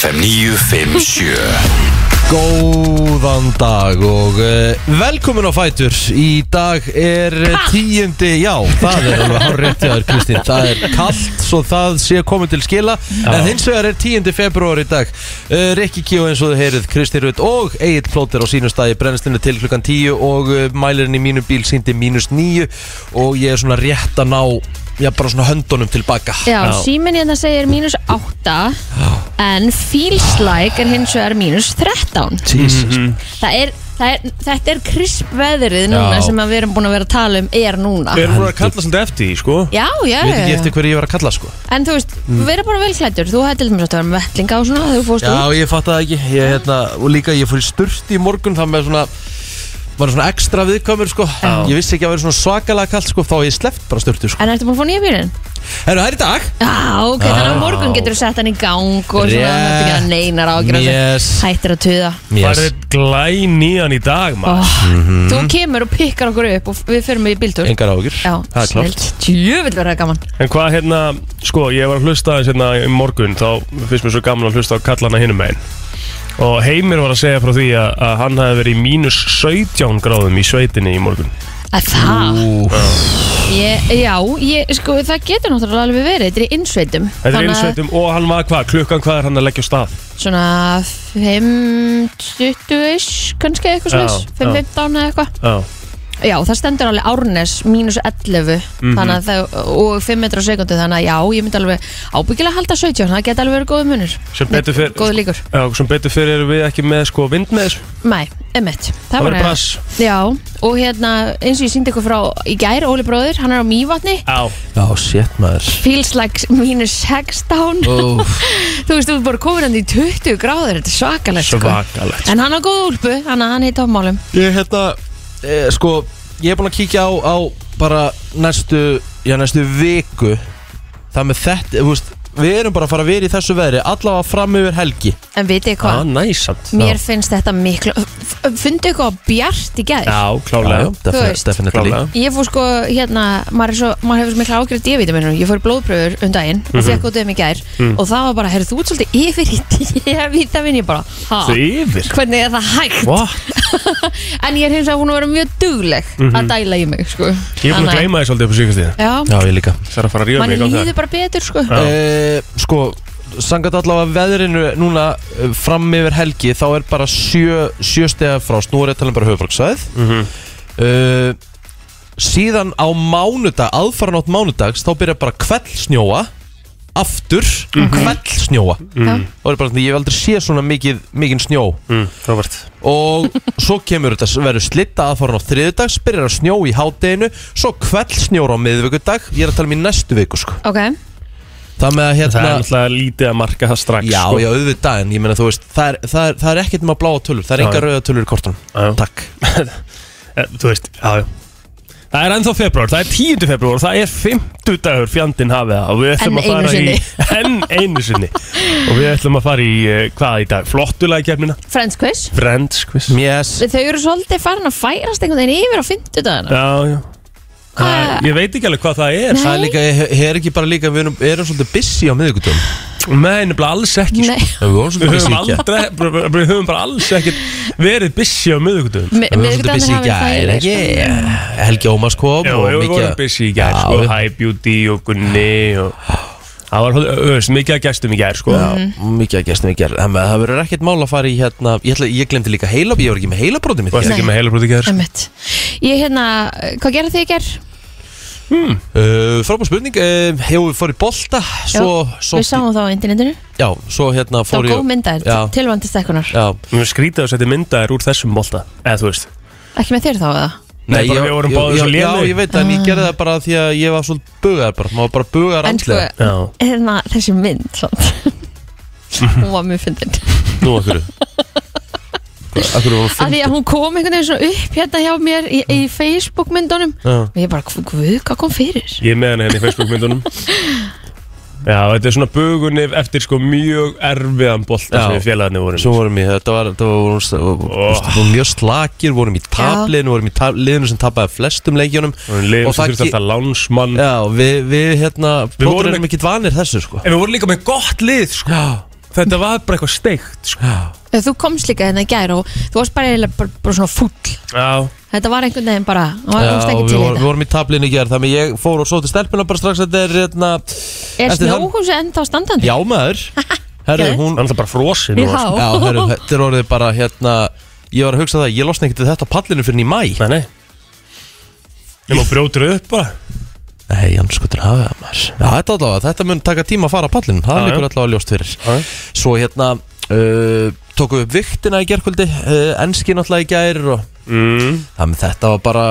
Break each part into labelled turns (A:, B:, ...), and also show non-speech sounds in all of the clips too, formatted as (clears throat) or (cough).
A: FM 957
B: Góðan dag og uh, velkomin á Fætur Í dag er eh, tíundi, já, það er alveg hár rétt hjá þér Kristín Það er kallt, svo það sé komið til skila En hins vegar er tíundi februar í dag uh, Rikki Kíó eins og þið heyrið Kristín Rutt og Egil Plóter á sínum stað í brennslinu til klukkan tíu Og uh, mælirinn í mínum bíl síndi mínus níu Og ég er svona rétt að ná, já, bara svona höndunum tilbaka
C: Já, síminn hérna segir mínus 8 En feels like er hins vegar mínus 13
B: Jesus
C: Það er, það er, þetta er krisp veðrið núna
B: Já.
C: sem að við erum búin að vera að tala um er núna
D: Við erum búin að kalla samt eftir því, sko
C: Já, já,
B: Ég veit
C: já,
B: ekki
C: já.
B: eftir hverju ég var að kalla, sko
C: En þú veist, við erum bara vel klæddur Þú hætti til dæmis að vera með vettlinga og svona þegar þú fórst
B: Já,
C: út
B: ég fatt það ekki ég, hérna, Og líka ég fór í sturt í morgun Það með svona var svona ekstra viðkomur sko. Ég vissi ekki að vera svona svakalega kallt sko, Þá hef ég sleppt bara sturtu sko.
C: En ertu búin að fá nýja bílinn?
B: Herru, það er í dag
C: Já, ok, þannig að á morgun getur þú sett hann í gang og svona,
B: Rétt.
C: þetta ekki að neinar ágjur
B: Yes.
C: Hættir að tuða
D: Það er glæn í hann í dag, maður
C: oh,
B: Mhm.
C: Þú kemur og pikkar okkur upp og við förum í bíltúr
B: Engar ágjur
C: Já,
B: Það er klárt
C: Jöfnvel verður það gaman
D: En hvað hérna, sko, ég var að hlusta aðeins hérna í morgun Þá finnst mér svo gaman að hlusta á kallana hinum megin Og Heimir var að segja frá því að, að hann hafi verið í mínus 17 gráðum í sveitinni í morgun
C: Að það ég, Já, ég, sko, það getur náttúrulega alveg verið Þetta er í innsveitum
D: Þetta er
C: Þannig að
D: innsveitum og hann var hvað, klukkan hvað er hann að leggja á stað
C: Svona 5.20 kannski eitthvað
D: Já,
C: svona 5.15 eða eitthvað
D: Já,
C: Já, það stendur alveg Árnes mínus 11
D: Mhm.
C: þannig að það, og 5 metrar á sekundu þannig að já, ég myndi alveg ábyggilega halda 17 það geti alveg verið góði munur
D: sem betur fyrir
C: Góði líkur
D: Já, sem betur fyrir erum við ekki með sko vind með þessu
C: Nei, emitt
D: Það verður brass.
C: Já, og hérna eins og ég síndi ykkur frá í gær, Óli bróðir, hann er á Mývatni
D: Já,
B: Já, sétt maður
C: feels like mínus 16
B: Úff.
C: þú veist, þú er bara komin hann í 20 gráður þetta er svakalegt sko.
D: svakalegt
C: en hann á góða úlpu, hann, hann er í tómálum
B: Ég hérna eh, Sko, ég er búin að kíkja á, á Bara næstu Já, næstu viku Það með þetta, þú veist Við erum bara að fara að vera í þessu veðri Allavega fram yfir helgi
C: en vitið þið
D: Ah, Já,
C: hvað,
D: næsamt
C: mér finnst þetta miklu F- fundu eitthvað bjart í gær
D: Já,
B: Já,
D: klálega
B: defi-
C: Þú veist.
B: definitely.
D: Klálega.
C: Ég fór sko hérna, maður, er svo, maður hefur svo mikla ágjörð D-vitaminu, ég fór í blóðpröfur um daginn og
D: Mhm.
C: fekk út um í gær og það var bara, heyrðu þú ert svolítið yfir í D-vitamin, ég bara, ha,
D: Þau yfir
C: hvernig er það hægt?
D: What?
C: (laughs)
D: Mhm.
C: En ég er hins vegar hún að vera mjög dugleg að dæla í mig, sko.
D: Ég er búin að
C: Þannig
D: gleyma því svolítið upp á síkastíð
C: Já,
B: Já, ég líka
D: Það er að fara að ríða
C: manni
D: mig í
C: líður bara betur, sko.
B: Eh, sko sangat allavega veðrinu núna eh, fram yfir helgi þá er bara sjö, sjö stega frást nú er ég að tala um bara höfuborgsæð mm síðan á mánudag, aðfaran átt mánudags þá byrja bara kveldsnjóa aftur mm kveldsnjóa
C: Já.
D: Mhm.
B: og er bara, svona, ég hef aldrei séð svona mikið, mikið snjó
D: Mm, Robert
B: og svo kemur þetta verður slitta aðfaran á þriðudags byrjar að snjó í hádeginu svo kveldsnjóra á miðvikudag ég er að tala um í næstu viku sko.
C: Ok,
B: það með að hérna
D: Það er náttúrulega lítið að marka það strax
B: Já,
D: sko.
B: já, auðvitað, en ég meina þú veist Það er, það er, það er ekkert með bláa tölur, það er
D: Já,
B: enga
D: já.
B: rauða tölur í kortunum
D: Já, já.
B: Takk
D: Eh, Þú veist, já, já Það er ennþá februar, það er 10. februar Það er 50 dagur fjandinn hafið það Og við
C: Enn
D: ætlum að fara
C: einu sinni.
D: í (laughs) Enn einu sinni Og við ætlum að fara í, eh, hvað í dag, flottulega kefnina
C: Friends quiz.
D: Friends quiz
B: Yes,
C: Þau eru svolítið farin að færast einhvern veginn yfir á fimmtudagana.
D: Já, já
C: Hvað-
D: Ég veit ekki alveg hvað það er
B: það er líka, það er ekki bara líka Við erum, erum svolítið busy á miðvikutum
D: Nei, nefnilega alls ekki sko.
C: Nei,
B: Við vorum
D: Við
B: svolítið
D: höfum
B: busy ekki
D: aldrei, við höfum bara alls ekkert verið busy á miðugdöðum
B: Við
C: mi-
B: vorum svolítið
C: miðvikudagarnir
B: busy í
C: hafa verið
B: gær, ekki?
C: þægilegir, sko.
B: Yeah. Helgi Ómas kom
D: Já,
B: og
D: við
B: mikið-
D: vorum busy í gær,
B: Já,
D: sko,
B: við-
D: High Beauty og Gunni og Það var, þú veist, mikið að gestum í gær, sko
B: Já, Mm. mikið að gestum í gær Þannig að það verður ekkert mál að fara í hérna Ég, ætla, ég glemdi líka heila, ég var ekki með heilabrótið mitt
D: Þú varst
B: uh,
D: ekki með heilabrót í gær, sko
C: Einmitt. Ég hérna, hvað gerði þið í gerð?
B: Frábár Eh, spurning, uh, hefur við fór í bolta Svo, svo,
C: Við sáum það á internetinu
B: já, svo hérna
C: Það
B: fór
C: var
B: ég
C: góð myndaðir,
B: Já,
C: tilvandist ekkunar
B: já
D: Mér skrítið að setja myndaðir úr þessum bolta Eða, þú veist
C: Ekki með þér þá eða?
D: Nei, bara við vorum
B: ég-
D: báðir
B: já,
D: svo lélegir.
B: Já, ég veit, en ég gerði það bara því að ég var svolítið bugaðar bara Má bara bugaðar
C: En sko,
B: andlega
D: Já,
C: hérna, þessi mynd
B: (laughs)
C: samt. Hún var mjög fyndin
B: Nú, akkur Akkur var
C: Af
B: fyrir
C: því að hún kom einhvern veginn svona upp hérna hjá mér í, í Facebook myndunum
B: Já.
C: Og ég bara, "Guð, guð, hvað kom fyrir?
D: ég er með henni hérna í Facebook myndunum Já, þetta er svona bugunni eftir sko mjög erfiðan bolta
B: Já.
D: sem við félagarnir vorum
B: Svo vorum við, þetta var, þetta var, vorum, oh. vorum mjög slakir, vorum í tabliðinu, vorum í tab, liðinu sem tapaði flestum leikjunum
D: Og liðum sem þurfti alltaf lánsmann
B: Já, við, við hérna,
D: vorum
B: plótur erum
D: ekki-
B: ekkert vanir þessu, sko
D: En við vorum líka með gott lið, sko
B: Já,
D: þetta var bara eitthvað steikt sko.
C: Þú komst líka hérna í gær og þú varst bara, eiginlega bara, bara svona fúll
D: Já,
C: Þetta var einhvern veginn bara, það var
B: Já,
C: komst ekki
B: við,
C: til
B: vorum, við
C: þetta
B: vorum í tablinu í gerð Þannig ég fór og svo til stelpuna bara strax Þetta er hérna
C: Er
B: eftir þann-
C: snjóhúsi ennþá standandi?
B: Já
C: (laughs)
B: maður Herru,
C: Geðveikt.
B: hún
D: hann er bara frosin og-
C: Já.
B: Já, herru,
C: (laughs)
B: þetta er orðið bara hérna Ég var að hugsa það, ég losna ekkert við þetta á pallinu fyrir í mæ
D: Nei, nei Ég má brjótur upp bara
B: Nei, Jans, hvað er að hafa það maður Já, þetta allavega, þetta mun taka tíma að fara á pallinu Það
D: Já, já.
B: líkur allavega ljóst fyrir Svo hérna uh, Tókum við upp viktina í gerkvöldi uh, Enski náttúrulega í gær og
D: mm.
B: Þannig þetta var bara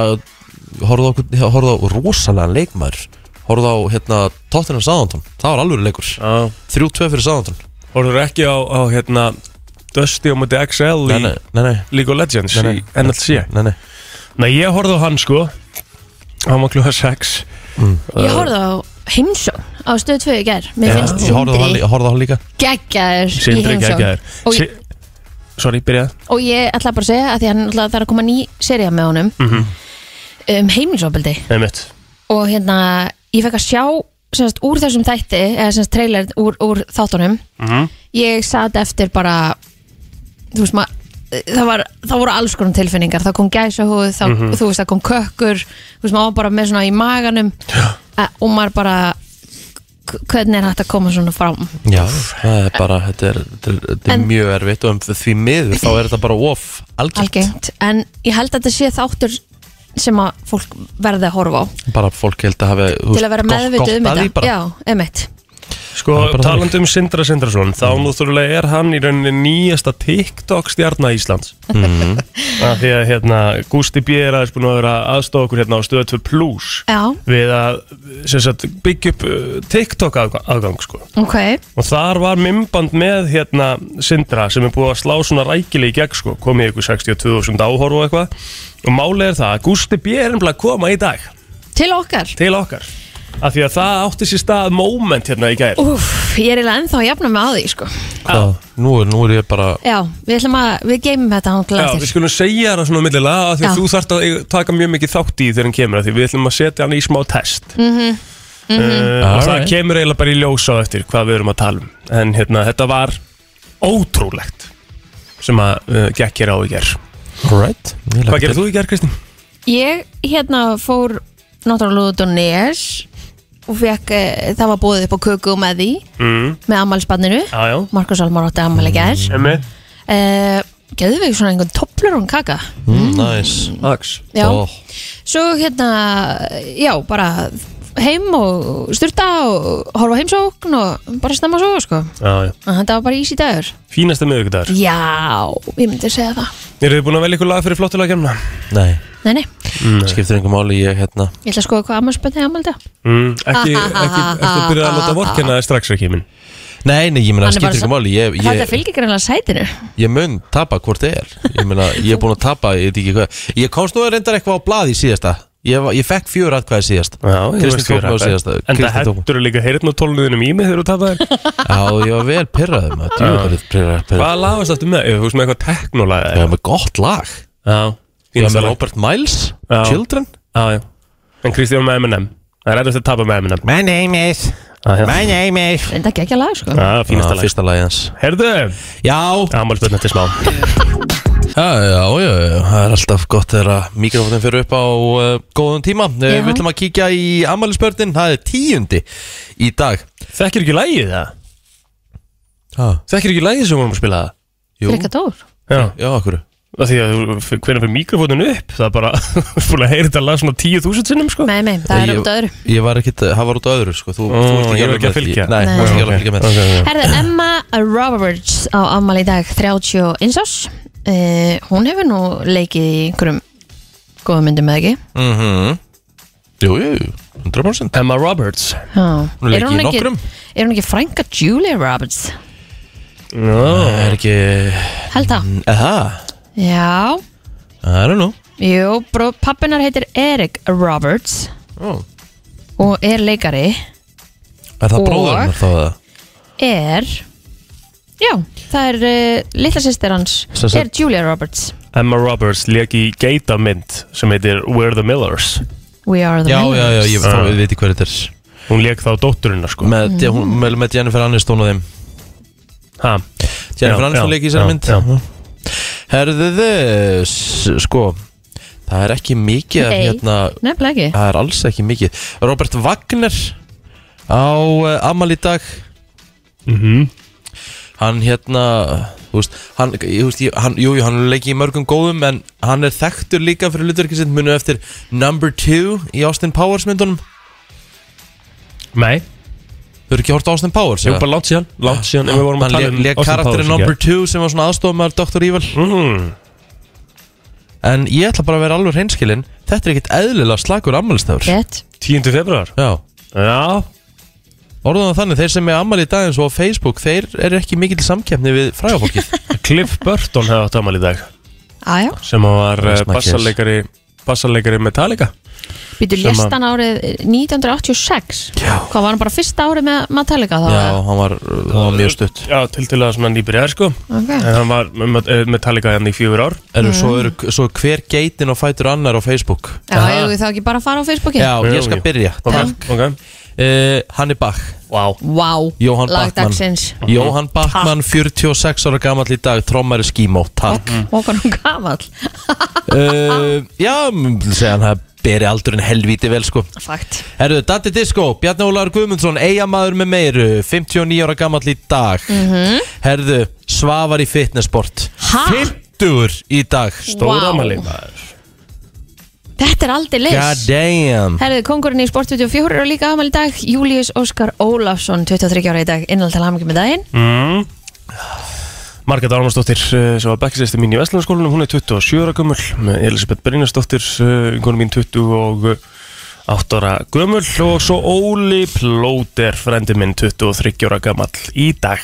B: Horfðu á, okkur- horfðu á rosalega leikmaður Horfðu á hérna Tottenham Sáðantón Það var alvöru leikur
D: Já
B: 3-2 fyrir Sáðantón
D: Orður ekki á, á hérna Dusty á múti XL í
B: Nei, nei, nei, nei,
D: League of Legends
B: nei, nei.
D: í NLC
B: Nei, nei
D: Nei, ég horfði á hann sko Hann var klúða 6
C: Ég horfði á heimsjón á stöð 2 í gær Mér
B: Já,
C: finnst
B: Ég horfði á hann,
C: Sindri
B: ég horfði á hann líka
C: geggjaður í
D: Sindri
C: heimsjón
D: geggjaður
C: Og
D: Si- Sorry, byrjað
C: Og ég ætla bara að segja að því hann ætla, það er að koma ný serið með honum
D: Mhm.
C: um heimilisofbeldi
D: Nei, mitt
C: og hérna ég fekk að sjá semst, úr þessum þætti eða semst trailer úr, úr þáttunum
D: Mhm.
C: ég sat eftir bara þú veist maður það, var, það voru alls konar tilfinningar það kom gæsahúð, það,
B: Mhm.
C: þú veist það kom kökkur þú veist maður var bara með svona í maganum ja. og maður bara k- hvernig er hægt að koma svona fram
B: Já, það er bara, þetta er, þetta er, þetta er
C: En-
B: mjög erfitt og um því miður þá er þetta bara of algengt
C: algengt, en ég held að þetta sé þáttur sem að fólk verði að horfa á
B: bara fólk held að hafa þú
C: til að
B: veist,
C: vera
B: gott-
C: meðvitið um
B: gott af því
C: þetta
B: bara.
C: já, emitt
D: Sko,
B: Það er bara
D: talandi um Sindra Sindrason þá
B: Mm.
D: náttúrulega er hann í rauninni nýjasta TikTok stjarna Íslands
B: Mhm.
D: (laughs) af því að hérna Gusti B. er aðeins búin að vera aðstofa okkur hérna á stöðu 2 Plus
C: já,
D: við að sem sagt, byggja upp uh, TikTok aðgang, aðgang sko.
C: ok,
D: og þar var mymband með hérna Sindra sem er búið að slá svona rækileg í gegn sko, komið í ykkur 62.000 áhorf og eitthvað og málið er það að Gusti B. er nefnilega að koma í dag
C: til okkar
D: til okkar af því að það átti sér stað moment hérna í gær
C: Úff, ég er eiginlega ennþá að jafna mig á því sko.
B: Hvað? Nú, er- nú er ég bara
C: já, við ætlum að, við geymum þetta hann
D: Já, við skulum segja það svona millilega að því
C: Já.
D: að þú þarft að eiga- taka mjög mikið þátt í þegar hann kemur af því við ætlum að setja hann í smá test uh, og það
B: Alright.
D: kemur eiginlega bara í ljósa eftir hvað við erum að tala um en hérna, þetta var ótrúlegt sem að uh, gekk hér á í ger
B: Alright
D: Hvað gerir þú í ger, Kristín?
C: Ég hérna fór náttúrulega út á Nes og fekk, eh, það var búið upp á köku og með því,
D: Mm.
C: með ammælspanninu
D: Já, já,
C: Markus Almar átti ammæli gær
D: emmi
C: uh, Gjöðu við svona einhvern toplur og kaka
B: Mm, nice
D: Aks
C: Já,
B: Ó,
C: svo hérna já, bara heim og styrta og horfa á heimsókn og bara snemma svo sko
D: Já, já
C: Að Þetta var bara ísi dagur
D: Fínasta miðvikudagur
C: Já, ég myndi segja það
D: Eru þið búin að velja ykkur lag fyrir flottulega kemna?
B: Nei,
C: Nei, nei,
B: skiptir einhver máli ég hérna
C: ég ætla að skoða hvað ammælspannin ammældi á.
D: Mm, ekki, ekki, ekki að byrja að láta vorkenna þér strax ekki minn
B: Nei, nei, ég meina,
C: Hann er bara
B: skiptir
C: sa-
B: einhver máli ég,
C: Þetta
B: ég,
C: fylgir greinlega sætinu
B: ég mun tapa hvort þið er Ég meina, ég er búin að tapa, ég veit ekki hvað Ég komst nú að reyndar eitthvað á blaði síðasta Ég, var- ég fekk fjör atkvæði síðast
D: Já, ég
B: Kristín
D: veist fyrir
B: tók mig á
D: þetta.
B: síðasta
D: En það
B: Kristín tók mig.
D: hendur líka heyrnatólnuðinum í mig þegar þú (laughs) tapar
B: Já, ég var vel pyrraðum
D: Hvaða
B: Hvað
D: lag varst aftur með? Ef Þú veist með eitthvað teknólag
B: Ég var með gott lag
D: Já
B: Ég var
D: Fínasta
B: með
D: lag.
B: Robert Miles,
D: Já.
B: Children
D: Já, já En Kristján með Eminem Það er ræðast að tapa með Eminem
B: My name is,
D: Já, já.
B: name is
C: Þetta gekkja lag sko
D: Já, Ah, fínasta
B: Fínasta
D: lag
B: Fyrsta lagi hans
D: Herðu
B: Já,
D: Amalspöldin eftir smá
B: Já, já, já, já, það er alltaf gott þegar að mikrofónin fyrir upp á uh, góðum tíma. Uh,
C: Já.
B: við ætlum að kíkja í ammælisbörnin, það er tíundi í dag.
D: Þekkir ekki lagið það?
B: Ha,
D: Þekkir ekki lagið sem vorum að spila það?
B: jú,
C: Frikka Dór
D: Já
B: já, okkur.
D: Það því að þú- hvenær fyrir mikrofónun upp Það er bara (laughs) Fúin að heyra þetta lag svona 10.000 sinnum sko
C: Nei, nei, það er út af öðru
B: Ég var ekkit, það var út á öðru, sko. Þú,
D: Ó,
B: þú ert
D: ég var
B: alveg
D: ekki að
B: með því.
D: fylgja.
B: Nei, þú
C: Nei.
B: ert ekki alveg að fylgja með.
D: Ok, ok.
C: Herðu, Emma Roberts á afmæli í dag 31 árs uh, Hún hefur nú leikið í einhverjum góðum myndum eða ekki
B: Mhm. Jú, jú, jú, 100%.
D: Emma Roberts
C: Já.
B: Hún leikið
C: Er
B: í
C: ekki,
B: nokkrum.
C: er hún ekki frænka Julia Roberts?
D: Já
B: Það er ekki,
C: Held það
B: eða,
C: Já,
B: I don't know.
C: jú, bró, pappinar heitir Eric Roberts
B: Ó.
C: og er leikari
B: Er það
C: Og-
B: bróður hennar þá það?
C: er Já, það er uh, litla sýstir hans
B: Sem sagt-
C: er Julia Roberts
D: Emma Roberts leik í geitamynd sem heitir We're the Millers
C: We are the
B: Já,
C: Millers.
B: já, já, ég þá við viti hver þetta er.
D: Hún leik þá dótturina sko
B: Með, mm. hún, með, með Jennifer Aniston og þeim.
D: Ha?
B: Jennifer
D: Já,
B: Aniston
D: já,
B: leik í þessari
D: já,
B: mynd Mhm.
D: já.
B: Herðu þess Sko Það er ekki mikið af
C: Nei.
B: hérna,
C: Nefnilega ekki
B: Það er alls ekki mikið Robert Wagner Á uh, Amal í dag
D: Mhm.
B: Hann hérna Þú veist, hann, ég, þú veist, ég, hann, jú, jú, hann leikir í mörgum góðum En hann er þekktur líka fyrir hlutverkið sitt Munu eftir Number 2 Í Austin Powers myndunum
D: Nei,
B: Þau eru ekki hort á Austin Powers
D: ég
B: eða?
D: var bara langt síðan Langt síðan, en við vorum að
B: Ah, Hann
D: tala um
B: le- leik
D: Austin Powers,
B: karakterinn
D: ekki?
B: Number 2 Sem var svona aðstofumar Dr. Evil
D: mm.
B: En ég ætla bara að vera alveg hreinskilinn Þetta er ekkit eðlilega slagur ammælstafur
C: Rétt
D: 10. februar
B: Já
D: Já,
B: Orðan það þannig, þeir sem er ammæli í dag eins og á Facebook Þeir eru ekki mikil samkeppni við frægafólkið
D: Cliff Burton hefði átt amal í dag
C: Aja,
D: sem var eh,
B: Rest my case.
D: bassaleikari bassaleikari Metallica
C: býtu
D: Sem að-
C: lest hann árið eh, 1986 Já Hvað var hann bara fyrsta árið með Metallica þá?
B: (laughs) Já, hann var, uh, hann var mjög stutt
D: Já, til til að svona nýbyrjar sko
C: Ok
D: en hann var með eh, Metallica hann í fjögur ár
B: En svo, er, svo er hver geitin og fætur annar á Facebook
C: Já, ég við þá ekki bara að fara á Facebookin?
B: Já,
D: Jú,
B: ég skal
D: jú.
B: byrja
D: Ok, ok
B: uh, Hanni Bach
D: Wow
C: Vá
B: Jóhann Bachmann
C: Lagdagsins
B: Jóhann Bachmann, 46 ára gamall í dag Trommari skímó, takk
C: Og hann hún gamall
B: uh, Já, m- segja hann að beri aldurinn helvíti vel sko
C: Fakt
B: Herðu, Datti Disco, Bjarni Ólaður Guðmundsson Eyjamaður með meiru, 59 ára gamall í dag Herðu, Svavar í fitnessport
C: Ha?
B: 50 í dag
D: Stóra
C: Vá.
D: amali
C: Þetta er aldrei
B: God
C: leys
B: damn
C: Herðið, kongurinn í Sport 24 er líka amal í dag Július Óskar Ólafsson, 23 ára í dag Innaldal hamingi með daginn
D: mm. Margrét Ármarsdóttir eh, sem var bekkisæsti mín í Vestlandskólanum hún er 27 ára gömul Elisabeth Brynjarsdóttir, vinkonu mín 28 ára gömul og svo Óli Plóter frendi minn 23 ára gamall í dag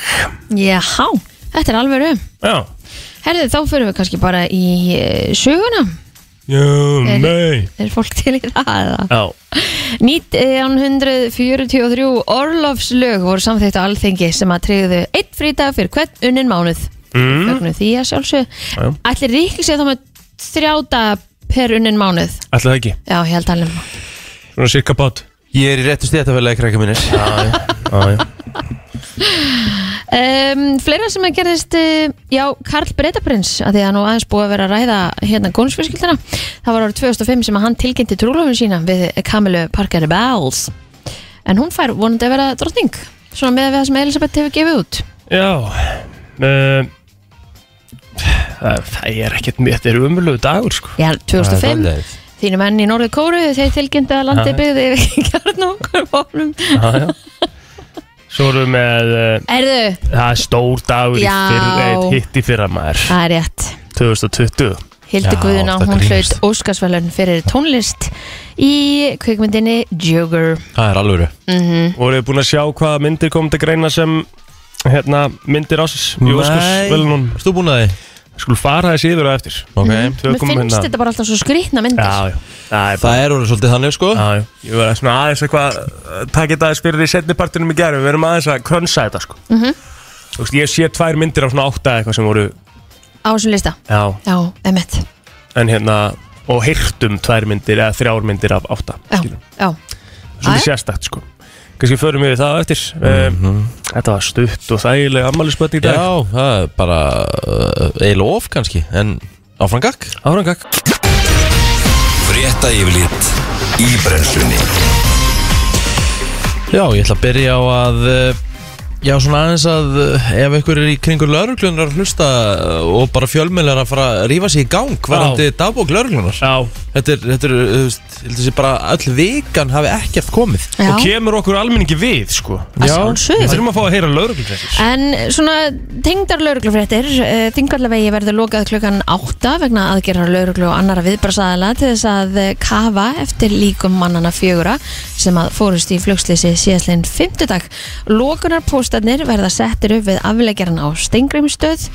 C: Jáhá, þetta er alveg um
D: Já
C: Herðið, þá fyrir við kannski bara í eh, söguna
D: Já,
C: Er-
D: nei
C: Er fólk til í það eða?
D: Já,
C: 1943 Orlofslög voru samþýtt á alþingi sem að treyðu eitt frídag fyrir hvern unnin mánuð mm. Fögnum því að
D: Mhm. Já.
C: sjálfsög Ætli ríkis ég þá með þrjáta per unnin mánuð
D: ætla það ekki
C: Já, ég held að um alveg
D: Svona cirka bát
B: Ég er í réttu stéttafélagi krakka mínir
D: Já, já
C: Um, fleira sem að gerðist uh, já, Karl Breitaprins að því að nú aðeins búið að vera að ræða hérna gónsfjölskyldina það var árið 2005 sem að hann tilkynnti trúlofun sína við Kamilu Parker Bowles en hún fær vonandi að vera drottning svona með að við það sem Elisabeth hefur gefið út
D: Já uh, Það er ekkert mér, þetta er umulögu dagur sko
C: já, 2005,
B: Svoleiðis.
C: þínu menn í Norðu Kóru þeir tilkynnti að landi
D: Já.
C: byggði yfir (laughs) kjarnókur bólum
D: Já, já Svo erum við með uh,
C: erðu,
D: Það er stór dagur í
C: Já.
D: fyrra, eh, eitt hitt í fyrra maður
C: það er rétt
D: 2020
C: Hildur
B: Já,
C: Guðuna,
B: það
C: hún
B: grínast.
C: hlaut Óskarsverlun fyrir tónlist í kvikmyndinni Joker
B: Það er alvöru
C: Mm.
D: Voruð þið búin að sjá hvaða myndir kom til greina sem hérna, myndir ásins Jú,
B: Nei.
D: skus, vel nú
B: Erst þú búin að því?
D: Skulum fara þessi yfir og eftir
B: sko, Ok
D: Þau
C: Mér
D: komum
C: finnst þetta bara alltaf svo skrýtna myndir
D: hérna- Já, já Það er bara
B: Það er orðið svolítið þannig sko
D: Já, já. Ég var svona aðeins eitthvað eh, Takk þetta aðeins fyrir í setni partinum í gerðum Við erum aðeins að krönsa þetta sko mm
C: Mhm.
D: -hmm. veist, Ég sé tvær myndir á svona átta eitthvað sem voru
C: á þessum lista
D: Já,
C: Já, emitt
D: en hérna Og hirtum tvær myndir eða þrjár myndir af átta
C: Já, já,
D: Svolítið
C: Jæja.
D: sérstakt sko Kannski förum við það á eftir um, Þetta var stutt og þægileg ammælisbötn í dag
B: Já, það er bara uh, eiginlega of kannski En áfram gakk
D: Árangak
A: Frétta yfirlit í brennslunni
B: Já, ég ætla að byrja á að uh, Já, svona aðeins að uh, ef einhver er í kringur lauruglunar að hlusta uh, og bara fjölmiðlar að fara að rífa sig í gang varandi dagbók lauruglunar
D: Já
B: Þetta er, þetta er, uh, þú veist, ég held að sé bara öll vikan hafi ekkert komið
C: já.
D: Og kemur okkur almenningi við sko
C: Að sjálfsögðu.
D: Við þurfum að fá að heyra lauruglum
C: En svona tengdar lauruglufréttir Þingarlevegi verður lokað klukkan 8 vegna aðgerðar lauruglu og annara viðbrasaðala til þess að eh, kafa eftir líkum mannana fjögura sem að fórust í flugslýsi síðastlegin 50 dag. Lokunarpóstarnir verða settir upp við afleggjaran á Steingrimstöð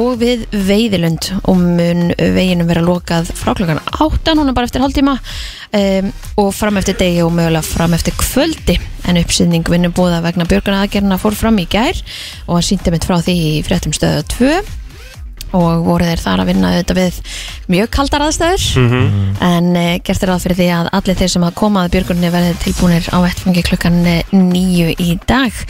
C: og við Veiðilund og mun veginum vera lokað frá klukkan 8 núna bara eftir hálftíma um, og fram eftir degi og mögulega fram eftir kvöldi en uppsýðning vinnubúða vegna björguna aðgerna fór fram í gær og hann sýndi mitt frá því í fréttum stöðu 2 og voru þeir þar að vinna auðvitað við mjög kaldar aðstæður
B: Mhm.
C: en e, gert er ráð fyrir því að allir þeir sem að koma að björgunni verði tilbúinir á vettfangi klukkan 9 eh, í dag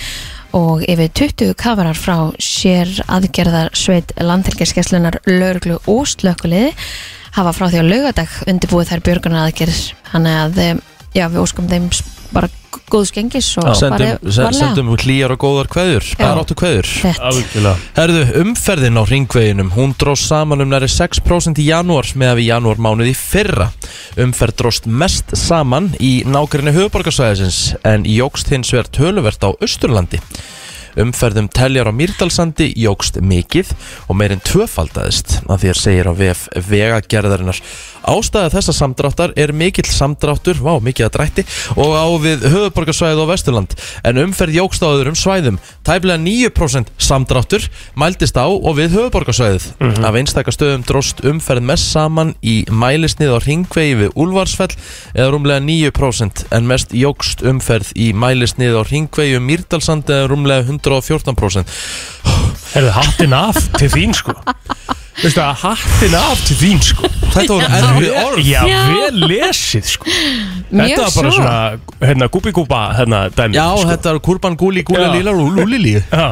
C: og yfir 20 kamerar frá sér aðgerðar sveit landhelgiskeslunar lauruglu og slökuliði hafa frá því á laugadag undirbúið þær björgunar aðgerðir hann að eh, já, við óskum þeim s- bara g- góðs gengis og
B: sendum,
C: farið
B: se-
C: varlega.
B: sendum sko. hlýjar og góðar kveður Baráttu kveður
C: Rétt.
D: Algjörlega
B: Herðu, umferðin á ringveginum, hún dróst saman um næri 6% í janúar með að við janúar mánuði fyrra. Umferð dróst mest saman í nákværinni höfuborgarsvæðisins en jógst hins vegar töluvert á Östurlandi. Umferðum teljar á Mýrdalsandi jógst mikið og meirinn tvöfaldaðist að þér segir á VF vegagerðarinnar. Ástæða þessa samdráttar er mikill samdráttur, vá, mikið að drætti, og á við höfuborgarsvæðið á Vesturland. En umferð jógst á öðrum svæðum, tæplega 9% samdráttur mældist á og við höfuborgarsvæðið.
D: Mhm.
B: Af einstaka stöðum dróst umferð mest saman í mælisnið á ringvegi við Úlfarsfell eða rúmlega 9% en mest jógst umferð í mælisnið á ringvegi um Mýrdalsand eða rúmlega 114%.
D: Er það hattin af til þín sko Veistu það, hattin af til þín sko
B: Þetta
D: (laughs)
B: voru erfið orð.
D: Já,
C: Já.
D: vel lesið sko
C: Mjög
D: Þetta var
C: svo.
D: bara svona hérna, gúbi-gúba hérna, dæmi
B: Já,
D: sko.
B: þetta eru kurban gúli, gúli,
D: Já.
B: líla, lúlili.
D: Já,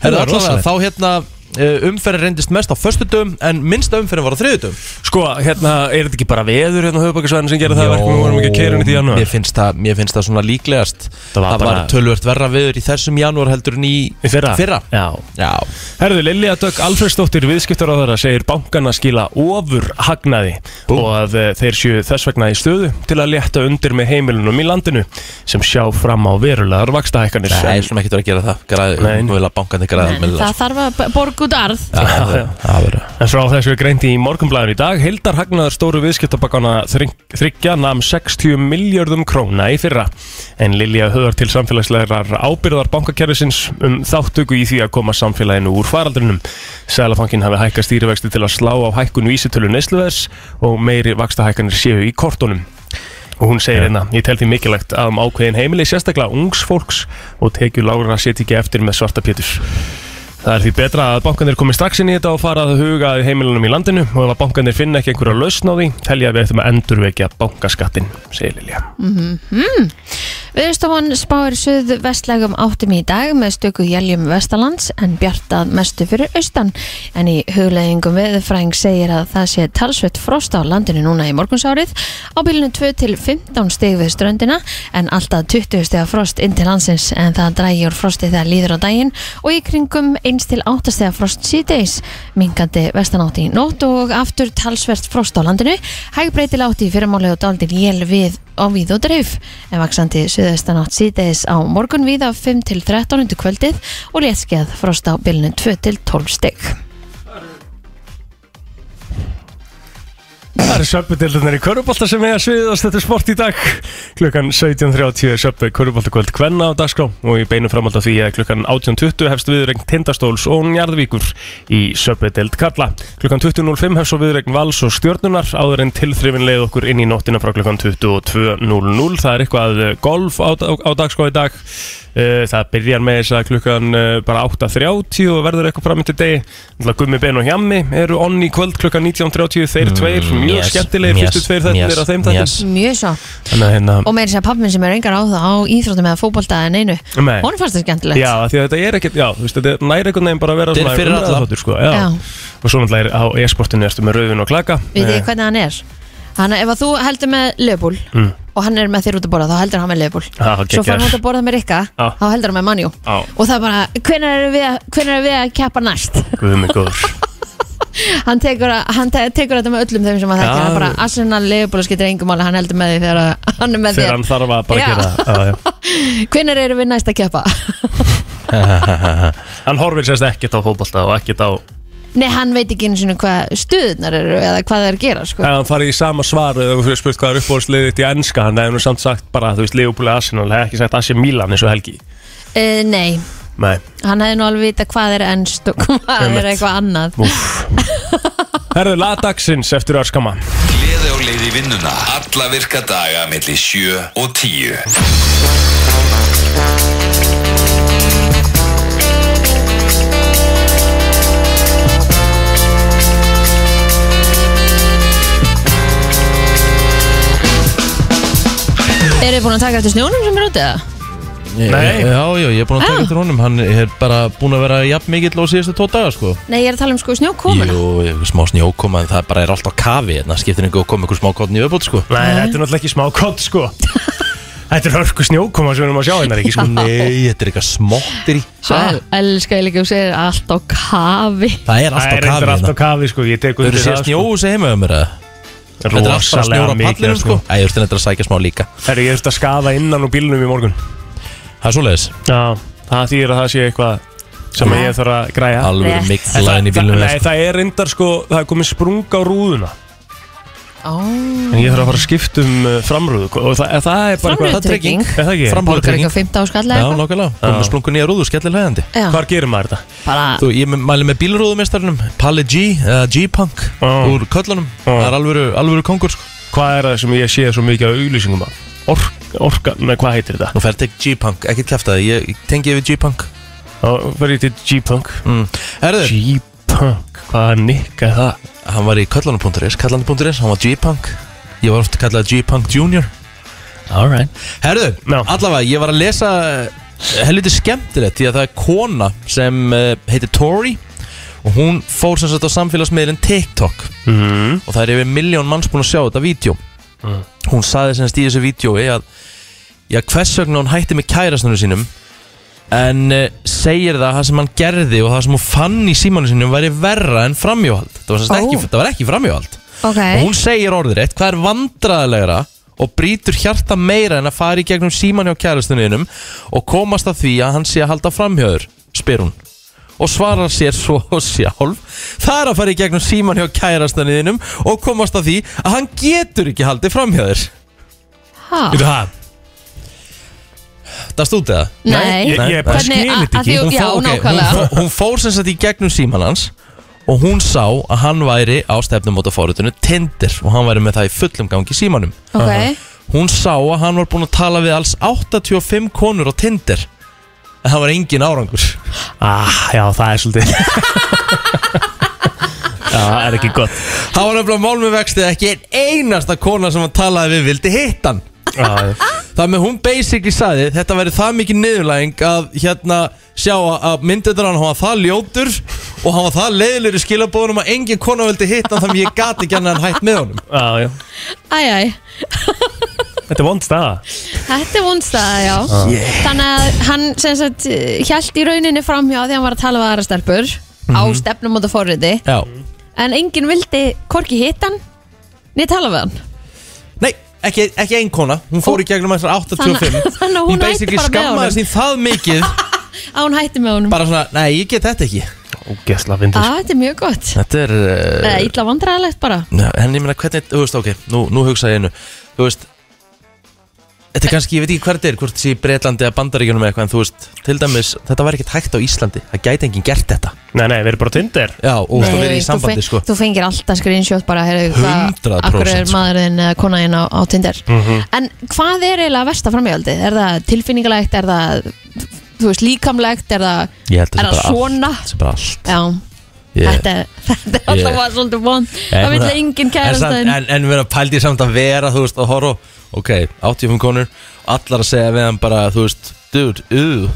B: Herðu
D: þetta var
B: allavega,
D: rosalegt
B: þá hérna uh, umferðin reyndist mest á föstudum en minnsta umferðin var á þriðudum.
D: Sko, hérna, er þetta ekki bara veður hérna á höfubakasvæðin sem gerir það að verkum við vorum ekki að keira henni til janúar
B: Mér finnst það, mér finnst það svona líklegast
D: Það var
B: Það var
D: bara-
B: tölvört verra viður í þessum janúar heldur en í
D: Í fyrra?
B: fyrra.
D: Já
B: Já,
D: Herðu, Lilja Dögg Alfredsdóttir viðskiptaráðara segir bankana skila ofur hagnaði og að eh, þeir séu þess vegna í stöðu til að létta undir með heimilunum í landinu sem sjá fram á verulegar vakstahækkanir
B: það er svona ekkert að gera það Græði,
D: Nei.
B: nú vil að bankandi græða
C: En það þarf að b- borga út arð
B: Það verður
D: En frá þessu er greint í morgunblæðinu í dag Hildar hagnaður stóru viðskiptabakana þryggja nam 60 miljörðum króna í fyrra En Lilja höðar til samfélagslegar ábyrðar bankakerfisins um þáttöku í því að koma samfélaginu úr faraldrinum Sælafankin hafi hækka stýrivexti til að slá á hækkun vísitölu neysluverðs og meiri vakstahækkanir séu í kortunum Og hún segir hérna, ég tel því mikilvægt að um ákveðin heimili sérstaklega ungs fólks og tekju lágra setji ekki eftir með svarta pétur. Það er því betra að bankanir komi strax inn í þetta og fara að huga að heimilunum í landinu og ef að bankanir finna ekki einhverja lausn á því, telja að við ættum að endurvekja bankaskattin, segir Lilja.
C: Viðstofan spáir suð vestlægum áttum í dag með stöku jæljum vestalands en bjartað mestu fyrir austan en í hugleggingum veðurfræðing segir að það sé talsvett frost á landinu núna í morgunsárið á bylunu 2 til 15 stig við ströndina en alltaf 20 stiga frost inn til landsins en það drægjur frostið þegar líður á daginn og í kringum 1 til 8 stiga frost síðdeis mingandi vestanátt í nótt og aftur talsvert frost á landinu hægbreytil átt í fyrirmáli og daldin jél við á víð og dreif en vaksandi suðaustan átt síðdeis á morgun víða 5 til 13 undir kvöldið og léttskeið frost á bylnu 2 til 12 stygg
D: Það eru söpudildunar í Körubolta sem eiga sviðast þetta sport í dag. Klukkan 17.30 er söpu Köruboltakvöld Kvenna á dagskrá og í beinu framhald af því að klukkan 18.20 hefst viðregn Tindastóls og Njarðvíkur í söpudild Karla. Klukkan 20.05 hefst svo viðregn Vals og Stjörnunar áður en tilþrifin leið okkur inn í nóttina frá klukkan 22.00. Það er eitthvað eh, golf á, á, á dagskrá í dag. Eh, Það byrjar með þess að klukkan eh, bara 8.30 og verður eitthvað fram í til degi. Náttúrulega Gummi Ben og Hjammi eru onni í kvöld klukkan 19.30 þeir tveir, mjög
B: Mm, yes,
D: skemmtilegir
B: yes,
D: fyrstu tveir þættir
B: yes,
D: er á þeim þættir
B: yes.
C: mjög svo
D: Þannig að hérna
C: og meiri sér pappin sem er engar á það á íþróttum eða fótbolta en einu
D: Nei.
C: hún fannst það skemmtilegt
D: Já, af því að þetta er ekkert, já, þú veist, þetta er næri einhvern veginn bara að vera
B: Þetta er
D: svona
B: fyrir alla.
D: umræðuþáttur, sko, já.
C: Já.
D: Og svo náttúrulega er á e-sportinu erstu með rauðin og klaka
C: við þið
D: Eh,
C: hvernig hann er hann, ef að þú heldur með lögbúl
D: Mm.
C: og hann er með þér út að borða þá heldur hann með lögbúl
D: Já,
C: svo
D: geggjaður.
C: fær hann út að borða með Rikka
D: Já.
C: þá heldur hann með Manjú
D: Já.
C: og það er bara, hvenær erum við, að- hvenær erum við að keppa næst
D: Guð minn góður
C: hann tekur, að- hann te tekur þetta með öllum þeim sem að
D: Já.
C: þekkja hann bara Arsenal, Leopold skiptir engum máli hann heldur með því (laughs) þegar að- hann er með
D: Þegar hann
C: þér
D: þarf að bara
C: Já.
D: gera það já, já.
C: hvenær erum við næst að keppa?
D: Hann horfir sérst ekkert á fótbolta og ekkert á
C: nei, hann veit ekki einu sinni hvað stuðnar eru eða hvað það er að gera sko.
D: Ef hann farið í sama svar eða þú spurt hvað er uppbóðsliðið þitt í enska hann hefði nú samt sagt bara, þú veist, Leopold eða Arsenal hefði ekki sagt Asi Milan eins og Helgi
C: uh, nei,
D: Nei,
C: hann hefði nú alveg vita hvað er ennst og hvað er
D: Einmitt.
C: eitthvað annað
D: herðu lagdagsins eftir öskama
A: Gleði og leiði vinnuna Alla virka daga melli 7 og 10
C: eru þið búin að taka eftir snjónum sem er úti eða?
D: Nei.
B: Já, já, ég er búin að taka eftir honum Hann er bara búin að vera jafn mikill á síðustu tvo daga sko
C: Nei, ég er að tala um sko snjókomuna
B: Jú, ég- smá snjókoma en það bara er alltaf kafi en það skiptir einhver að koma einhver smá kottn í öfbót sko
D: Nei, þetta er náttúrulega ekki smá kott (laughs) sko Þetta er hörku snjókoma sem við erum að sjá hérna ekki
C: (laughs)
D: sko
B: Nei, þetta er eitthvað smottir í
C: Svo
D: Ah.
C: elska ég líka og segir allt á kafi
B: Það er alltaf
D: Það er
B: kafi
D: reyndar
B: hérna
D: alltaf kafi sko Ég tek
B: Þú
D: undir
B: eru séð
D: það
B: snjó
D: sko
B: sem heima um mér eða? Þetta er alltaf snjóra
D: Rosalega mikið
B: pallinum
D: af
B: sko
D: snjó
B: Æ, ég þurfti að sækja smá líka
D: Herri, ég þurfti að skafa innan úr bílnum í morgun
B: Það er svoleiðis
D: Já, það þýðir að það sé eitthvað sem að ég þarf að græja
B: Alveg
C: Rétt.
D: En það-
B: miklaðin í bílum
D: það- Nei, það er reyndar sko, það er komið sprung á rúðuna
C: Ó,
D: En ég þarf að fara að skipta um uh, framrúðu og það, það er bara eitthvað
B: það er trygging.
C: framlutrygging
D: Er það ekki?
B: Fram-
C: Borgar ekki
B: trygging.
C: á 15 skall
B: Já,
C: eða eitthvað
B: nokkulega Komum
D: Já.
B: við splungu nýja rúðu, skellir hægandi
C: Já,
D: Hvar gerir maður þetta?
C: bara
B: Þú, ég mæli með bílrúðumestarnum Pali G, eða G-Punk
D: Já.
B: Úr köllunum
D: Já.
B: Það er alvöru, alvöru kongur sko
D: Hvað er það sem ég sé svo mikið á auglýsingum af? Ork, orka, nei hvað heitir þetta?
B: Nú ferði ekki G-Punk, ekkert kæfta það Ég ég tengi yfir G-Punk
D: Þá fer ég til G-Punk
B: mm. Herður,
D: G-Punk, hvað er nikk er það?
B: hann var í köllunum.is Kallandi.is, hann var G-Punk Ég var oft kallað G-Punk Junior
D: Alright
B: Herðu,
D: Já.
B: allavega, ég var að lesa helviti skemmtilegt því að það er kona sem uh, heitir Tori og hún fór sem sagt á samfélagsmiðlinn TikTok
D: mm.
B: og það er yfir miljón manns búin að sjá þetta vídeo hún saði sem sagt í þessu vídjói að já, hvers vegna hún hætti með kærastunum sínum en uh, segir það að það sem hann gerði og það sem hún fann í símanu sínum væri verra en framjóhald það var, sem sagt
C: Ó.
B: ekki, það var ekki framjóhald
C: Ok,
B: og hún segir orðrétt hvað er vandræðilegra og brýtur hjarta meira en að fara í gegnum síman hjá kærastuninum og komast að því að hann sé að halda framhjöður, spyr hún og svarar sér svo (laughs) sjálf það er að fara í gegnum síman hjá kærastuninum og komast að því að hann getur ekki haldið framhjöður
C: ha
D: Veitu það?
B: það stútið það
C: Nei,
D: Ég, ég bara
C: Hvernig-
D: skil
C: að-
D: þetta
C: að því-
D: ekki
B: hún,
C: já,
B: fór, okay, hún,
C: nákvæmlega.
B: fó- hún fór sem sagt í gegnum síman hans og hún sá að hann væri á stefnum á fórutunni Tinder og hann væri með það í fullum gangi í símanum
C: ok
B: Hún sá að hann var búinn að tala við alls 85 konur á Tinder En það var engin árangur
D: ah, Já, það er svolítið (laughs) Já, það er ekki gott
B: Það var nefnilega mál með vextið að ekki ein einasta kona sem hann talaði við vildi hitt hann
D: ah,
B: Það með hún basically saði Þetta væri það mikið niðurlæging að hérna sjá að- að myndirnar hann var það ljótur Og hann var það leiðilegur í skilabóðunum að engin kona vildi hitt hann Þannig ég gati ekki hann en hætt með honum
D: já, já.
C: Æj, æj,
D: Þetta er vond staða
C: þetta er vondstæða, já Þannig að hann sem sagt Hjælt í rauninni framhjá því hann var að tala við aðra stelpur Á stefnum á það forriti
B: Já,
C: En enginn vildi hvorki hitta hann Nei, tala við hann
B: nei, ekki, ekki ein kona Hún fór í gegnum þessar 85
C: Þannig- þannig að hún
B: Hún
C: hætti
B: basically
C: bara með honum.
B: skammaði sín það mikið
C: Á hann hætti með honum
B: Bara svona, nei, ég get þetta ekki
D: Ógesla fyndið
C: Á, þetta er mjög gott
B: Þetta er
C: Eða
B: uh,
C: illa vandræðalegt bara
B: Nei, En ég meina hvernig, þú veist, ok, nú, nú hugsa ég einu Þú veist Þetta er kannski, ég veit ekki hvað þetta er, hvort það sé í Breitlandi eða Bandaríkjunum eða eitthvað, en þú veist, til dæmis þetta væri ekkert hægt á Íslandi, það gæti enginn gert þetta
D: Nei, nei, við erum bara á Tinder
B: Já, og þú veist, það verið í
C: þú
B: sambandi,
C: fe-
B: sko
C: Þú fengir alltaf screenshot bara heyrðu, hvað-
B: 100%
C: Akkur er
B: sko. Mhm.
C: maðurinn eða konaðinn á, á Tinder En hvað er eiginlega versta framhjáldi? Er það tilfinningalegt? Er það þú veist, líkamlegt? Er það
B: Ég held
C: Er
B: að það sé
C: það
B: bara
C: svona?
B: allt, sé bara allt
C: Já,
B: Ég-
C: þetta, er- (laughs) þetta er alltaf
B: Ég-
C: yeah. svolítið vond
B: En
C: Það vil
B: það-
C: enginn
B: en,
C: kærast
B: samt-
C: þeim
B: en, en vera pældi samt að vera, þú veist, að horfa Ok, 85 konur Allar að segja við hann bara, þú veist Dude, uh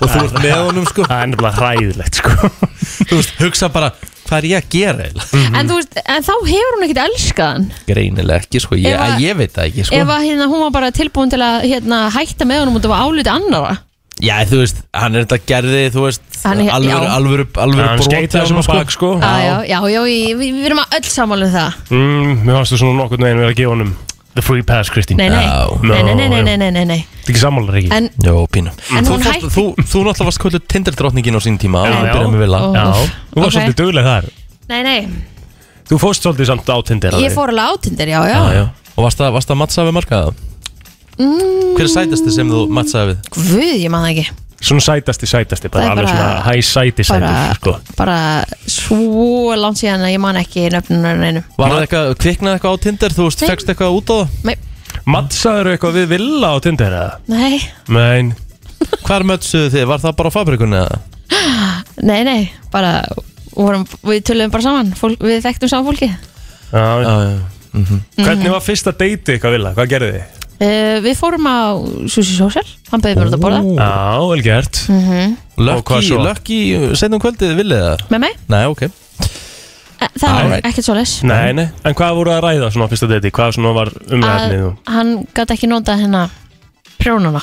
B: Og þú ert með honum, sko
D: Það er nefnilega hræðilegt, sko
B: Þú veist, hugsa bara, hvað er ég að gera eiginlega?
C: en, þú veist, en þá hefur hún ekkert elskað hann
B: Greinilega ekki, sko, ég,
C: Ef að-
B: ég veit það ekki, sko
C: Ef að hérna, hún var bara tilbúin til að hérna, hætta með honum og það var álítið annara
B: Já, þú veist, hann er þetta gerði, þú veist,
C: Hann er-
B: alvöru,
C: já.
B: alvöru, alvöru
D: Hann
B: brot
D: skeitaði
B: á honum,
D: svona bak, sko.
C: Já, Ah, já, já, já, ég- við við erum að öll sammála um það
D: mm, Mér fannst þú svona nokkurn veginn verið að gefa honum The free pass, Kristín
C: Nei, nei,
B: Já.
C: nei, nei, nei, nei, nei, nei, nei, nei.
D: Þetta er ekki sammálar ekki
C: En
B: Jó, pínu.
C: En
B: þú,
C: hún
B: fórst-
C: hætti-
B: þú, þú náttúrulega varst kvöldu Tinder-drottningin á sín tíma
D: Já,
B: og hún
D: já.
B: byrjaði með vilja.
C: Ó.
D: Já, þú
C: Ok.
D: varst svolítið dugleg þar
C: Nei, nei,
D: Þú fórst svolítið samt á Tinder
C: ég fór alveg á Tinder, já, já,
B: Já, já. Og varst það, varst það mattsaði við markaða? Mm. Hver er sætasti sem þú mattsaði við?
C: Guð, ég man það ekki
D: Svona sætasti, sætasti, bara
C: Það er
D: alveg
C: bara-
D: svona Hæ sæti, sæti,
C: bara,
D: sko
C: bara svo langt síðan að ég man ekki nöfnunum einum
B: Var það eitthvað, kviknaði eitthvað á Tinder, þú veist,
C: Nei.
B: fegst eitthvað út á það?
C: Nei,
D: Matsaður eitthvað við Villa á Tinder, eða?
C: nei,
D: Nein
B: Hvar mötsuðu þið? Var það bara á fabrikunni eða?
C: nei, nei bara vorum, við töluðum bara saman fólk, við þekktum saman fólki
D: Já,
B: Já, Mhm. já.
D: Hvernig var fyrsta deiti eitthvað Villa? Hvað gerði þið?
C: Uh, við fórum á Sushi Social, hann beði mér út að borða
D: Já, vel gert
B: Mhm.
D: Og hvað
B: Lucky,
D: svo?
B: lucky, setjum kvöldið villið það?
C: með mig.
B: Nei, ok
C: Eh, Það var
B: Alright.
C: ekkert svo les.
D: Nei, nei, en hvað voru að ræða svona á fyrsta deti? Hvað svona var umræðnið og
C: hann gæti ekki notað hérna prjónana.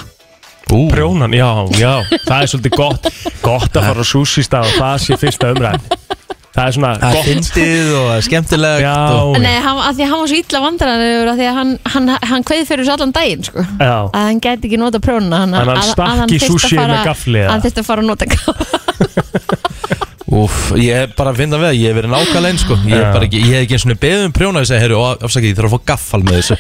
B: Ú,
D: Prjónan, já, já, það er svolítið gott Gott að fara á sushi stað og það sé fyrsta umræðin Það er
B: það
D: svona
B: er
D: gott
B: fyndið og það er skemmtilegt
D: Já,
B: og...
C: Nei, hann, að því að hann var svo illa vandræðan yfir að því að hann, hann, hann kveði fyrir þessu allan daginn sko.
D: já
C: að hann gæti ekki nota prjónana hann,
D: En hann
C: að- að
D: stakk
C: hann
D: í
C: þyrfti að
D: sushi
C: fara-
D: með gaffli, eða?
C: hann þurfti að fara að nota gaffli
B: Úf, ég er bara að finna við að ég hef verið nákvæmlega eins sko Ég, er
D: Já.
B: bara ekki, ég hef ekki eins og beðið um prjóna og ég segi, herru, afsakið, ég þarf að fá gaffal með þessu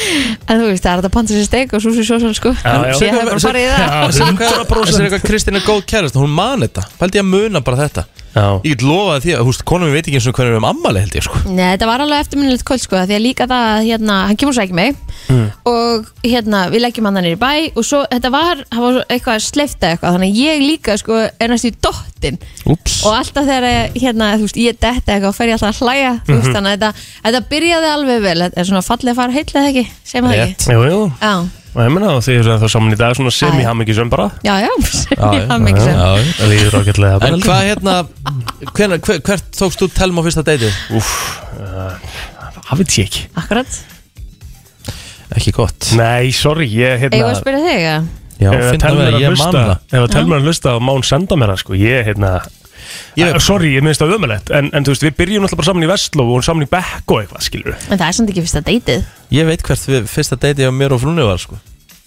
C: en þú veist, það er hægt að panta sér steik og súsi sósan sko
D: Já, já.
C: ég hef bara farið í það
B: Þessi er eitthvað Kristín er góð kærast, hún man þetta Pældi ég að muna bara þetta
D: Já,
B: Ég get lofað því að, húst, konum við veit ekki eins og hvernig við um ammali held ég sko
C: Nei, þetta var alveg eftirminnilegt kvöld sko því að líka það að hérna, hann kemur svo ekki mig
D: Mm.
C: og hérna, við leggjum hann þannig í bæ og svo, þetta var, það var svo eitthvað sleifta eitthvað, þannig að ég líka sko er næstu í dottin
B: Úps
C: og alltaf þegar ég, hérna, þú veist, ég detti eitthvað og fer ég alltaf að hlæja, þú
D: Mhm.
C: veist, þannig að þetta, þetta byrjaði alveg vel, þetta er svona fallið að fara heill eða ekki, segjum það ekki
B: Rétt.
D: jú, jú
C: Já,
D: Og ég menna því að það er saman í dag svona sem í hamingisum bara
C: já, (laughs) já,
B: Já, já,
C: það mikið sem
B: já, já.
D: Það líður ágætlega
B: En
D: bara
B: hvað hérna, hvenar, hver, hvert tókst þú telma á fyrsta deitið?
D: Úff, uh, það veit ég ekki
C: Akkurat,
B: Ekki gott
D: Nei, sorry, ég
C: eigum við að
D: hérna
C: spyrja þig að
B: Já,
D: Ef að
B: finna
D: telma
B: við
D: er
B: að
D: að
B: ég man
D: hlusta
B: það
D: Ef að telma er að hlusta og Mán senda mér það sko Ég, hérna
B: Ég-
D: Ah, Sorry, ég minnst það ömulegt en, en þú veist, við byrjum alltaf bara saman í Vestló og saman í Bekk og eitthvað, skilur
C: En það er samt ekki fyrsta deytið
B: Ég veit hvert við, fyrsta deiti á mér og frunni var sko.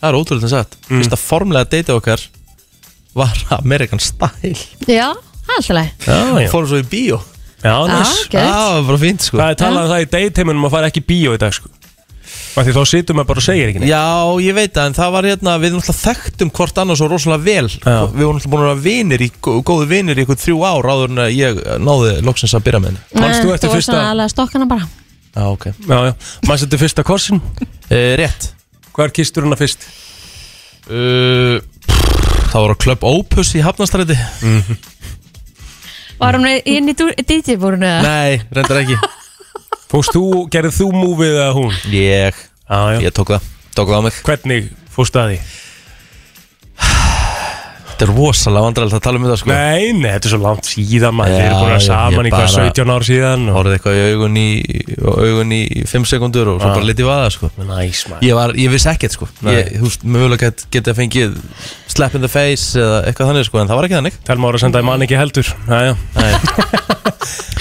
B: Það er ótrúlega sagt Fyrsta formlega deiti okkar var American Style
C: Já, það er alltaf leið
D: Já, já,
B: Fórum svo í bíó
D: já,
C: Já,
D: næs
B: Það
C: gett
B: var bara fínt sko
D: Það er talað um það í deytheimunum að fara ekki í bíó í dag sko Af Því þá situm við bara og segir ekki neitt
B: Já, ég veit það, en það var hérna Við náttúrulega þekktum hvort annars svo rosalega vel
D: Já.
B: Við vorum náttúrulega búin að vera vinir í, gó- Góðu vinir í eitthvað þrjú ár Áður en að ég náði loksins að byrja með henni
D: Manst þú
C: Nei,
D: eftir
C: þú var
D: fyrsta-
C: svona alveg að stokka hana bara
B: Já, ok
D: Já, já, maður setur fyrsta korsin
B: e, Rétt
D: Hvar kistur hana fyrst?
B: uh, Það voru Club Opus í Hafnastræti
C: Var hún inn í DJ-búrinu eða?
B: Nei, reyndar ekki
D: Fórst þú, gerðið þú múfið að hún?
B: (laughs) Ég,
D: Já, já
B: ég Sko- tók það Tók það á mig
D: Hvernig fórst að því?
B: Þetta er rosalega vandrarlegt að tala um þetta sko
D: Nei, nei, þetta er svo langt síðan maður Þeir
B: Já,
D: eru búin að
B: já,
D: saman
B: ég
D: í hvað
B: bara-
D: 17 ár síðan og...
B: Hórið eitthvað í augun í, augun í 5 sekundur og svo
D: Já.
B: bara litið vaða sko
D: Næs maður
B: Ég, var, ég vissi ekkert sko ég,
D: Ah. Nei.
B: Þú veist, mögulega get, geti að fengið slap in the face eða eitthvað þannig sko En það var ekki þannig
D: Telma ára að senda í mann ekki heldur Já, já
B: Nei.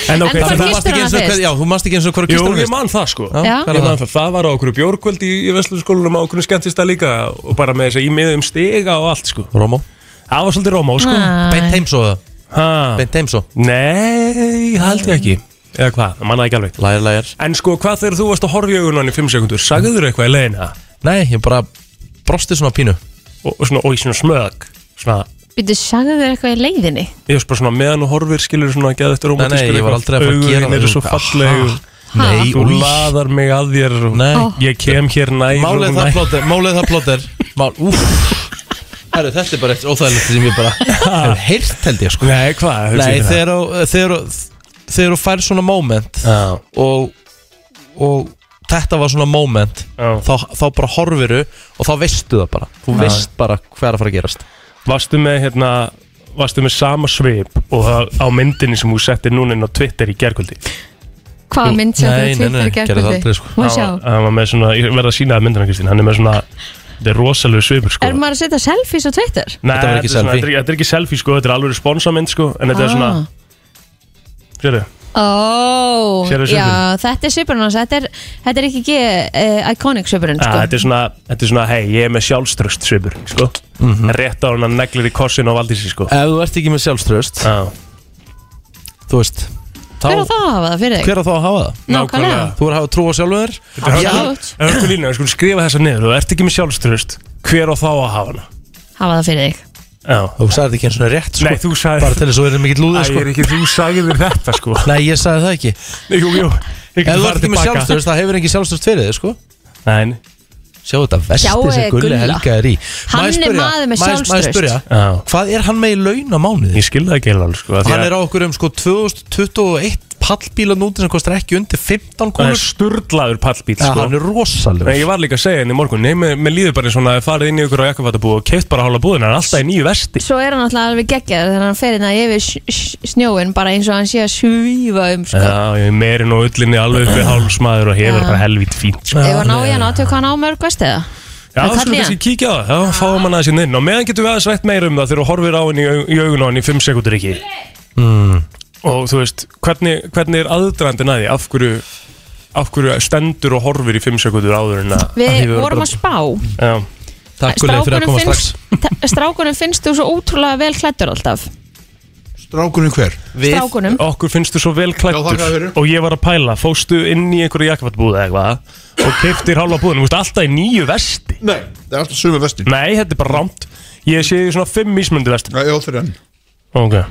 D: (laughs) En ok,
C: En
D: það
C: hvar
B: Þú
D: það
C: gistir
B: manst ekki eins
C: hana
B: og
C: fyrst?
B: hver- Já, þú manst ekki eins og hverju
D: Jú,
B: kistur
D: ég man það sko
C: Já.
B: hvað er
D: Ég man
B: það?
D: það, það var á okkur bjórkvöld í, í Vestlunarskólanum á okkur skemmtista líka og bara með þess að í miðum stiga og allt sko
B: Rómó
D: Það var svolítið rómá sko
B: Beint heimsó það,
D: Ha.
B: beint heimsó
D: Nei, held ég ekki Eða hvað, það mannaði ekki alveg
B: Lægir, lægir
D: En sko, hvað þegar þú varst að horfa í augunan í 5 sekundur Sagðu þér eitthvað í leiðina
B: Nei, ég bara brosti svona pínu
D: og, og, svona, og í svona smög Svona,
C: Býttu, sagðu þér eitthvað í leiðinni?
D: ég veist bara svona meðan og horfir skilur svona að geða þetta
B: Nei,
D: rómóti
B: nei, ég var aldrei að fara að gera
D: Augun eru svo falleg og
C: Ha?
B: Nei,
D: Þú laðar mig að þér og
B: Nei.
D: Ég kem hér nær og
B: Málið það
D: nær.
B: plóter, málið það plóter Mál, úff
D: (laughs)
B: Herru, þetta er bara eitt óþægilegt sem ég bara hef heyrt held ég sko
D: Nei, hvað?
B: Nei, þegar þú- eh, þegar þú- þegar þú fær svona moment
D: Já,
B: og, og þetta var svona moment
D: já
B: þá, þá bara horfiru og þá veistu það bara þú
D: Já.
B: veist bara hvað er að fara að gerast
D: Varstu með hérna Varstu með sama svip og það á myndinni sem þú settir núna inn á Twitter í gerkvöldi
C: Hvað mynd sem
B: Nei,
C: þú
B: nei, nei,
C: tvittir
B: gerði það aldrei,
C: gerðkvöldi?
B: sko.
C: Má sjá
D: Hann var með svona, ég verða að sína það myndina Kristín Hann er með svona, þetta er rosalegu svipur sko
C: Er maður að setja selfies á Twitter?
D: Nei,
B: Þetta var ekki
D: er svona-
B: selfie.
D: Þetta er, þetta er ekki selfie sko, þetta er alveg sponsamynd sko En þetta er svona,
C: Ah.
D: sérðu
C: Ó,
D: Sérðu svipinn?
C: já, þetta er svipurinn hans Þetta er, þetta er ekki ekki uh, iconic svipurinn
D: Að Þetta
C: sko.
D: er svona, þetta er svona, hei, ég er með sjálfströst svipur sko Rétt á hann að neglir í korsin og valdi sér sko
B: ef þú ert ekki með sjálfströst
D: Já,
B: þú veist þá,
C: Hver á það að hafa það fyrir þig?
B: hver á þá að hafa það?
C: Nákvæmlega
B: þú er að hafa trú á sjálfum þér
D: Þetta er
C: Já.
D: hörku- hörku línu, við skulum skrifa þessa niður Þú ert ekki með sjálfströst, hver á þá að hafa hana?
C: Hafa það fyrir þig
D: Já
B: þú sagði þetta ekki eins og rétt sko.
D: Nei, þú sagði
B: bara til þess að þú erum mikill lúður sko.
D: ekki, þú sagði þér þetta (laughs) sko
B: nei, ég sagði það ekki
D: Jú, jú, ég
B: ef þú
D: getur farið
B: ert ekki með
D: tilbaka
B: sjálfströst, það hefur ekki sjálfströst fyrir þig sko.
D: Nein
B: sjá þetta vesti
C: Sjáiði
B: sem Gulli
C: Gulla.
B: Helga er í
C: Hann
B: Má ég
C: er
B: spyrja-
C: maður með
B: má ég- má ég
C: sjálfstraust.
B: spyrja,
D: Já,
B: hvað er hann með í laun á mánuði
D: ég skil það ekki alveg sko
B: hann er á okkur um sko 2021 pallbíla núti sem kostar ekki undir 15
D: Það er
B: kónur
D: sturlaður pallbíl
B: ja,
D: sko.
B: hann er rosalegur
D: En ég var líka að segja henni í morgun Nei, mér, mér líður bara eins og svona að farið inn í ykkur á jakkafattabú og keift bara hálfa búðina Hann er alltaf í nýju vesti
C: Svo er hann alltaf alveg geggjaður þannig að hann fer inn að yfir sj- sj- snjóin bara eins og hann sé að svífa um sko.
D: Já, ég er meirinn og ullinni alveg upp við hálfsmaður og hefur
C: Já.
D: bara helvít fínt sko.
C: Ef hann á í hann aðtöku hvað hann á mörg vest eða
D: Já,
C: Það
D: það
C: kalli
D: skulum
C: ég.
D: kannski kíkja á það, þá fáum hann aðeins hérna inn inn og meðan getum við aðeins rætt meira um það þegar þú horfir á henni í, au- í augun á henni í 5 sekundur ekki mm.
C: Hmm.
D: og þú veist, hvernig, hvernig er aðdrandin að því, af hverju af hverju stendur og horfir í 5 sekundur áður en að
C: Við
D: hefur
C: vorum
D: bara-
C: að spá
D: Já,
B: Takk Gulli fyrir að koma strax
C: (laughs) finnst, strákunum finnst þú svo ótrúlega vel klættur alltaf
E: Strákunum hver?
B: Við
C: Strákunum
D: okkur finnst þú svo vel
E: Já, þakka
D: klættur
E: fyrir.
D: og ég var að pæla, fóstu inn í einhverju jakkafattbúða eitthvað og keiftir hálfa búðinu, þú veist, alltaf í nýju vesti
E: Nei, það er alltaf sömu vesti
D: Nei, þetta er bara rámt, ég sé því svona 5 mismundu vesti
E: Já, þeir enn
D: Ok,
B: Já.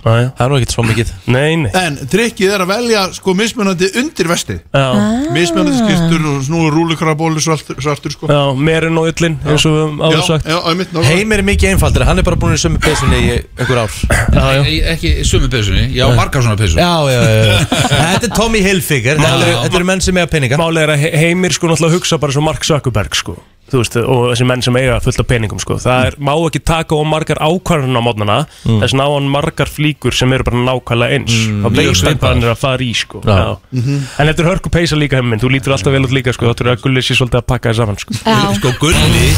D: aðja,
B: Það er nú ekkert svo mikið
D: nei, nei
E: En trikkið er að velja sko mismunandi undir vesti
D: Já.
F: Ah.
E: Mismunandi skiptur og snúður rúlukrabólu svartur, svartur sko
D: Já, meirinn og yllin, eins og við höfum
E: Já,
D: áður sagt
E: já, einmitt nákvæmlega.
B: Heimir er mikið einfaldri, hann er bara búin í sömu pesunni í einhver ár
D: já.
A: Ég- e- Ekki í sömu pesunni, ég á margar svona pesun
B: Já, já, já, já. Þetta er Tommy Hilfiger Þetta eru- þetta eru menn sem eiga peninga
D: Málið er að he- heimir sko náttúrulega hugsa bara svo Mark Zuckerberg sko Þú veist, og þessi menn sem eiga fullt af peningum sko Það er, má ekki taka á margar ákvarðan á mótnana Þess ná hann margar flíkur sem eru bara nákvæmlega eins mm. Það
A: mjög
D: veist
A: svipaðar.
D: hvað hann er að fara í sko
B: Já.
C: Mhm.
D: En þetta er hörku peisa líka heiminn, þú lítur alltaf vel út líka sko Þá þurfur að gulli sér svolítið að pakka þér saman sko
C: Já.
A: Sko Gulli,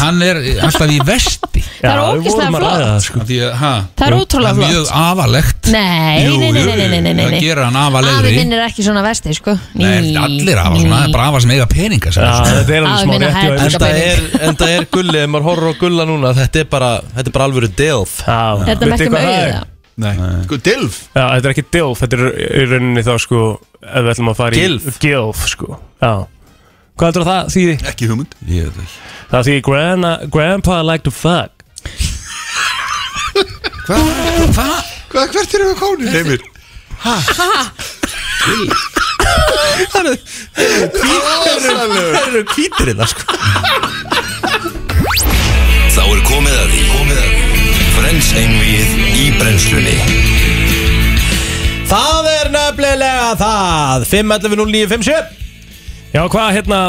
A: hann er alltaf í vesti
C: Það er
D: Já, við
C: ógeðslega
D: vorum að ræða
C: flott.
D: það, sko.
A: Því að, ha,
C: Það er ótrúlega
A: Það er mjög
C: flott
A: afalegt
C: Nei,
A: Jú,
C: nei, nei,
A: jú,
C: nei, nei, nei, nei, nei,
A: Það
C: nei.
A: gerir hann
C: Afi
A: afalegri
C: minn er ekki svona vesti sko
A: Nei,
C: Ný.
A: allir afa svona, það er bara afa sem eiga peninga sem
D: Já, þetta
C: Að
D: er alveg smá
C: minna
D: rétti
C: hæð.
D: og
B: Enda er, enda er gulli, ef maður horfir á gulla núna Þetta er bara, þetta er bara alvöru delf
C: Þetta með ekki um auðið
E: Nei, sko dilf
D: Já, þetta er ekki DILF, þetta er í rauninni þá sko ef við ætlum að fara í
B: Gilf.
D: GILF sko, já Hvað heldur það þýði?
E: Ekki hugmynd
A: Ég veit ekki
D: Það þýði grana, Grandpa like to fuck
E: Hvað? Hvað? Hva? Hvert er það kónir heimir? Hæ?
B: Það eru hvítir þetta sko
A: Þá er komið að því Komið að því Frens einvið í brennslunni
B: Það er nefnilega það 5.11.09.57
D: Já, hvað hérna,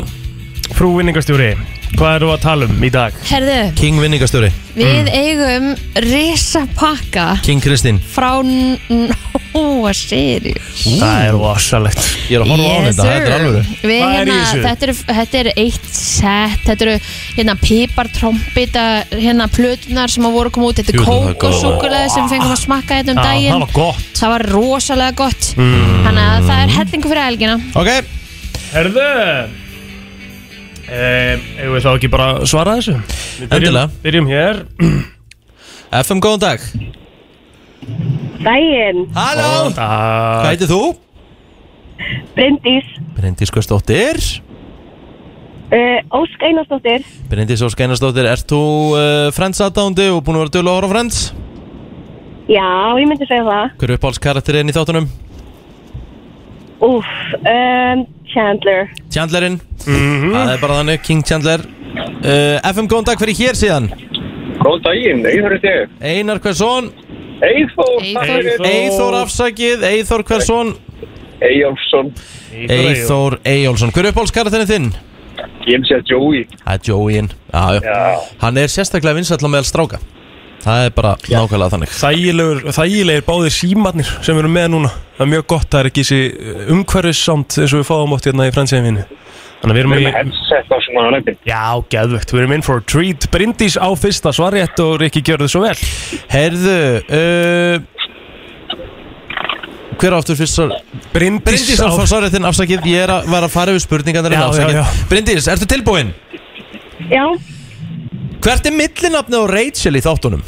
D: frú vinningastjóri Hvað eru að tala um í dag?
C: Herðu,
B: King vinningastjóri,
A: Mm.
C: við eigum risa pakka
B: King Kristín
C: frá Nóa Sirius
D: Það er rosalegt
B: Ég er að horfa á
C: Yes,
B: þetta, þetta er
C: sir.
B: alvöru
C: Við
D: Hvað er í
C: hérna,
D: þessu?
C: þetta, er, þetta er eitt set Þetta eru hérna pipartrombita hérna plötunar sem að voru að koma út Þetta
B: Jú,
C: er
B: það er
C: kók og
B: góð.
C: súkulega sem fengum að smakka þetta um
D: Já, Ah, það
C: daginn
D: var gott
C: Það var rosalega gott
B: Mm.
C: Þannig að það er hellingu fyrir helgina
B: Ok,
D: Herðu Ehm, Eigum við þá ekki bara að svara þessu? Við
B: Endilega.
D: Byrjum, byrjum hér
B: FM góðan dag
G: Dæin,
B: Halló,
D: Það
B: hvað heitir þú?
G: Bryndís,
B: Bryndís Guðsdóttir
G: uh, Ósk Einarsdóttir,
B: Bryndís Ósk Einarsdóttir, ert þú uh, Friends aðdándu og búin að vera dölu að horfa á Friends?
G: já, ég myndi segja það,
B: Hver er uppáhaldskarakterinn í þáttunum?
G: úf, um, Chandler,
B: Chandlerinn Það er bara þannig, King Chandler uh, FM góðan dag fyrir hér síðan
H: Góð daginn, Eithor er þig.
B: Einar Hversson,
H: Eithor,
C: Eyþór.
B: Eithor afsakið Eithor Hversson,
H: Eyjálfsson,
B: Eithor Eyjólfsson Hver er uppáhaldskarakterinn þinn?
H: ég hef séð Joey.
B: Það er Joey-in, já, já Hann er sérstaklega vinsall á meðal stráka Það er bara nákvæmlega þannig
D: Þægilegur, þægilegir báðir símarnir sem eru með núna Það er mjög gott, það er ekki þessi eh, umhverfissamt eins og við fáum átt hérna í fransæfinni Þannig að við erum
H: Við erum með
D: í
H: headset á svona nefnir.
D: Já, geðvögt, við erum in for a treat Bryndís á fyrsta svarjætt og Rikki gjörðu svo vel
B: Herðu uh, Hver áttur fyrst svar
D: Bryndís,
B: Bryndís
D: á fyrsta
B: Alfarsárið þinn afsakið Ég er að vera að fara við spurningarnar
D: Já,
B: hérna, afsakið.
D: já, já.
B: Bryndís, ertu tilbúinn?
G: já,
B: Hvert er millinafni á Rachel í þáttunum?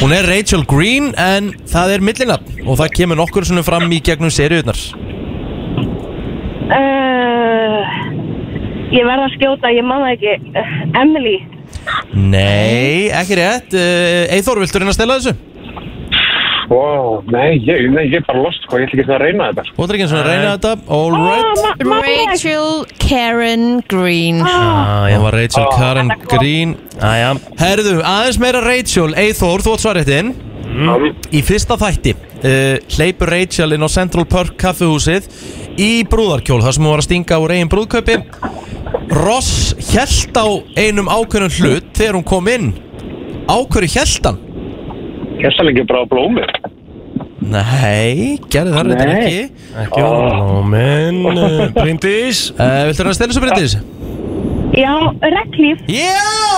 B: Hún er Rachel Green en það er millinafn og það kemur nokkur svona fram í gegnum seriunar
G: uh, ég verð að skjóta, ég man það ekki, uh, Emily,
B: Nei, ekki rétt uh, Eithor, viltu reyna að stela þessu?
H: Wow, nei, ég, nei, ég er bara lost, sko, ég ætla ekki að reyna þetta. sko.
B: Þú ætlar ekki eins og að reyna þetta All right
G: oh, ma Rachel,
C: Rachel Karen Green
D: Ah.
B: Það var Rachel Karen Green
D: Æja,
B: Herðu, aðeins meira Rachel Eithor, þú átt svarréttin Í fyrsta þætti uh, hleypur Rachel inn á Central Park kaffihúsið í brúðarkjól þar sem hún var að stinga úr eigin brúðkaupi Ross hjælt á einum ákveðnum hlut þegar hún kom inn Ákveður hjælt hann?
H: Kessalegi bara á blómi
B: Nei, gerði það reyndar
H: Nei.
B: ekki
D: Ekki ómen Bryndís
B: uh, Viltu reyna að stela þessu breytis?
G: Já, reglíf
B: Já,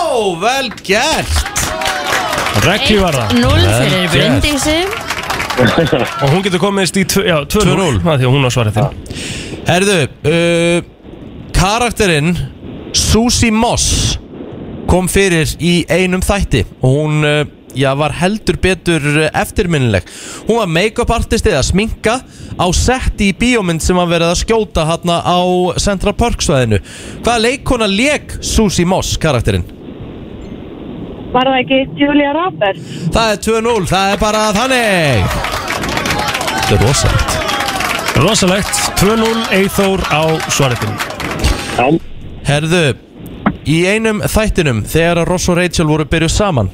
B: vel gert
D: Rekki var það
C: 0 fyrir
D: Vel gert.
C: Bryndísi
D: Og hún getur komist í tv- já, 2-0 Það er því að hún á svarið þinn
B: Herðu, uh, karakterinn Susie Moss kom fyrir í einum þætti og hún uh, já, var heldur betur uh, eftirminnileg hún var make-up artist eða sminka á sett í bíómynd sem var verið að skjóta hérna á Central Park svæðinu hvaða leikona leik Susie Moss karakterinn?
G: Var það ekki Julia Roberts?
B: Það er 2-0, það er bara þannig Þetta er rosalegt
D: Rosalegt 2-0 Eithór á svarið þinn
H: Já,
B: Herðu, í einum þættinum þegar að Ross og Rachel voru byrjuð saman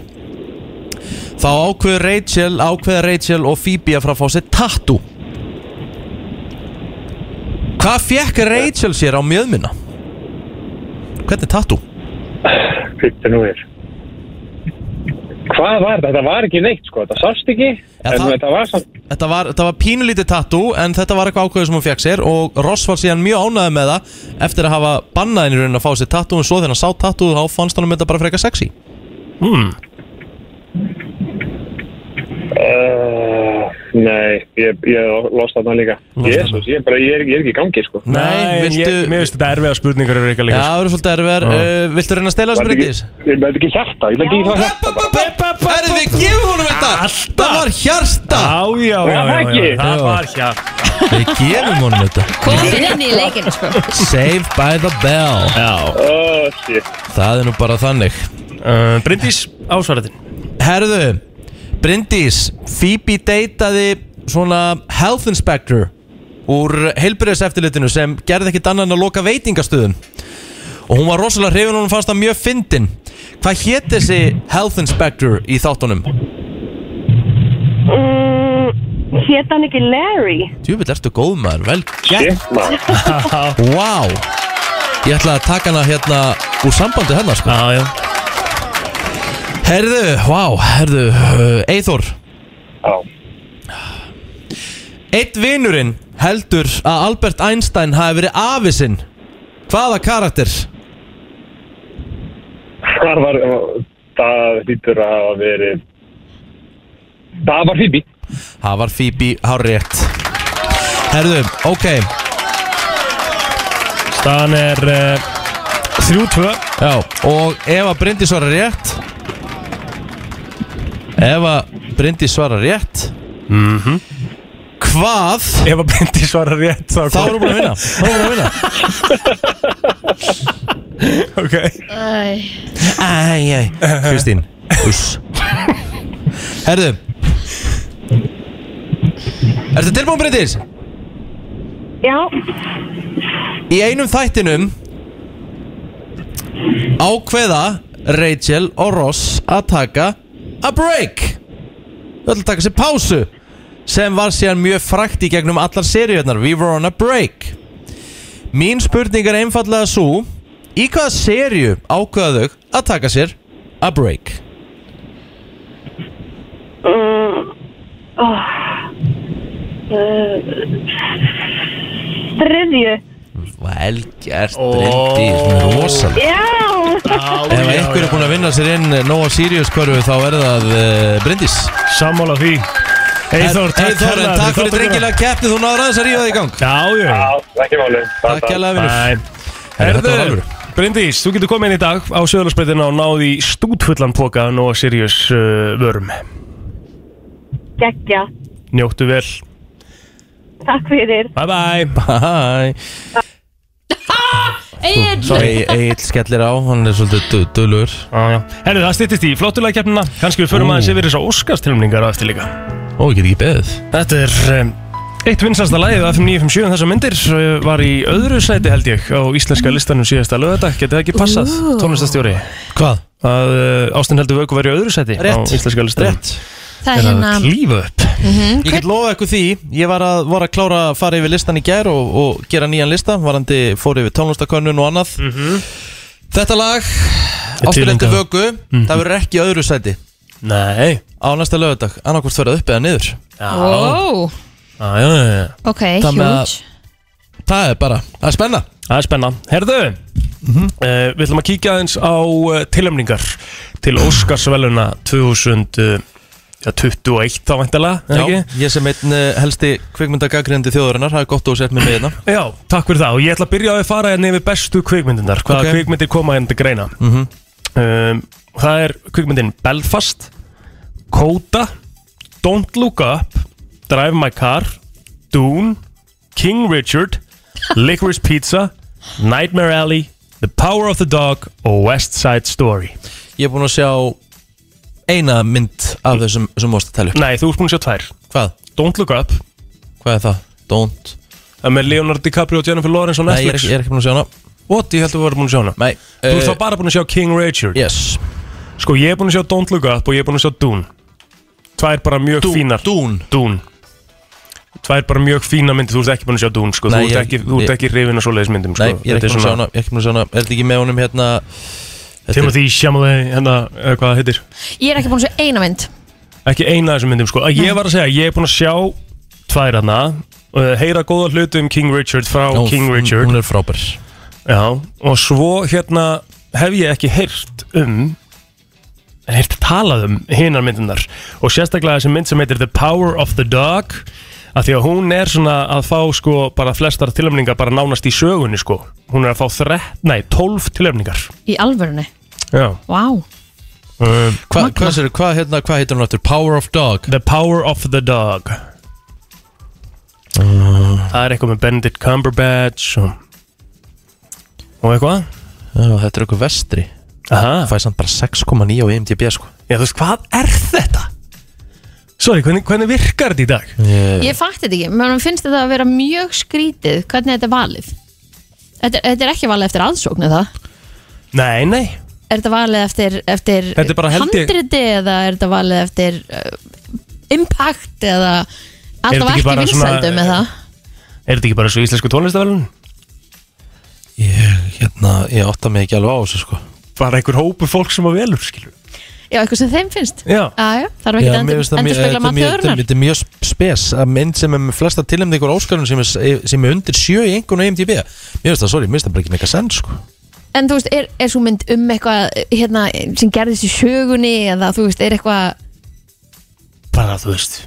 B: þá ákveður Rachel, ákveða Rachel og Phoebe að fara að fá sér tattoo Hvað fekk Rachel sér á mjöðmina? Hvernig tattoo?
H: fyrir nú er Hvað var þetta? Þetta var ekki neitt sko, þetta sást ekki
B: Já,
H: En
B: það-
H: þetta var samt
B: Þetta var, þetta var pínulítið tattoo en þetta var eitthvað ákveðu sem hún fekk sér og Ross var síðan mjög ánæði með það eftir að hafa bannað henni í rauninni að fá sér tattoo en svo þegar hann sá tattoo þá fannst hann þetta bara frekar sexy
D: hmm.
H: uh, Nei, ég, ég lost þarna líka Jésús, ég, bara- ég, er- ég er ekki í gangi sko
B: Nei, viltu...
D: ég, Mér finnst þetta erfiða spurningar eru eitthvað
B: Já,
D: líka
B: það eru svolítið erfiðar uh, Viltu reyna að stela þessu
H: Ah. Var þetta
B: breytis?
H: ekki- Ég veit ekki hjarta, ég veit ekki það hjarta bara.
B: Herðu, við gefum honum þetta
D: Alltaf.
B: Það var hjarta
D: Já, já, já,
H: það
D: já,
H: ekki?
D: já, það var hjá
B: Við gefum honum þetta
C: komin inn í leikinn sko.
B: Saved by the bell
D: Já
H: Oh, shit.
B: Það er nú bara þannig
D: uh, Bryndís á svarið þinn
B: Herðu, Bryndís Phoebe deytaði svona health inspector úr heilbyrðiseftirlitinu sem gerði ekkit annan að loka veitingastöðum og hún var rosalega hrifin og hún fannst það mjög fyndin Hvað hét þessi health inspector í þáttunum?
G: Mm, Hét hann ekki Larry?
B: Djúvill, ertu góð maður, vel
H: Shit, maður.
B: Vá Ég ætla að taka hana hérna úr sambandi hennar sko
D: Já, já
B: Herðu, vá, herðu uh, Eithor,
H: Já.
B: eitt vinurinn heldur að Albert Einstein hafi verið afi sinn Hvaða karakter?
H: Það var, það hlýtur að hafa verið Það var Phoebe
B: Það var Phoebe Hárétt Herðu, ok
D: Staðan er uh, 3-2
B: Já, og ef að Bryndís svarar rétt Ef að Bryndís svarar rétt mm -hmm. Hvað
D: Ef að Bryndís svarar rétt þá
B: Þá erum við búin að vinna Þá erum við búin að vinna
D: Ok
C: Æ,
B: Æj, æj, Kristín Uss Herðu Ertu tilbúin Bryndís?
G: Já,
B: Í einum þættinum Ákveða Rachel og Ross að taka a break Þau ætla að taka sér pásu sem var síðan mjög frækt í gegnum allar seríunar We were on a break Mín spurning er einfallega svo Í hvaða seríu ákveða þau að taka sér a break?
G: Eh, þriðju
B: Vel gert, Bryndís, hún er rosalega
G: Já,
B: Ef einhver er búinn að vinna sér inn Nóa Sirius körfu þá er það uh, Bryndís
D: Sammála því Eithór,
B: Eyþór,
D: takk,
B: en takk
D: kærlega
B: fyrir
D: þátttökuna.
B: drengilega keppni Þú náður aðeins að rífa þig í gang
D: Já, já
H: Já, ekki máli
B: Takk kærlega vinnur
D: Bæ
B: Herðu, þetta var alvöru.
D: Bryndís, þú getur komið inn í dag á Söðlarsbreytina og náði stútfullan póka af Nóa Sirius uh, vörum
G: geggja
D: Njóttu vel
G: Takk fyrir
D: Bye bye
B: Hæ
C: Egill
B: Egil skellir á, hann er svolítið dölur
D: ah, Herðu, það styttist í flottulega keppnina Kanski við förum
B: Ú.
D: aðeins yfir þess að Óskarstilmningar á eftir líka
B: Ó, ég get ekki beðið
D: Þetta er um, eitt vinsasta lagið af 957 þessar myndir eh, var í öðru sæti held ég á íslenska listanum síðasta lögðardag Getið það ekki passað,
C: Ú.
D: tónlistastjóri
B: Hvað?
D: að uh, Ástin heldur vöku var í öðru sæti
B: Rétt.
D: á íslenska listanum
B: Rétt
C: það er hérna
D: klífa upp
B: Ég get lofa ykkur því, ég var að, var að klára að fara yfir listan í gær og, og gera nýjan lista varandi fór yfir tónlistakönnun og annað Þetta lag, Ástulindi
D: tileinkaði.
B: Vögu, Mhm. það Mhm. verður ekki í öðru sæti
D: Nei
B: á næsta lögadag, annarkvort verður upp eða niður
D: Já,
C: Ó,
D: já, já, já, já.
C: ok,
B: Það með að-
C: huge
B: Það er bara, það er spenna
D: Það er spennan Herðu, eh, við ætlum að kíkja aðeins á uh, tilömningar til Óskarsveluna eh, 2021 þá væntalega, er
B: Já,
D: ekki?
B: ég sem einn eh, helsti kvikmyndagagrindi þjóðurinnar, það er gott að þú sett mér með hérna
D: Já, takk fyrir það og ég ætla að byrja á að fara hérna yfir bestu kvikmyndinar hvaða
B: Ok. Mhm.
D: kvikmyndir koma hérna til greina um, Það er kvikmyndin Belfast Coda Don't Look Up Drive My Car Dune King Richard Licorice Pizza Nightmare Alley The Power of the Dog og West Side Story
B: Ég er búin að sjá eina mynd af þessum sem vorst að tala upp
D: Nei, þú ert búin að sjá tvær
B: Hvað?
D: Don't Look Up
B: Hvað er það? Don't
D: það er með Leonardo DiCaprio og Jennifer Lawrence á
B: Nei, ég er,
D: Netflix
B: ekki- ég er ekki búin að sjá hana
D: What, ég held að þú varum búin að sjá hana
B: Nei,
D: Þú ert
B: eh,
D: þá bara búin að sjá King Richard
B: Yes
D: Sko ég er búin að sjá Don't Look Up og ég er búin að sjá Dune Tvær bara mjög
B: Dú-
D: fínar
B: Dune
D: Dune Tvær bara mjög fína myndir, þú ert ekki búin að sjá Dune sko.
B: Nei,
D: Þú ert
B: ég-
D: ekki, þú ert
B: ég-
D: ekki rifin að svoleiðis myndum sko.
B: Nei, ég er
D: Þetta
B: ekki búin að sjá hana, ég er ekki búin að sjá hana Er þetta ekki með honum hérna Þetta er-
D: Timothy Chalamet, hérna, eh, hvað það heitir
C: Ég er ekki búin að segja eina mynd
D: Ekki eina af þessum myndum sko. Að Ég var að segja, ég er búin að sjá tvær hana uh, Heyra góða hluti um King Richard frá
B: Ó, mm,
D: King Richard
B: Hún er frábær
D: Já, og svo hérna hef ég ekki heyrt um en heyrt talað um hinar myndunar og sérstaklega þessi mynd sem heitir The Power of the Dog að því að hún er svona að fá sko bara flestar tilöfningar bara nánast í sögunni sko hún er að fá þre, nei, 12 tilöfningar
C: Í alvörunni,
D: Já
C: vá
D: um,
B: Hva, Hvað sér, hvað hérna, hvað heitir hún aftur? Power of Dog
D: The Power of the Dog Það er eitthvað með Benedict Cumberbatch og, og eitthvað
B: Já, Þetta er eitthvað vestri
D: Aha.
B: Það fæði samt bara 6,9 á IMDb sko
D: Já, þú veist, hvað er þetta? Sorry, hvernig, hvernig virkar þetta í dag?
C: Ég fætti þetta ekki, menn finnst þetta að vera mjög skrítið hvernig þetta er valið Þetta, þetta er ekki valið eftir aðsóknu það
D: Nei, nei
C: Er þetta valið eftir, eftir
D: Þetta er bara held ég-
C: handriti eða er þetta valið eftir uh, impact eða
D: þetta
C: alltaf
D: ekki
C: ekki
D: bara svona-
C: vinsældum eða
D: Er þetta ekki bara svo íslensku tónlistavælun?
B: Ég, hérna, ég átta mig ekki alveg á þessu sko
D: Bara einhver hópur fólk sem að velur, skilur
C: Já, eitthvað sem þeim finnst
D: Já.
C: já, þarf ekki að
B: mér
C: endur,
B: finnst það mjög-
C: endurspegla
B: þetta er
C: maður
B: mjög-
C: þjóðurnar
B: Þetta er mjög spes að mynd sem er með flesta tilnefningur Óskarun sem, er- sem er undir sjö í E einhvern veginn IMDb Mér finnst það, sorry, mér finnst það bara ekki meika send sko.
C: En þú veist, er, er svo mynd um eitthvað hérna, sem gerðist í sögunni eða þú veist, er eitthvað
D: Bara, þú veist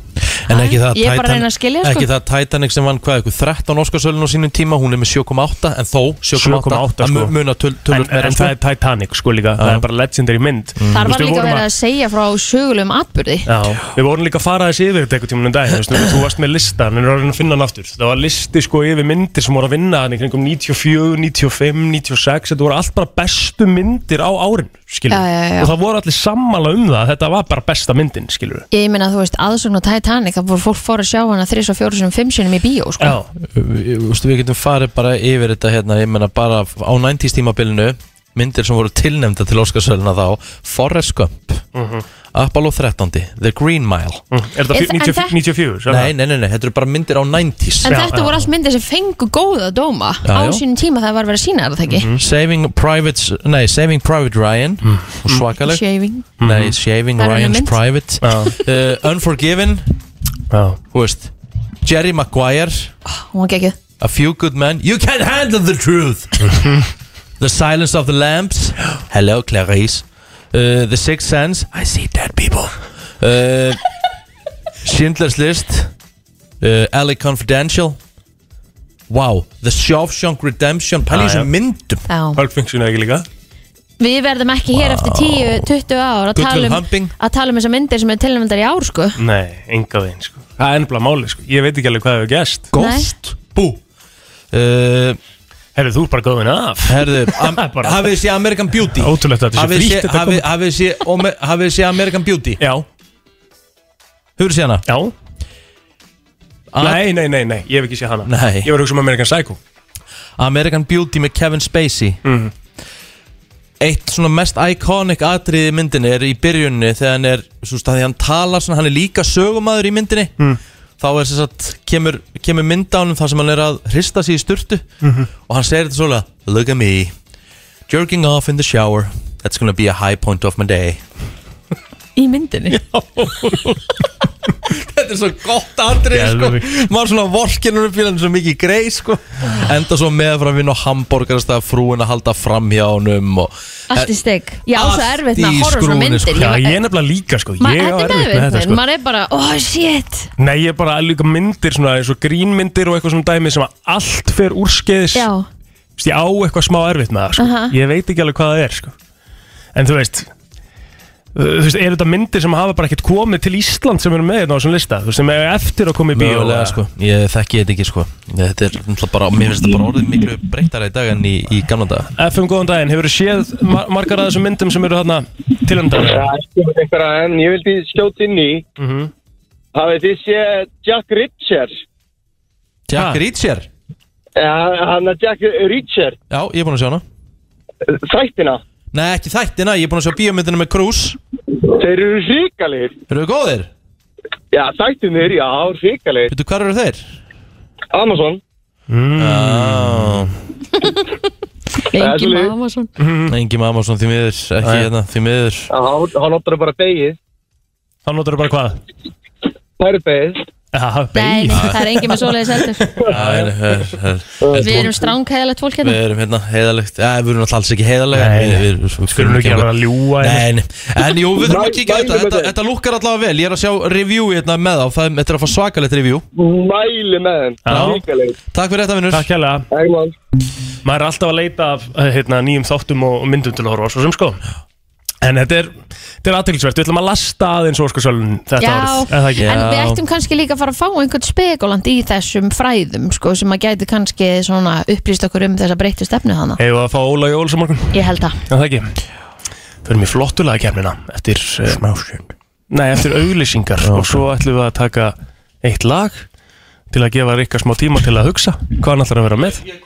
B: En ekki það,
C: Ég er bara að reyna að skilja, sko.
B: ekki það Titanic sem vann hvað eitthvað 13 Óskarsölun á sínum tíma Hún er með 7,8 en þó
D: 7,8
B: 7,8
D: sko.
B: að muna töl,
D: En,
B: tölur meira
D: en
B: sko.
D: það er Titanic, sko líka Það er bara legendary mynd mm.
C: Þar var líka verið að segja frá sögulegum atbyrði
D: Já, við vorum líka að fara þessi yfir þetta einhvern tímann um daginn, þú veist, þú varst með lista en við erum að finna hann aftur, það var listi sko yfir myndir sem voru að vinna hann í kringum 94, 95, 96 þetta voru allt bara bestu myndir á árin skilur,
C: Já, já, já.
D: og það voru allir sammála um það, að þetta var bara besta myndin skilur,
C: Ég meina, þú veist, aðsögn og Titanic það voru fólk fór að sjá hana þrís og fjóru sem fimm sinum í bíó, sko
D: já,
B: Við- þú veist, Við getum farið bara yfir þetta hérna, Ég menna bara á 90s tímabilinu Myndir sem voru tilnefnda til Óskarsöluna þá Forrest Gump Apollo 13 The Green Mile
D: er
C: En- en
D: þetta 90
C: þetta-
D: 94 svo er
B: Nei, nei, nei, nei, þetta eru bara myndir á 90s
C: En
D: Já,
C: þetta
D: já.
C: voru allt myndir sem fengu góða dóma
B: Já,
C: á
B: já.
C: sínum tíma það var verið að sína það
D: Mhm.
C: ekki
B: Saving Private, nei, Saving Private Ryan og svakaleg
C: Shaving
B: Nei, Shaving
C: Það Mhm. er
B: Ryan's
C: önnur mynd.
B: Private uh, Unforgiven
D: það.
B: þú veist, Jerry Maguire
C: Hún var gekkið
B: A Few Good Men You Can't Handle the
D: (laughs)
B: Truth The Silence of the Lambs Hello Clarice uh, The Sixth Sense I See Dead People uh, Schindler's List uh, LA Confidential Wow The Shawshank Redemption Pæli í
D: Ah, Já, já.
B: þessum myndum
D: Já,
C: Já.
D: Pulp Fiction er ekki líka
C: Við verðum ekki hér eftir 10-20 ár að
B: Good
C: tala,
B: Will
C: um,
B: Hunting.
C: að tala um þessar myndir sem er tilnæmendar í ár sko.
D: Nei, enga veginn sko, það er ennbla máli sko ég veit ekki alveg hvað hefur gæst
B: Ghost Bú Uh,
D: Herri, þú er bara góðin af (laughs)
B: herðu, am,
D: Bara-
B: hafið þið séð American Beauty
D: Ótrúlegt að þetta sé
B: Hafið þið
D: frítt,
B: séð-
D: þetta
B: hafið- Hafið þið séð- og me- hafið þið séð American Beauty
D: Já,
B: Hörðu séð hana?
D: já
B: Að-
D: Nei, nei, nei, nei, ég hef ekki séð hana
B: Nei.
D: Ég var að hugsa um American Psycho
B: American Beauty með Kevin Spacey eitt svona mest iconic atriði í myndinni er í byrjunni þegar hann er, svo veist, að því hann talar svona, hann er líka sögumæður í myndinni þá er sem sagt, kemur, kemur mynd á hann þar sem hann er að hrista sig í sturtu og hann segir þetta svona look at me, jerking off in the shower that's gonna be a high point of my day
C: Í myndinni
B: Þetta er svo gott atrið sko.
D: Geðveikt.
B: Maður svona vorkinur upp í hann svo mikið greið sko. Enda svo með frá að vinna á hamborgarastað Frúin að halda fram hjá honum og, Eh,
C: Allt í steik Ég á svo
B: Allt
C: erfitt með
B: í
C: að horfa á svona
B: skrúfunni,
C: myndir
B: sko.
D: Já, ég er nefnilega líka sko Ég
C: Maður-
D: á
C: Þetta er
D: erfitt með þetta
C: meðvitnir,
D: sko
C: maður er bara, oh shit
D: Nei, ég er bara líka myndir svona eins og grínmyndir og eitthvað svona dæmi sem að allt fer úrskeiðis
C: Já,
D: Vist, Ég á eitthvað smá erfitt með það sko.
C: Aha.
D: Ég veit ekki alveg hvað það er sko. En þú veist Þú veist, eru þetta myndir sem hafa bara ekkert komið til Ísland sem eru með þetta á þessum lista Þú veist, sem er eftir að koma í bíó
B: Mögulega sko, ég þekki þetta ekki sko Þetta er náttúrulega bara, mér finnst þetta bara orðið miklu breyttara í dag en í, í gamla dag
D: FM, góðan daginn, hefur þú séð mar margar af þessum myndum sem eru þarna tilhendar?
I: Já, ekki með einhverja, en ég vildi skjóta inn í hafið þið sé Jack Richard
B: Jack
D: Ha?
B: Reacher,
I: ja, hann er Jack Richard
B: já ég er búin að sjá hana
I: þættina,
B: Nei ekki þættina, ég er búin að sjá bíómyndina með Cruise
I: þeir eru hrikalegir
B: Eru þau góðir?
I: já, þættinir, já, hrikalegir
B: Veitu hvað eru þeir?
I: Amazon,
B: Mm.
I: Þetta
C: Engi
I: er lið.
C: Amazon
B: Engi Mamasson því miður, ekki
D: Hmm. Nei.
B: hérna, því miður
I: Já, hann hann notar bara beigið
D: Þá notar þú bara hvað?
I: pærbeigið,
D: Aha,
C: Nei,
D: beigð.
C: það er engi með svoleiðis heldur
B: Æ, her, her, her.
D: sko.
C: Við erum strángkæðilegt fólk
B: Við
C: hérna
B: erum hérna heiðalegt, ja, við erum alltaf alls ekki heiðalega
D: Nei,
B: við,
D: nei.
B: við, við,
D: Skulum ekki að hérna. vera að ljúa
B: Nei, nei. en jú, við þurfum að
I: Mæ-
B: kíkja á þetta.
I: mælum með
B: þetta
I: þeim.
B: Þetta lukkar allavega vel, ég er að sjá review hérna með á Það er- Þetta er að fá svakalegt review
I: mæli með þeim
D: Já.
I: hrikalegir,
B: Takk fyrir þetta, vinnur
D: Takk hérlega
I: England
D: maður er alltaf að leita af eh, hérna, nýjum þáttum og og myndum til að horfa á, svo sem sko en þetta er, þetta er aðtilsvert við ætlum að lasta aðeins Óskarsölun þetta
C: Já,
D: árið, eða ekki
B: Já.
C: en við ættum kannski líka að fara að fá einhvern spegulant í þessum fræðum sko, sem að gæti kannski svona upplýst okkur um þessa breyttu stefnu hana
D: hefur að fá Óla í Óls á morgun,
C: Ég held að
D: eða ekki förum í flottulega kemnina eftir, eh,
B: Smásjöng
D: nei, eftir auglýsingar og svo ætlum við að taka eitt lag til að gefa Rikka smá tíma til að hugsa hvað hann ætlar að vera með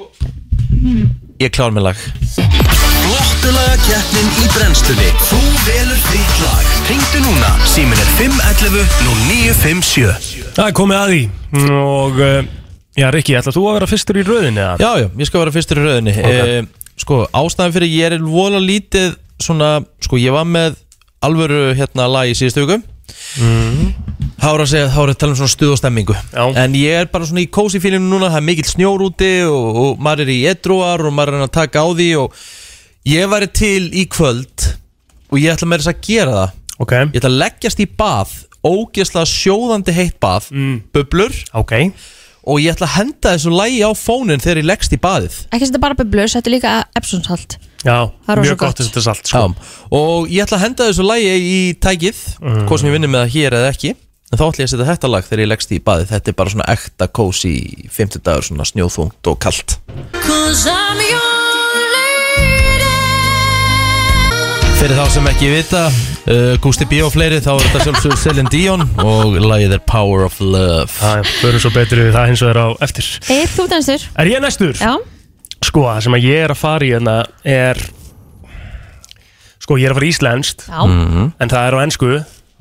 B: Ég er klár með lag
J: Flottulaga keppnin í brennslunni Þú velur þitt lag Ringdu núna, símin er 511 nú 957
D: það er komið að því og eh, já Rikki, ætlar þú að vera fyrstur í röðinni eða?
B: Já, já, ég skal vera fyrstur í rauðinni okay. Sko, ástæðan fyrir ég er vola lítið Svona, sko, ég var með Alvöru hérna lag í síðustu viku Þá er að segja, þá er að tala um svona stuð og stemmingu
D: Já.
B: En ég er bara svona í kósi fílinu núna Það er mikill snjór úti og, og maður er í edruar Og maður er að reyna að taka á því Og ég væri til í kvöld Og ég ætla með þess að gera það
D: ok,
B: Ég ætla að leggjast í bað Ógeðslega sjóðandi heitt bað Bublur
D: ok,
B: og ég ætla að henda þessu lægi á fónin þegar ég leggst í baðið
C: Ekki setja bara bubblur, setja líka Epsonshalt
D: já,
C: Það er rosa
D: mjög
C: gott.
D: gott þetta er salt sko.
B: Já. og ég ætla að henda þessu lægi í tækið
D: Mm.
B: hvað sem ég vinnur með það hér eða ekki en þá ætla ég að setja þetta lag þegar ég leggst í baðið þetta er bara svona ekta kósi í 50 dagur svona snjóþungt og kalt Fyrir þá sem ekki vita uh, Gústi B og fleiri þá er þetta sjálfsögur Celine Dion og lagið er Power of Love
D: Það fyrir svo betri við það eins og er á eftir
C: Eir þú dansur?
D: Er ég næstur?
C: Já,
D: Sko, það sem að ég er að fara í hérna er Sko, ég er að fara í íslenskt
C: já, ok,
D: En það er á ennsku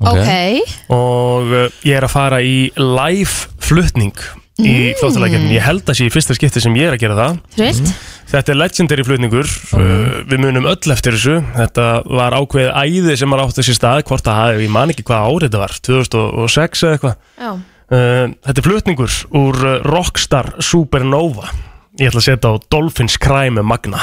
D: Og uh, ég er að fara í live flutning Í mm. Ég held að sé í fyrsta skipti sem ég er að gera það
C: þrjöld
D: Þetta er legendary flutningur uh, Við munum öll eftir þessu Þetta var ákveðið æði sem var átt þessi stað Hvort að hafi, ég man ekki hvað árið þetta var 2006 eða eitthvað
C: Já,
D: Uh, þetta er flutningur úr uh, Rockstar Supernova Ég ætla að setja á Dolphins Cry með Magna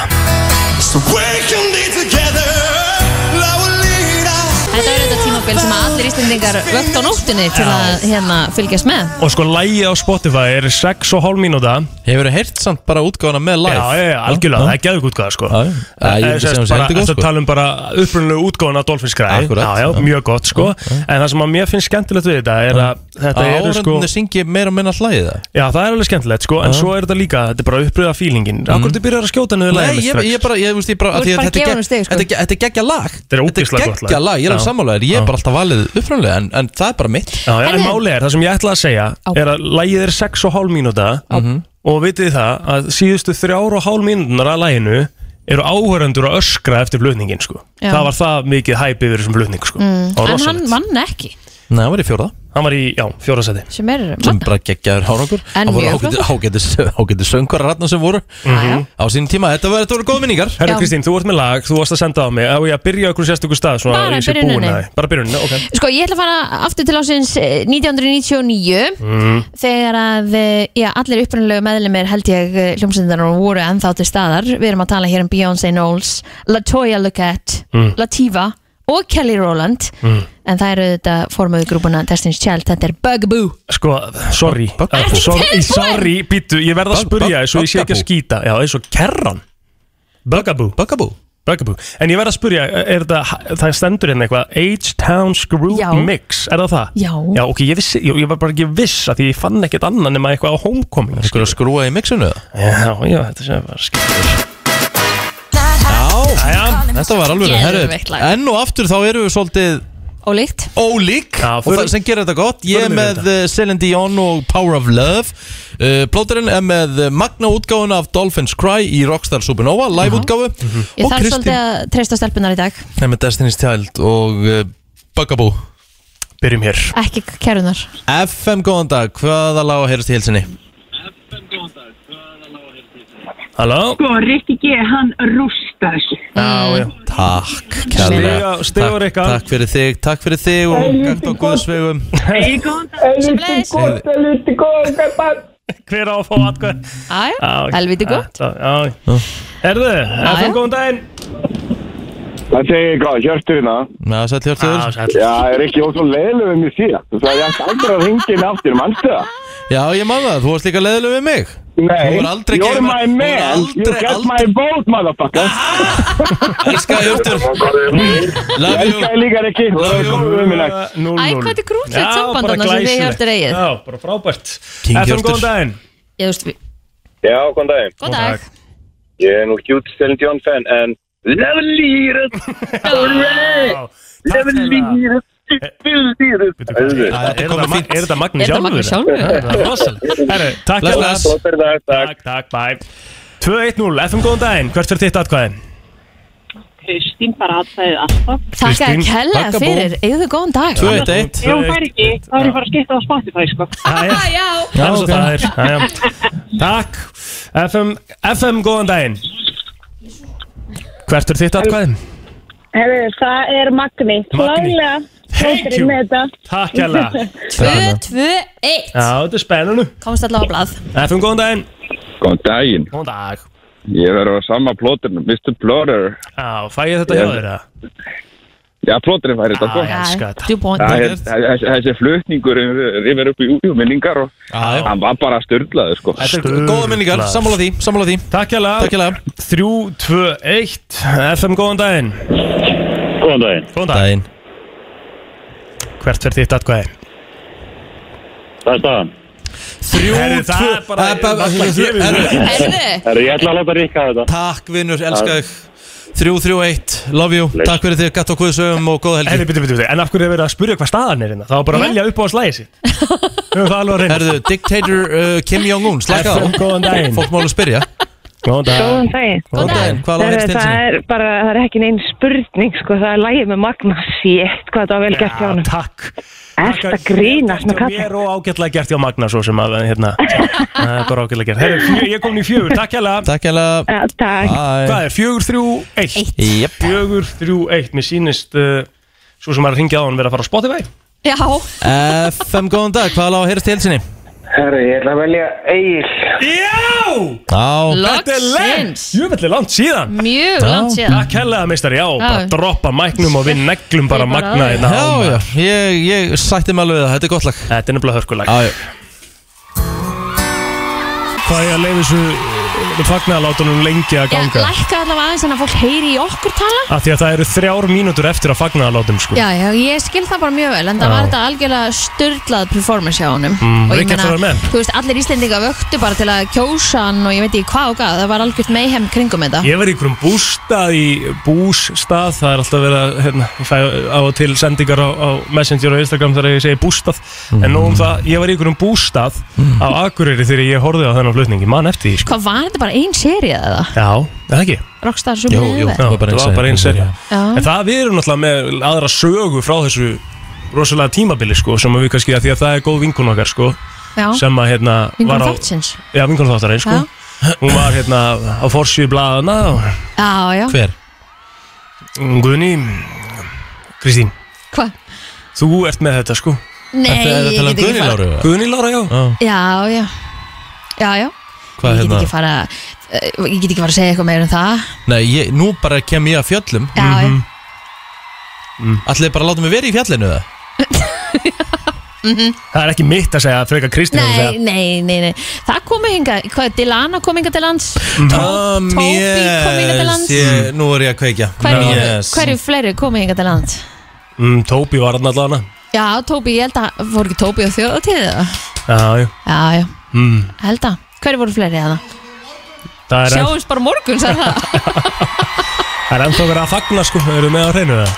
C: þetta er þetta tímabil sem að allir íslendingar vögt á nóttunni til að hérna fylgjast með
D: Og sko lægi á Spotify er 6,5 mínúta
B: Hefur þið heyrt samt bara útgáðana með
D: Já,
B: live?
D: já, já, algjörlega, það er geðug útgáða sko
B: Já, já. Já, ég myndi segja hún sé heldur góð,
D: Það
B: sko.
D: talum um bara upprunalegu útgáðan af Dolphins Cry
B: Akkurat,
D: já, já,
B: já.
D: mjög gott sko En það sem að mér finnst skemmtilegt við þetta er að Þetta
B: Að
D: eru sko
B: áhörðunni syngi meira og minna hlæðið það
D: Já, það er alveg skemmtilegt sko En svo er þetta líka, þetta er bara uppröða fílingin Akkur þú byrjar að skjóta niður
B: Mhm. Nei,
D: lagið mitt
B: ég,
D: strax?
B: ég bara, ég veist, ég bara
C: Þú
B: af því
C: ert
B: að þetta
C: bara að
B: er
C: gefa
B: gegn-
C: honum stig, sko.
B: Þetta er- þetta er geggja lag
D: Þetta er ógeðslega gott lag.
B: geggja lag, ég er alveg
D: Já.
B: sammálaður Ég
D: Já.
B: er bara alltaf valið uppræðanlega en, en það er bara mitt
D: Já, já, en
C: Herðu.
D: málið er, það sem ég ætla að segja er að lægið er Mhm. 6,5 mínúta og vitið þið það að síðustu 3,5 mínútunar að læginu eru áhörendur að öskra eftir flutningin sko.
C: Já. Mm.
D: það var það mikið hæpi yfir þessum flutning sko. Það var
C: En hann
D: rosalegt.
C: vann ekki
B: Nei, hann var í fjórða
D: hann var í já, fjórasæti
C: sem er
B: sem bara geggjaður hárangur
C: En
B: Það voru
C: mjög
B: ágætis-
C: flottur.
B: ágætis- ágætis söngvarar hérna sem voru
C: Jæja.
B: á sínum tíma Þetta voru, þetta voru góð minningar
D: Herru
C: Já.
D: Kristín, þú ert með lag, þú varst að senda á mig Á ég að byrja á einhverjum sérstökum stað svona,
C: Bara
D: að ég sé
C: byrjuninni.
D: búin að því? Bara byrjuninni, ok
C: Sko, ég ætla að fara aftur til ásins eh, 1999
D: Mm.
C: þegar að, eh, já, allir upprunalegu meðlumir held ég hljómsyndarnar voru ennþá til staðar. Við erum að tala hér um Beyoncé Knowles, Latoya Luckett,
D: Mm.
C: Lativa og Kelly Rowland en það eru þetta formuðu grúpuna Destiny's Child, þetta er Bugaboo
D: Sko, sorry
B: Bugaboo.
D: Sorry, sorry, býtu, ég verð að
B: Bug-
D: spurja
B: bug-
D: eins og ég sé ekki að
B: bugaboo.
D: skýta Já, eins og kerran Bugaboo
B: Bugaboo
D: Bugaboo En ég verð að spurja, er þetta, það stendur hérna eitthvað H-Town Screw
C: Já.
D: Mix, er það það?
C: Já.
D: Já, ok, ég, vissi, ég, ég var bara ekki viss að því ég fann ekkert annað nema eitthvað á homecoming
B: Einhver að
D: skilur.
B: skrúa í mixinu eða?
D: Já, já, þetta sem var skýrt
B: Já,
D: Jæja,
B: þetta var alveg
C: Geðveikt lag.
B: Enn og aftur þá erum við svolítið
C: Ólíkt
B: ólík
D: Já,
B: og
D: förum-
B: það sem gerir þetta gott ég er
D: förum
B: með
D: yfir
B: uh, Celine Dion og Power of Love uh, plóterinn er með uh, magna útgáfuna af Dolphins Cry í Rockstar Supernova live útgáfu
C: Ég
B: og
C: þarf svolítið
B: Kristín
C: að treysta á stelpunar í dag
B: er með Destiny's Child og uh, Bugaboo
D: Byrjum hér
C: ekki kærunar
B: FM góðan dag, hvaða lág að heyrast í helsinni?
D: Halló?
G: Sko, Rikki G, hann rústa þessu.
D: Já, já
B: Takk,
D: Stiga-
B: kærlega
D: stiga
B: Takk-
D: Rikka.
B: Takk fyrir þig, takk fyrir þig og gætt á góðsvegum
G: Eða góðan dag.
C: Sömuleiðis.
D: Hver á að fá atkvæð?
C: Æja,
D: Já,
C: helviti gott
D: þetta- já. Herðu,
C: já.
D: FM góðan daginn
I: Það segir ég hvað, hjörtur hérna.
B: Já, sæll
D: Já,
B: Hjörtur
D: sæll.
I: Já, er ekki ótt og leiðileg við mér síðan. Þú sagði ég ætti aldrei að ringja inn aftur, mannstu það?
B: Já, ég man það, þú varst líka leiðileg við mig
I: Nei,
B: Þú voru aldrei
I: you're
B: gefin-
I: my
B: þú voru
I: man, you
B: aldrei-
I: get
B: aldrei-
I: my vote, motherfucker.
B: Elskar Hjörtur
I: Ég
B: Love you
I: elska þig líka, Rikki, þú erum góð við mér nægt.
D: Núll,
C: Æ,
D: núll.
C: hvað þetta er krútlegt
D: Já,
C: samband
D: bara
C: annars sem þið
D: glæsilegt.
C: Hjörtur eigið.
D: Já, bara frábært
B: King
D: FM
B: Hjörtur.
D: góðan daginn
C: Ég veist við
H: Já, góðan daginn.
C: Góð dag
H: Ég er nú hjút Celine Dion fan en Lovely Rödd,
D: Já, takk
H: Lovely
D: fyrir það. Eh,
H: Rödd, Lovely Rödd. Auðvitað.
D: Er
B: Þetta
D: þetta
B: komið
D: Ma-
B: fínt.
D: er þetta Magni
C: Er þetta
D: sjálfur?
C: Magnús sjálfur?
D: Það er rosalegt. Herru, takk
B: Bless,
D: fyrir
B: bless.
D: það.
H: Flottir dag, takk.
D: Takk, takk, bye 2-1-0, FM góðan daginn Hvert fyrir þitt atkvæðin?
G: Kristín bara sko. aðstæðið alltaf.
C: Þakka
D: Kristín,
C: þér kella
B: þakka bú.
C: fyrir, eigðu þið góðan dag
B: 2-1-1
G: Ef hún fær ekki, þá er ég bara að skipta á Spotify, sko.
D: Æja,
C: Já,
D: það er
B: Já,
D: svo
B: ok.
D: það er Jæja. Takk FM, FM góðan daginn Hvert er þitt atkvæðin?
G: Herru, það er Magni. Klálega.
D: Thank
G: Flottir
D: you.
G: með þetta.
D: Takk hella
C: 2, 2, 1
D: Já, þetta er spennanu
C: Komst allavega á blað
D: FM góðan daginn
I: Góðan daginn,
D: Góðan dag
I: ég verður á sama plóturnu, Mr. Plotter.
D: Já, fæ ég þetta hjá
I: Já.
D: þér að?
I: Já, plóturinn fær þetta,
D: Ah,
I: sko.
D: já. elska þetta.
C: Djú bónd
I: Já, hér- þessi- Þessi flutningur rifir upp í jú- jú, minningar og
B: Já, já.
I: hann var bara styrlaður, sko.
B: Þetta er góða minningar,
D: Sturlað.
B: sammála því, sammála því
D: Takk
B: Takk
D: hella
B: hérlega
D: 3, 2, 1 FM góðan daginn
H: Góðan daginn.
D: Góðan dag
B: Dæin
D: Hvert fyrir þitt atkvæðin?
H: Það er staðan.
B: Þrjú,
D: Herri, það
B: tvö
D: er bara-
B: Eh, bara-
D: það er bara gefið
B: Herri,
C: Erðu,
H: Herru, ég ætla að láta Rikka þetta.
B: Takk vinnur, elska þig Þrjú, þrjú, eitt, love you Takk fyrir þig, gatt og kvöðsögum og góða
D: Herri,
B: helgi
D: bitur, bitur, bitur, en af hverju er verið að spyrja hvað staðan er hérna? Það var bara að velja upp á slæði sín Við höfum það alveg að reyna
B: Herðu, Dictator uh, Kim Jong-un, slaka á
D: FM, góðan daginn
B: Fólk málu spyrja
D: Góðan dag
G: Góðan daginn.
C: góð dag
B: Hvað lág
G: Herru,
B: helst
G: það
B: helsinni?
G: er bara, það er ekki neinn spurning, sko. Það er lægið með Magna. Sétt, hvað það var vel gert hjá
D: Já,
G: hann.
D: takk
G: Ertu að grínast
D: Gert
G: með
D: hjá
G: kallinn?
D: Mér og ágætlega gert hjá Magna svo sem að hérna Það er bara ágætlega gert Herri, fjö, ég kom í fjögur, takk hella
B: Takk hérlega
G: Já, Takk.
D: Ah.
B: Bye.
D: Hvað er, fjögur, þrjú, eitt?
B: Jep,
D: Fjögur, þrjú, eitt, mér sýnist uh, Svo sem að ringja á hann verið að fara á Spotify
C: Já,
B: FM góðan dag, hvað lág helst helsinni?
I: Herri, ég ætla að velja Egil.
D: Já,
B: Á,
D: þetta er
C: loksins
D: lengt Jöfellig langt síðan
C: Mjög langt síðan
D: Takk hella, meistari, já, bara
C: Já.
D: droppa mæknum og við neglum bara
C: Ég bara-
D: Magna hérna á,
B: já,
D: maður.
B: já, ég, ég sætti mig alveg við það, þetta er gott lag
D: Þetta er nefnilega hörkulag
B: Já, já,
D: Hvað ég að leiði þessu fagnaðalátunum lengi að
C: Já,
D: ganga
C: lækka allavega aðeins en að fólk heyri í okkur tala
D: Af því að það eru þrjár mínútur eftir að fagnaðalátum sko.
C: Já, já, ég skil það bara mjög vel en það
D: Já.
C: var þetta algjörlega störlað performance hjá honum
D: Mm,
C: og ég
D: Ríkharður var með.
C: þú veist, allir Íslendinga vöktu bara til að kjósa hann og ég veit ekki hvað og hvað það var algjört meihem kringum þetta
D: Ég var í einhverjum bústað í bústað Það er alltaf verið að hérna, Ég fæ á og til sendingar á, á Messenger og Instagram þegar ég segi bústað
B: Mhm.
D: En nóg um það, ég var í einhverjum bústað Á Akureyri þegar ég horfði á þennan flutningi Man eftir því sko.
C: Hvað var þetta bara ein serið eða?
D: Já, er það ekki?
C: Rockstar Superman
B: jú.
C: eða?
D: Já,
B: Það var bara ein
D: það var
B: sería.
D: bara hérna. einn serja
C: Já.
D: En það við erum náttúrulega með aðra sögu frá þessu rosalega tímabili sko sem að við kannski að því að það er góð vinkun okkar sko
C: Já,
D: sem að hérna
C: vingur
D: var á
C: þáttsins
D: Já, vinkun þáttar einn sko
C: Já.
D: Hún var hérna á forsíu blaðana og
C: Já, já,
B: Hver?
D: Guðni Kristín,
C: hvað?
D: þú ert með þetta sko
C: Nei,
B: Þetta er að
C: ég
B: tala um
C: get ekki
B: Guðni
C: fara
B: Láru eða?
D: Guðni Lára, já
C: Já, já, já, já
B: Hvað
C: Ég get
B: hérna?
C: ekki fara eh, Ég get ekki fara að segja eitthvað meira um það
B: Nei, ég, nú bara kem ég að fjöllum
C: Já, já,
B: Mhm. Ætlið bara að láta mig vera í fjallinu það?
D: Það er ekki mitt að segja að freka Kristín að
C: nei,
D: segja
C: nei, nei, nei Það komu hinga, hvað, Dilana kom hinga til lands
B: Mm.
C: Tó- Tóbi kom hinga til lands
B: Ah, ég, Nú er ég að kveikja
C: Hverju,
B: Yes.
C: hverju fleiri komu hinga til lands?
D: mm, Tóbi var hann allavega
C: Já, Tóbi, ég held að, voru ekki Tóbi á þjóðatíð eða?
D: Já, já
C: Já, já,
D: mm,
C: held að Hverju voru fleiri eða?
D: Það er, enn,
C: Sjáumst bara morgun, sagði
B: (laughs)
C: það
D: það er ennþá verið að fagna sko Eru með á hreinu það?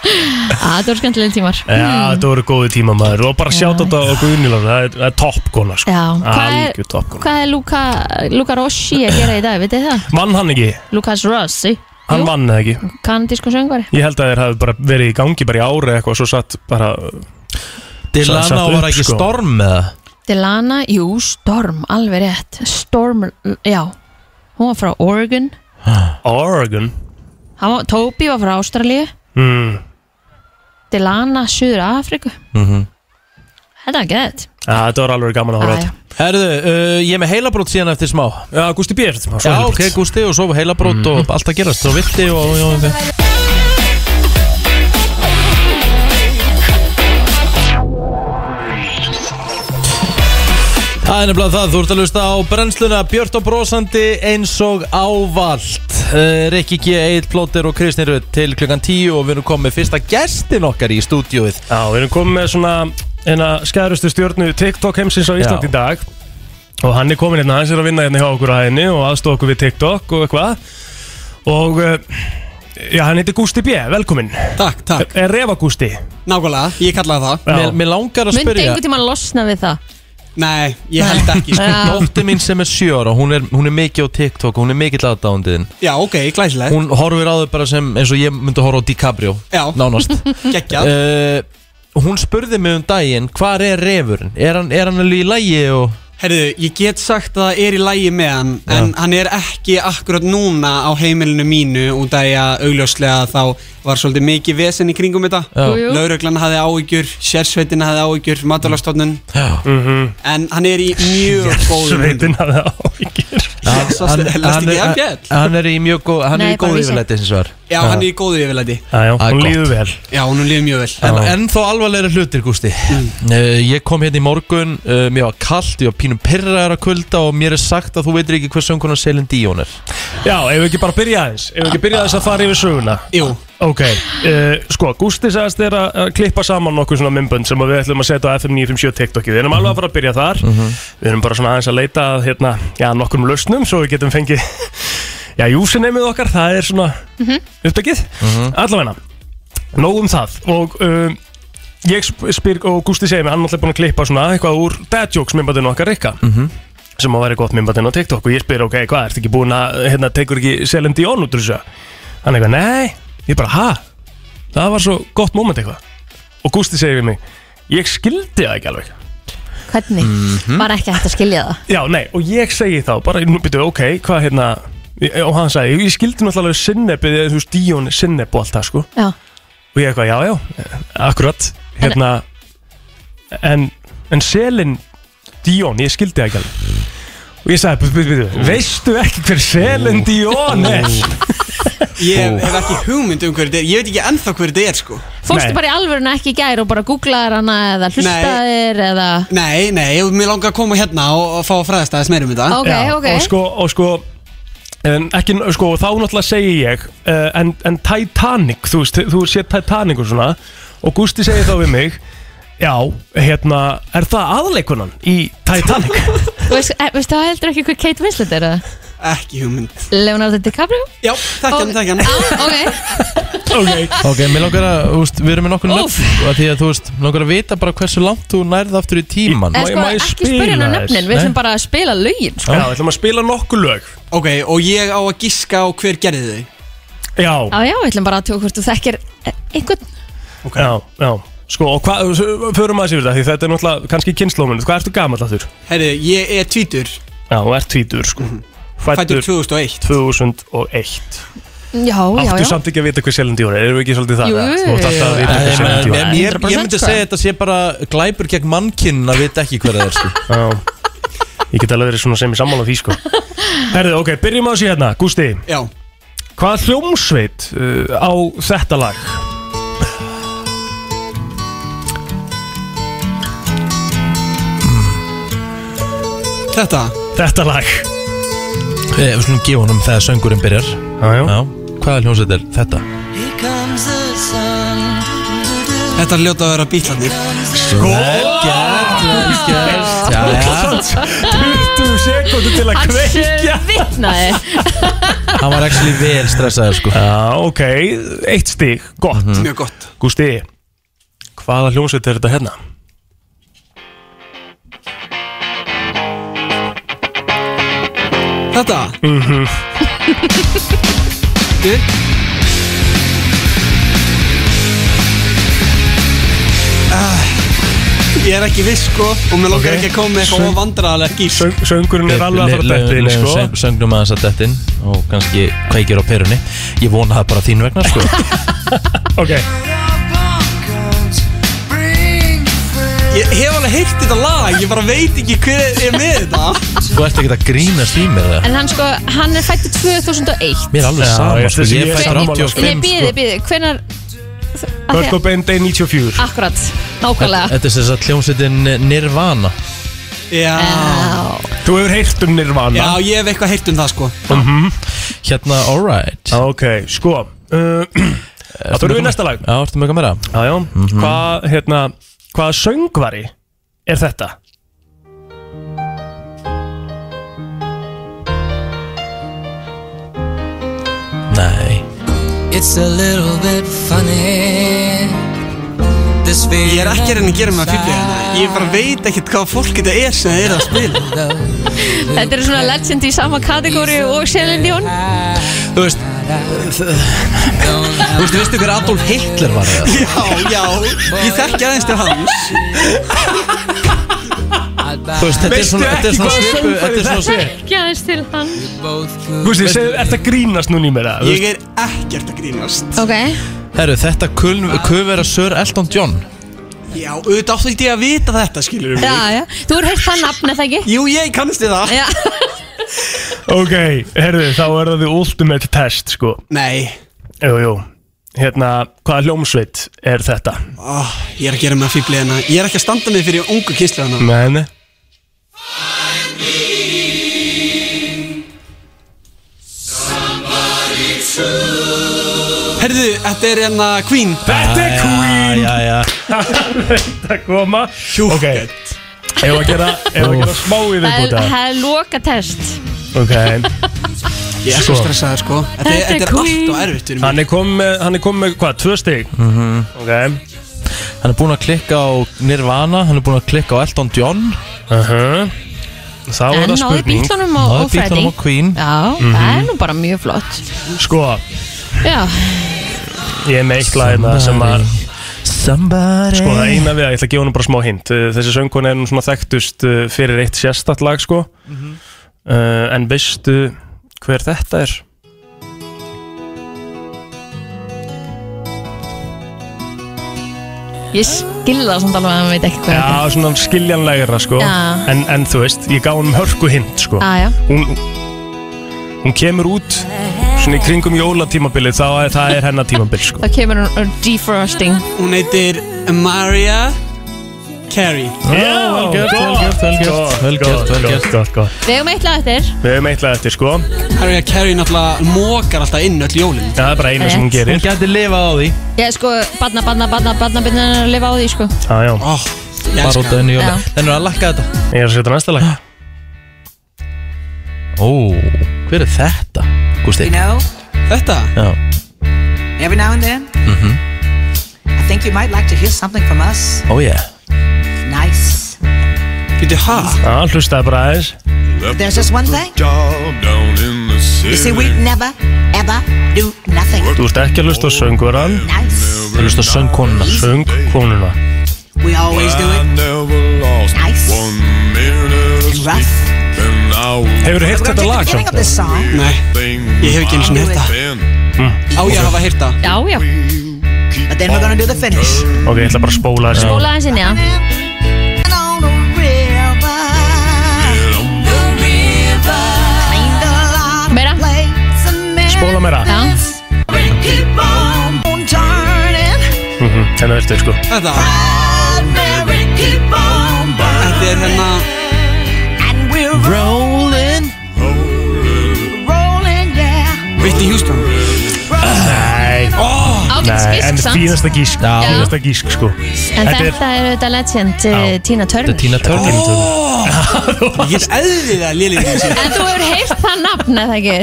C: Á, Það voru skemmtilegir tímar Hmm.
D: Já, þetta voru góði tíma maður Og bara sjátt þetta á Guðni Lára Það er, það er toppkona sko
C: Já, hvað er-
D: Algjör toppkona
C: Hvað er Luka, Luka Rossi að gera í dag, vitið þið það?
D: Vann hann ekki?
C: Lukas Rossi
D: Hann
C: Jú,
D: vann eða ekki?
C: kanadísku söngvari
D: Ég held að þeir hafi bara verið í gangi bara í ári eitthvað Svo satt bara Satt-
B: Dilana
D: satt
B: var
D: upp,
B: ekki
D: sko.
B: storm með það
C: Delana, jú, Storm, alveg rétt Storm, já Hún var frá Oregon
D: Oregon
C: Hann var, Toby var frá Ástralíu
D: mm.
C: Delana, Suður Afriku
D: Mhm.
C: Þetta er gett
D: Já, þetta var alveg gaman að horfa á þetta.
B: Herðu, uh, ég er með heilabrót síðan eftir smá
D: Já, Gusti Björn var svo
B: Já,
D: helbrigt.
B: ok, Gústi og svo heilabrót og allt að gerast Svo vilti og, og, og Það er nefnilega það, þú ert að lusta á brennsluna Björn og brosandi eins og ávallt uh, Rikki G, Egil Plóter og Kristnir Rutt til klukkan 10 og við erum komið fyrsta gestin okkar í stúdíóið
D: Já, við erum komið með svona eina skæðrustu stjórnu TikTok heimsins á Íslandi
B: Já.
D: í dag og hann er komin hérna, hans er að vinna hérna hjá okkur að henni og aðstofa okkur við TikTok og eitthvað og eh, já, hann heitir Gústi B, velkomin
F: Takk, takk,
D: Er Reva Gústi?
F: nákvæmlega, ég kallaði það
D: Já.
B: Mér, mér langar að
C: Myndi
B: spyrja
C: einhvern tímann losna við það
F: Nei, ég held ekki sko.
C: Já.
B: Dóttir mín sem er sjöra, hún er, hún er mikið á TikTok og hún er mikið aðdáðundiðin
F: Já, ok, glæsilegt
B: Hún horfir á þau bara sem eins og ég myndi horfa á DiCaprio
F: Já,
B: (laughs) Nánast
F: geggjað
B: uh, Hún spurði mig um daginn Hvar er refurinn? Er hann, er hann alveg í lægi? Og...
F: Herðu, ég get sagt að það er í lægi með hann En hann er ekki akkurat núna á heimilinu mínu Út af því að augljóslega þá var svolítið mikið vesen í kringum þetta
C: Jú, jú.
F: Lauruglan hafði áhyggjur, sérsveitin hafði áhyggjur, matalastofnun
B: Já,
F: En hann er í mjög góðum höndum.
D: Sveitin að það áhyggjur
F: Hann-
B: hann,
F: Lestu ekki af
B: er,
F: fjall?
B: hann er í mjög góð Hann
C: Nei,
B: er í góð
C: bara vísa.
B: yfirleiti sem svar
F: Já, hann er í góðu yfirleiti
D: Já,
B: Það
D: já,
B: er
D: hún
B: gott.
D: líður vel
F: Já, hún líður mjög vel
B: En, en þó alvarlegri hlutir, Gústi uh, Ég kom hérna í morgun uh, Mér var kallt, ég var pínum pirraðar að kulda Og mér er sagt að þú veitir ekki hver sönguna Selin Díón er
D: Já, ef við ekki bara byrja aðeins Ef við ekki byrja aðeins að fara yfir söguna
F: Jú,
D: Ok, uh, sko, Gústi sagðist þér að að klippa saman nokkuð svona mymbönd sem að við ætlum að setja á FM 957 TikTokið Við erum alveg að fara að byrja þar Við erum bara svona aðeins að leita að hérna, já, nokkrum lausnum svo við getum fengið (laughs) Já, usernameið okkar, það er svona uppdagið Allavegna, nóg um það Og um, ég sp- spyr, og Gústi segir mér, hann er alltaf búin að klippa svona eitthvað úr dad jokes mymböndinu okkar Rikka sem að væri gott mymbandinn á TikTok og ég spyr, ok, hvað, ertu ekki búin að, hérna, tekur ekki Selin Dion út úr þessu? Hann eitthvað, nei, ég bara, ha? Það var svo gott moment eitthvað. Og Gústi segir við mig, ég skildi það ekki alveg.
C: Hvernig?
D: Mhm.
C: Var ekki hægt að skilja það
D: Já, nei, og ég segi þá, bara, nú byrju, ok, hvað, hérna, ég- og hann sagði, ég skildi náttúrulega sinnebið, eða, þú veist, Dion sinneb og allt það, sko.
C: Já,
D: Og ég eitthvað, já, já, eh, akkurat, hérna, en, en Selin Dion, ég skildi það ekki alveg. Og ég sagði, byrju, byrju, byrju, veistu ekki hver Selin Dion er?
F: ég hef ekki hugmynd um hverju þetta er Ég veit ekki ennþá hverju þetta er sko
C: fórstu
D: Nei.
C: bara í alvöruna ekki í gær og bara googlaðir hana eða hlustaðir eða
F: Nei, nei, ég- mér langar að koma hérna og, og fá að fræðast aðeins meira um þetta
C: Ok,
D: Já,
C: ok
D: Og sko, og sko En ekki, sko, þá náttúrulega segi ég uh, en, en Titanic, þú veist, þú sér Titanic og svona Og Gusti segir þá við mig Já, hérna, er það aðleikunan í Titanic?
C: Veist- eh, Veistu það heldur ekki hver Kate Winslet er eða?
F: Ekki hugmynd
C: Leonardo DiCaprio?
F: Já, þekki hann, þekki
C: hann Ah, Ok,
F: Ok
B: Ok, mér langar að, þú veist, við erum með nokkur
C: Úff.
B: nöfn og að Því að þú veist, mér langar að vita bara hversu langt þú nærði aftur í tíman
C: eða sko ekki spyrja hann um nöfnin Við ætlum bara að spila lögin sko.
D: Já, við ætlum að spila nokkur lög
F: Ok, og ég á að giska á hver gerði þau
D: Já,
C: Já, já, við ætlum bara að tjóka hvort þú þekkir eh, einhvern
D: já, já Sko, og hvað, förum aðeins yfir þetta Því þetta er náttúrulega kannski kynnslóminu Hvað ertu gamall að þurr?
F: Herri, ég er tvítur
D: Já, og ert tvítur, sko
F: Fæddur 2001
D: 2001
C: Já, já,
D: Áttu
C: já
D: samt ekki að vita hvað Selendi voru Erum við ekki svolítið það?
C: Jú,
D: eða? Þú átt alltaf að vita hvað Selendi
B: Ég, ég, ég
C: 100%
B: myndi
C: sko.
B: að segja þetta sé bara glæpur gegn mannkinn að vita ekki hver það er sko.
D: Já, ég get alveg verið svona sem í sammála því, sko Herðu, ok, byrjum á þessu hérna, Gústi
F: Já
D: Hvað hljómsveit uh, á þetta lag?
F: Þetta
D: Þetta lag
B: (laughs) Eh, Við slumum gefa honum þegar söngurinn byrjar
D: Já, já.
B: Hvaða hljómsveit er þetta?
F: Þetta er ljóta að vera bítlanir
D: Sko.
B: Gert,
D: 20 sekundur til að
C: Hann
D: kveikja
C: svitnaði
B: Hann var ekki vel stressaður sko.
D: Já, ok, eitt stig, gott
F: Mjög gott
D: Gústi, hvaða hljómsveit er þetta hérna?
F: Þetta Mhm Þú Ah, Ég er ekki viss sko og mér langar
D: Ok.
F: ekki að koma með eitthvað
D: Söng-
F: vandrarlega gís
D: Söng, söngurinn er alveg að fara dættið inn, sko
B: Leðum söngnum aðeins að dettin og kannski kveikir á perunni Ég vona það bara þín vegna sko.
D: Ok,
F: Ég hef alveg heyrt þetta lag, ég bara veit ekki hver er með þetta
B: Þú ert ekki að grínast í mér það
C: En hann sko, hann er fættu 2001
B: Mér er alveg
D: Já,
B: sama
D: ég-
B: sko.
D: þessi-
B: Ég
D: ég-
B: er
D: Hver-
B: fættur
D: sammála,
C: Nei,
B: 85
C: býði,
B: sko.
C: býði, hvenar
D: Kurt Cobain Day 94
C: Akkurat, nákvæmlega
B: Þetta er þess að hljómsveitin Nirvana
F: Já,
C: Já,
D: Þú hefur heyrt um
F: já,
D: Nirvana
F: ég hef eitthvað heyrt um það sko
B: Hérna, alright
D: Ok, sko (clears throat) uh, Það fyrir við í næsta lag
B: Já, ertu með eitthvað meira?
D: Já, já, hvað, hérna, hvaða söngvari er þetta?
B: Nei
F: Ég er ekki að reyna að gera mig að fífla hérna Ég bara veit ekkert hvað fólk þetta er sem það er að spila
C: þetta er svona legend í sama kategóri og Celine Dion
B: Þú veist Þú veist, veistu hver Adolf Hitler var það?
F: Já, já, ég þekki aðeins til hans
B: Þú veist, þetta er
D: Veistu
B: svona Þetta er
D: ekki
B: svona
D: hvaða
B: svipu
D: söngvari
B: Þetta er svona
D: þetta
B: svipu
C: Ekki aðeins til hann
D: Gústi, segðu, ert að grínast núna í mér það?
F: Ég er ekkert að grínast
C: Ok,
B: Herru, þetta kufera Sir Elton John
F: Já, auðvitað áttu ekki að vita þetta, skilur
C: já,
F: mig
C: já Þú er heilt það nafn, eða ekki?
F: Jú, ég kannast við það
C: Já, (laughs)
D: Ok, herðu, þá er það the ultimate test, sko
F: Nei,
D: Jú, jú, hérna, hvaða hljómsveit er þetta?
F: Ó, ég er að gera mig að fífla hérna Ég er ekki að standa mig fyrir ungu kynslu hana
D: Nei, nei
F: Herðu, þetta er hérna Queen
D: Þetta er Queen
B: Já,
D: (laughs)
B: já,
D: Þetta koma Ok,
F: Hjúkett
D: ef að gera, ef að gera smá í
C: það er-
D: viðbúta
C: það er lokatest
D: Ok,
F: Ég er
D: Sko.
F: svo stressaður sko Þetta,
C: Þetta er
F: þetta er allt
C: Queen.
F: og erfitt fyrir mig
D: hann er komið með, hann er komið með, hvað, tvö stig? Mm -hmm.
B: hann er búinn að klikka á Nirvana Hann er búinn að klikka á Elton John
D: Ok uh -huh. Þá er
C: En
D: það
C: náði
D: spurning
C: bílunum og,
B: Náðu
C: og Freddy
B: bílunum á Queen
C: Já, það er nú bara mjög flott
D: Sko,
C: Já,
D: ég er með eitt lag hérna sem að
B: Somebody
D: Sko, það eina við að ég ætla að gefa hann bara smá hint Uh, Þessi söngun er nú svona þekktust uh, fyrir eitt sérstætt lag, sko uh, En veistu hver þetta er?
C: ég skilði það samt alveg að hann veit ekki hvað þetta er
D: Já, svona skiljanlegra, sko
C: Já.
D: en, en þú veist, ég gaf hann hörku hint, sko
C: Ah, Já, já,
D: hún, hún kemur út svona í kringum jólatímabilið þá er það er hennar tímabil sko.
C: það kemur hún og defrosting
F: Hún heitir Maria Carey
D: Já, vel gert, vel gert, vel gert
B: Vel gert, vel gert.
D: gott, gott.
C: Við hefum eitt lag eftir
D: Við hefum eitthvað eftir sko
F: Maria Carey náttúrulega mókar alltaf inn öll jólin
D: Það er bara eina sem hún
B: Hún
D: gerir
B: gæti lifað á því
C: Ég er sko, badna, badna, badna, badna, badna að lifa á því sko
D: Já, já,
F: Ó, ég
B: Bara út
F: elska
B: af
F: það
B: henni jóla
C: Já.
D: Ah.
B: Þannig er að lakka þetta
D: ég er að setja næsta lag
B: Ó, hver er þetta? Gústi
K: You know,
F: Þetta?
B: Já
K: every now and then,
B: Mhm.
K: I think you might like to hear something from us.
B: Ó yeah
K: Nice.
F: Býttu, hæ?
D: Já, hlustaði bara aðeins
K: There's just one thing. You see, we never, ever do nothing.
D: Þú ert ekki að hlusta á söngurann
K: Nice.
D: Þú ert að hlusta á söngkonuna Söngkonuna
K: We always do it. Nice. And rough.
D: Hefur
K: We're
D: þú
K: gonna
D: heyrt þetta
K: take the
D: lag
K: beginning of this song.
F: Nei, ég hef ekki eins og hérta Á ég að hafa hérta
C: Já, já
K: But then we're gonna do the finish.
D: Ok, ég ætla bara að spóla þessi
C: Skóla aðeins inn, já
K: And on the river. The river. Cleaned a lot of
C: Meira.
K: plates and memories.
D: Spóla meira.
C: Já,
K: We keep on turning.
D: Þannig ertu, sko
F: Þetta,
K: Proud Mary, keep on
F: þetta er
K: burning.
F: hérna
K: And we're
B: Rolling
K: rolling, yeah.
F: Vitti Hjústón
D: Nei,
C: ágætis
D: nei, en
C: gísk samt
D: fínasta gísk
B: Já.
D: Fínasta gísk, sko
C: En
D: Þetta er-
C: þetta er auðvitað legend eh,
B: Þetta
C: Tina
B: er
C: Turner
B: Tina Turner
F: Ég er eðlilega lélið í þessu
C: En þú hefur heyrt það nafn eða ekki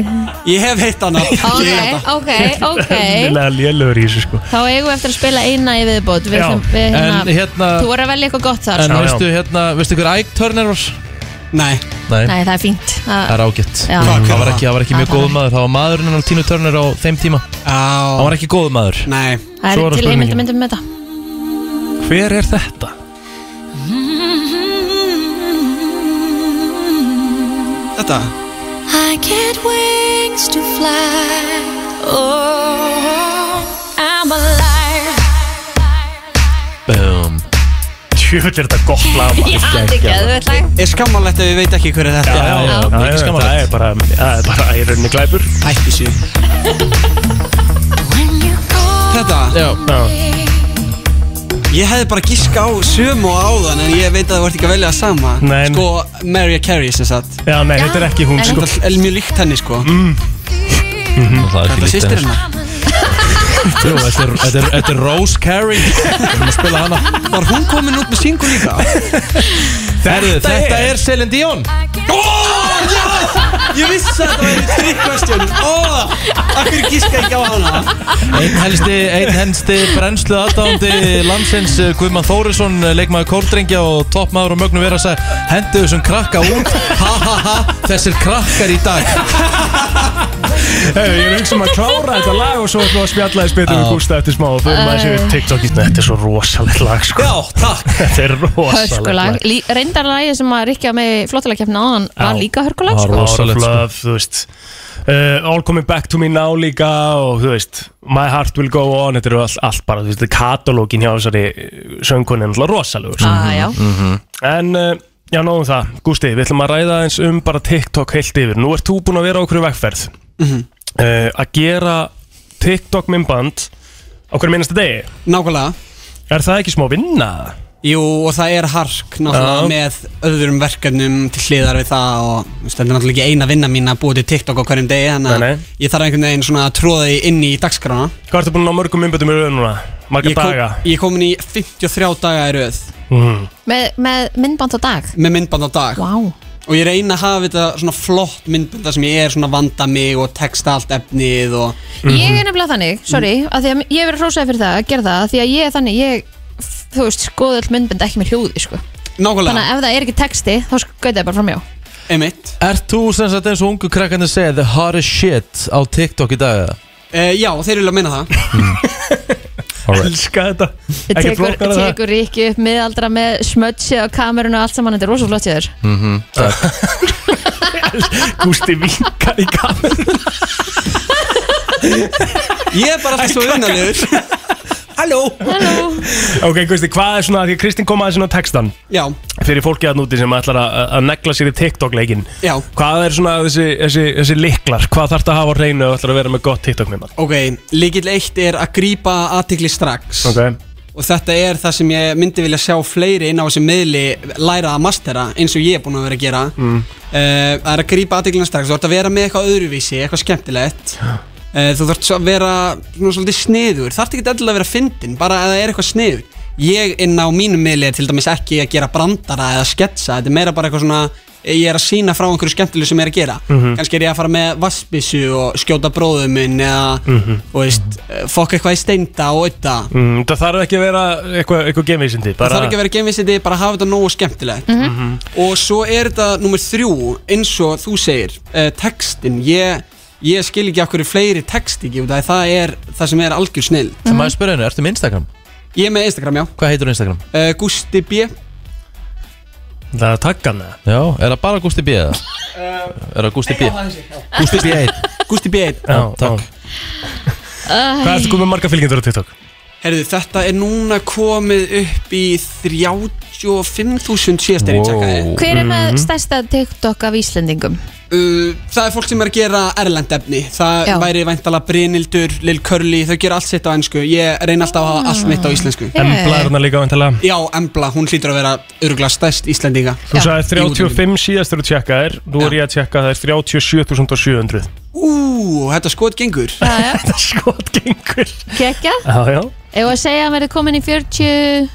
F: Ég hef heitt hana
C: Ok,
F: Ég-
C: ok, ok
D: Lillega lélögur í þessu, sko
C: Þá eigum við eftir að spila eina í viðbót Við
D: Já.
C: ætlum, við
B: En
C: hérna
B: hérna
C: Þú voru að velja eitthvað gott þar
B: En
D: Já, já.
B: veistu hérna Veistu hver Ike Turner var?
F: Nei,
B: Nei
C: Nei, það er fínt
B: Það
C: Það
B: er ágætt
C: Já.
F: Hvað, hver
B: Það var
F: var
B: ekki, það var ekki
C: það?
B: mjög
C: Það var
B: góð maður Það var maðurinn hennar Tina Turner á þeim tíma Það
F: á
B: var ekki góð maður
F: Nei,
C: það er til
D: Svo er það spurningin.
C: heimildamindum með þetta
B: Hver er þetta?
F: þetta
L: Mm-hmm. I get wings to fly. Oh, I'm alive.
B: Boom
D: Tjöfull er þetta gott lag maður.
C: Já, þetta er geðvöld lag
F: Er skammalegt ef ég veit ekki hver er
D: Já,
F: þetta
D: já, já,
B: mikið
D: já, já,
B: skammarlegt.
D: það er bara, það er bara í rauninni glæpur
F: Hætti sér
L: When you call
F: Þetta,
B: Já
D: Já,
F: ég hefði bara gíska á sömu og áðan En ég veit að það vart ekki að velja það sama
D: Nei.
F: Sko, Mariah Carey sem sagt
D: já nei, þetta er ekki hún,
C: En-
D: sko
F: Þetta er mjög líkt henni sko
D: Mm.
F: Þetta
B: Það er
F: er sýstir
B: hennar
F: hennar
B: Jú, þetta er- þetta er- Þetta er Rose (laughs) Carey Við erum að spila hana
F: Var hún komin út með single líka?
B: Herðu, Þetta er Celine Dion
F: Ég vissi að þetta væri trick question Ó, akkur gíska ekki á hana
B: Einn helsti, einn helsti brennslu aðdándi landsins eh, Guðmann Þórisson, eh, leikmaður kóldrengja og toppmaður og mögnum vera að segja hendu þessum krakka út, ha ha ha þessir krakkar í dag
D: Hey, ég er að hugsa um að klára þetta lag og svo ætlum við að spjalla þess betur við
B: Já.
D: Gústa eftir smá og fyrir maður sér við TikTokið Þetta er svo rosalegt lag sko
B: (laughs) Já, takk
D: Þetta er rosalegt
C: Hörkulag
D: lag
C: Lí- Reyndar lagi sem að Rikki var með flottalagkeppna áðan var
D: Já.
C: líka hörkulag
B: Já,
C: sko.
B: Rosalegt, sko.
D: Rosalegt Love, þú veist uh, All Coming Back to Me Now líka og þú veist My Heart Will Go On Þetta eru all, allt bara, þú veist, katalógin hjá þessari söngunni er náttúrulega rosalegur sko.
C: Ah, já.
D: En, uh, já, nóðum það Gústi, við ætlum að ræða eins um bara TikTok heilt yfir Nú ert þú búin að vera á okkur vegferð
C: Mhm.
D: uh, Að gera TikTok minnband á hverju minnasta degi
F: Nákvæmlega
D: Er það ekki smá vinna?
F: Jú, og það er hark
D: Já.
F: náttúrulega með öðrum verkefnum til hliðar við það og þú veist, þetta er náttúrulega ekki eina vinna mín að búa til TikTok á hverjum degi þannig
D: Nei,
F: að
D: nei.
F: ég þarf einhvern veginn svona að tróða því inn í dagskrána
D: Hvað ertu búin að ná mörgum umbyrðum í raun núna? Marga
F: Ég kom-
D: daga?
F: Ég er komin í 53 daga í röð
D: Mm.
C: með, með myndband á dag
F: með myndband á dag
C: Vá
F: og ég reyna að hafa þetta svona flott myndband þar sem ég er svona að vanda mig og texta allt efnið og
C: Ég er nefnilega þannig, sorry að því að ég hef verið hrósaði fyrir það að gera það að því að ég er þannig, ég þú veist, skoðu all myndband ekki með hljóði sko. þannig að
F: nákvæmlega,
C: ef það er ekki texti þá skauði það bara fram hjá
F: emitt
B: Ert þú sem sagt eins og ungu krakkarnir segja the hottest shit á TikTok í dag?
F: uh, Já, þeir vilja meina það
B: Alright
D: Elska þetta
C: Ég
D: Ekki
C: tekur,
D: flóknar það
C: tekur ekki upp miðaldra með smötsi á kamerun og allt saman, þetta er rosa flott ég þér
D: Gústi vinkar í kameru
F: Ég er bara alltaf svo unnalegur Halló
C: Halló
D: Ok, Gústi, hvað er svona Því að Kristinn kom aðeins inn á textan
F: Já,
D: Fyrir fólkið hann úti sem ætlar að- að að negla sér í TikTok-leikin
F: já,
D: Hvað er svona þessi, þessi, þessi liklar? Hvað þarf að hafa á reynu og ætlar að vera með gott TikTok-miðmann?
F: ok Líkill eitt er að grípa aðtikli strax
D: Ok
F: Og þetta er það sem ég myndi vilja sjá fleiri inn á þessi miðli læra að mastera eins og ég er búinn að vera að gera mm. Það er að grípa aðdeglina strax, þú ert að vera með eitthvað öðruvísi, eitthvað skemmtilegt uh, Þú þarft svo að vera svona svolítið sniður, þarft ekki alltaf að vera fyndin, bara að það er eitthvað sniður Ég inn á mínum miðli er til dæmis ekki að gera brandara eða sketsa, þetta er meira bara eitthvað svona ég er að sína frá einhverju skemmtilegu sem ég er að gera
M: Mhm.
F: kannski er ég að fara með vassbissu og skjóta bróðum minn eða,
D: Mhm.
F: og veist, fokk eitthvað í steinda og auða
D: Mm, það þarf ekki að vera eitthvað, eitthvað geimvísindi
F: Það þarf ekki að vera geimvísindi, bara hafa þetta nógu skemmtilegt
D: Mhm.
F: Og svo er þetta nummer þrjú, eins og þú segir, uh, textin Ég, ég skil ekki af hverju fleiri text ekki, út af því það er það sem er algjör snill
B: Það maður spyrja henni, ertu með Instagram?
F: Ég er með Instagram, já
B: Hvað heitur Instagram?
F: uh, Gusti B
D: Það er takkan það
B: Já, er það bara Gusti B eða?
F: Um,
B: er það Gusti B? Gusti B 1
F: Gusti B 1
B: Já, takk
D: Hvað ertu komið marga fylgjendur á TikTok?
F: Herðu, þetta er núna komið upp í 35.000 síðast er eh? ég tjekkaði
C: Hver er
F: Mhm.
C: með stærsta TikTok af Íslendingum?
F: Uh, það er fólk sem er að gera erlend efni Það
C: Já.
F: væri væntalega Brynildur, Lil Curly Þau gera allt sitt á ennsku Ég reyna alltaf að hafa allt mitt á íslensku
D: Embla
C: Eh,
D: er hana líka vantilega
F: Já, Embla, hún hlýtur að vera örgulega stærst íslendinga
D: Þú sagði 35 síðast þegar þú tjekkaðir Nú er ég að tjekka að það er 37.700
F: (laughs) Ú, þetta skot gengur
C: Þetta
D: skot gengur
C: Kekja?
D: Já, já
C: Ef að segja að hann verði komin í 40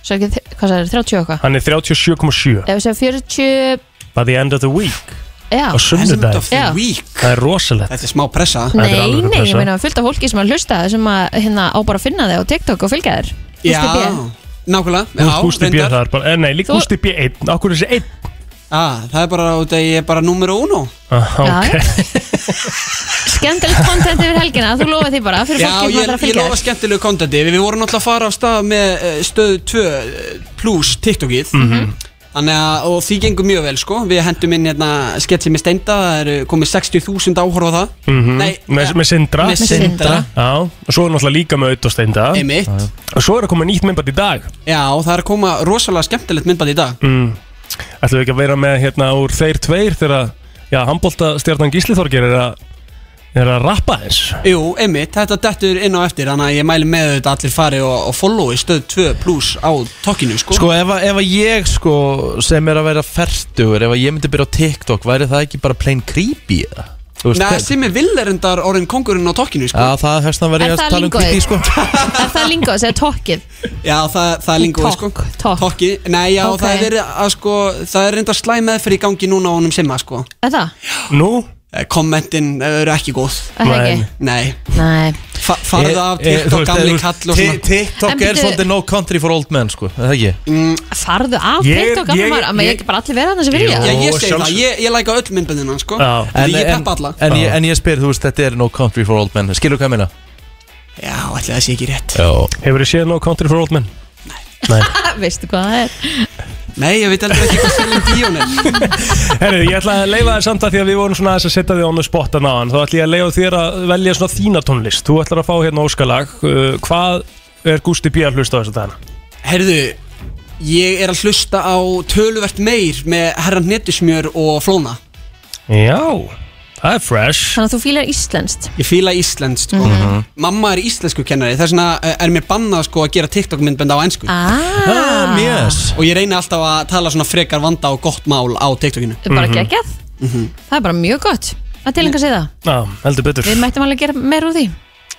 C: Svo ekki, þ- hvað sagði, 30 og eitthvað?
D: Hann er 37,7
F: Eh.
C: Ef að segja 40
D: By the end of the week
C: Já
D: Á sunnudag
C: Já.
D: Það er rosalegt
F: Þetta er smá pressa
C: Nei, nei, ég meina fullt af fólki sem að hlusta sem að hérna á bara að finna þig á TikTok og fylgja þér
F: Já,
C: Gústi B.
F: nákvæmlega
D: Þú
F: Já,
D: ert Gústi B
F: reyndar.
D: það er bara eh, Nei, líka
C: Þú-
D: Gústi B 1 Akkur er þessi 1
F: ah, Það er bara út að ég er bara numero uno
D: Aha,
C: Já,
D: Ah, ok
C: Skemmtilegt content yfir helgina, þú lofa því bara fyrir
F: Já,
C: fólki sem
F: ég,
C: ætlar að
F: ég
C: fylgja
F: lofa
C: þér
F: skemmtilegu kontenti Við vorum alltaf að fara af stað með eh, stöð 2 eh, plus TikTokið
D: Mhm.
F: Þannig að, og því gengur mjög vel sko Við hendum inn hérna sketsi með steinda Það eru komið 60.000 áhorfa á það
D: Mhm.
F: Nei,
D: (laughs)
F: eh,
D: með, með Sindra
F: Með Sindra.
D: Já, og svo er náttúrulega líka með Ödd og Steinda
F: Einmitt. Já, já.
D: Og svo er að koma nýtt myndbætt í dag
F: Já, það er að koma rosalega skemmtilegt myndbætt í dag
D: mm. Ætlum við ekki að vera með hérna úr þeir tveir Þegar, já, handbólta stjarnan Gísliþorgir er að Er að rappa þess
F: Jú, einmitt, þetta dettur inn á eftir Þannig að ég mæli með þetta allir fari og, og followi stöð 2 plus á tokkinu sko
B: Sko ef að, ef að ég sko sem er að vera færtugur ef að ég myndi byrja á TikTok væri það ekki bara plain creepy eða? Þú veist,
F: Nei,
B: það-
F: sem er villerendar orðin kongurinn á tokkinu sko
B: sko, Já, það hefst að vera
C: Er
B: ég að
C: það
B: tala um
C: lingoið?
B: creepy sko
C: Er það lingóið, segja tokkið
F: Já, það, það er lingóið sko
C: Tokk
F: Tokki, nei, já,
C: Ok.
F: það er verið að sko Það er reyndar slæm meðferð í gangi núna á honum simma sko
C: Er
F: Eh,
C: það?
D: Nú?
F: Kommentin eru ekki góð
C: Er það ekki?
F: Nei
C: Nei
F: Fa (laughs) Farðu
B: Eh,
F: af TikTok, gamli kall og svona
C: En
B: TikTok er
C: byrju-
B: svolítið no country for old men sko, er það ekki?
C: Farðu af
B: Ég-
C: TikTok gamla
B: ég-
C: maður, að maður
B: ég-
C: ekki bara allir vera þarna sem vilja
F: Já, ég segi það, ég, ég læka öll myndböndina sko
B: Já.
F: Því ég peppa alla
B: en, ég, en ég spyr, þú veist, þetta er no country for old men Skilur hvað ég meina?
F: Já, ætli það sé ekki rétt
D: Hefur þið séð nóg Country for Old Men? Nei
C: (laughs) Veistu hvað það er?
F: Nei, ég veit aldrei ekki hvað Celine Dion er
D: Herri, ég ætla að leifa þér samt að því að við vorum svona aðeins að setja þig on the spot að náðan Þá ætla ég að leifa þér að velja svona þína tónlist Þú ætlar að fá hérna óskalag uh, Hvað er Gústi B. að hlusta á þessu dagana?
F: Herðu, ég er að hlusta á töluvert meir með herran netusmjör og flóna
D: Já, það er fresh
C: Þannig að þú fílar íslenskt
F: Ég fíla íslenskt sko
D: Mhm.
F: Mamma er íslensku kennari Þess vegna eh, er mér bannað sko að gera TikTok myndbenda á ennsku
C: Ah,
B: yes.
F: Og ég reyni alltaf að tala svona frekar vanda og gott mál á TikTokinu
C: Það er
B: Mhm.
C: bara geggjað Það er bara mjög gott að tilenga sig það
D: Já, Ah, heldur betur
C: Við mættum alveg gera meir úr því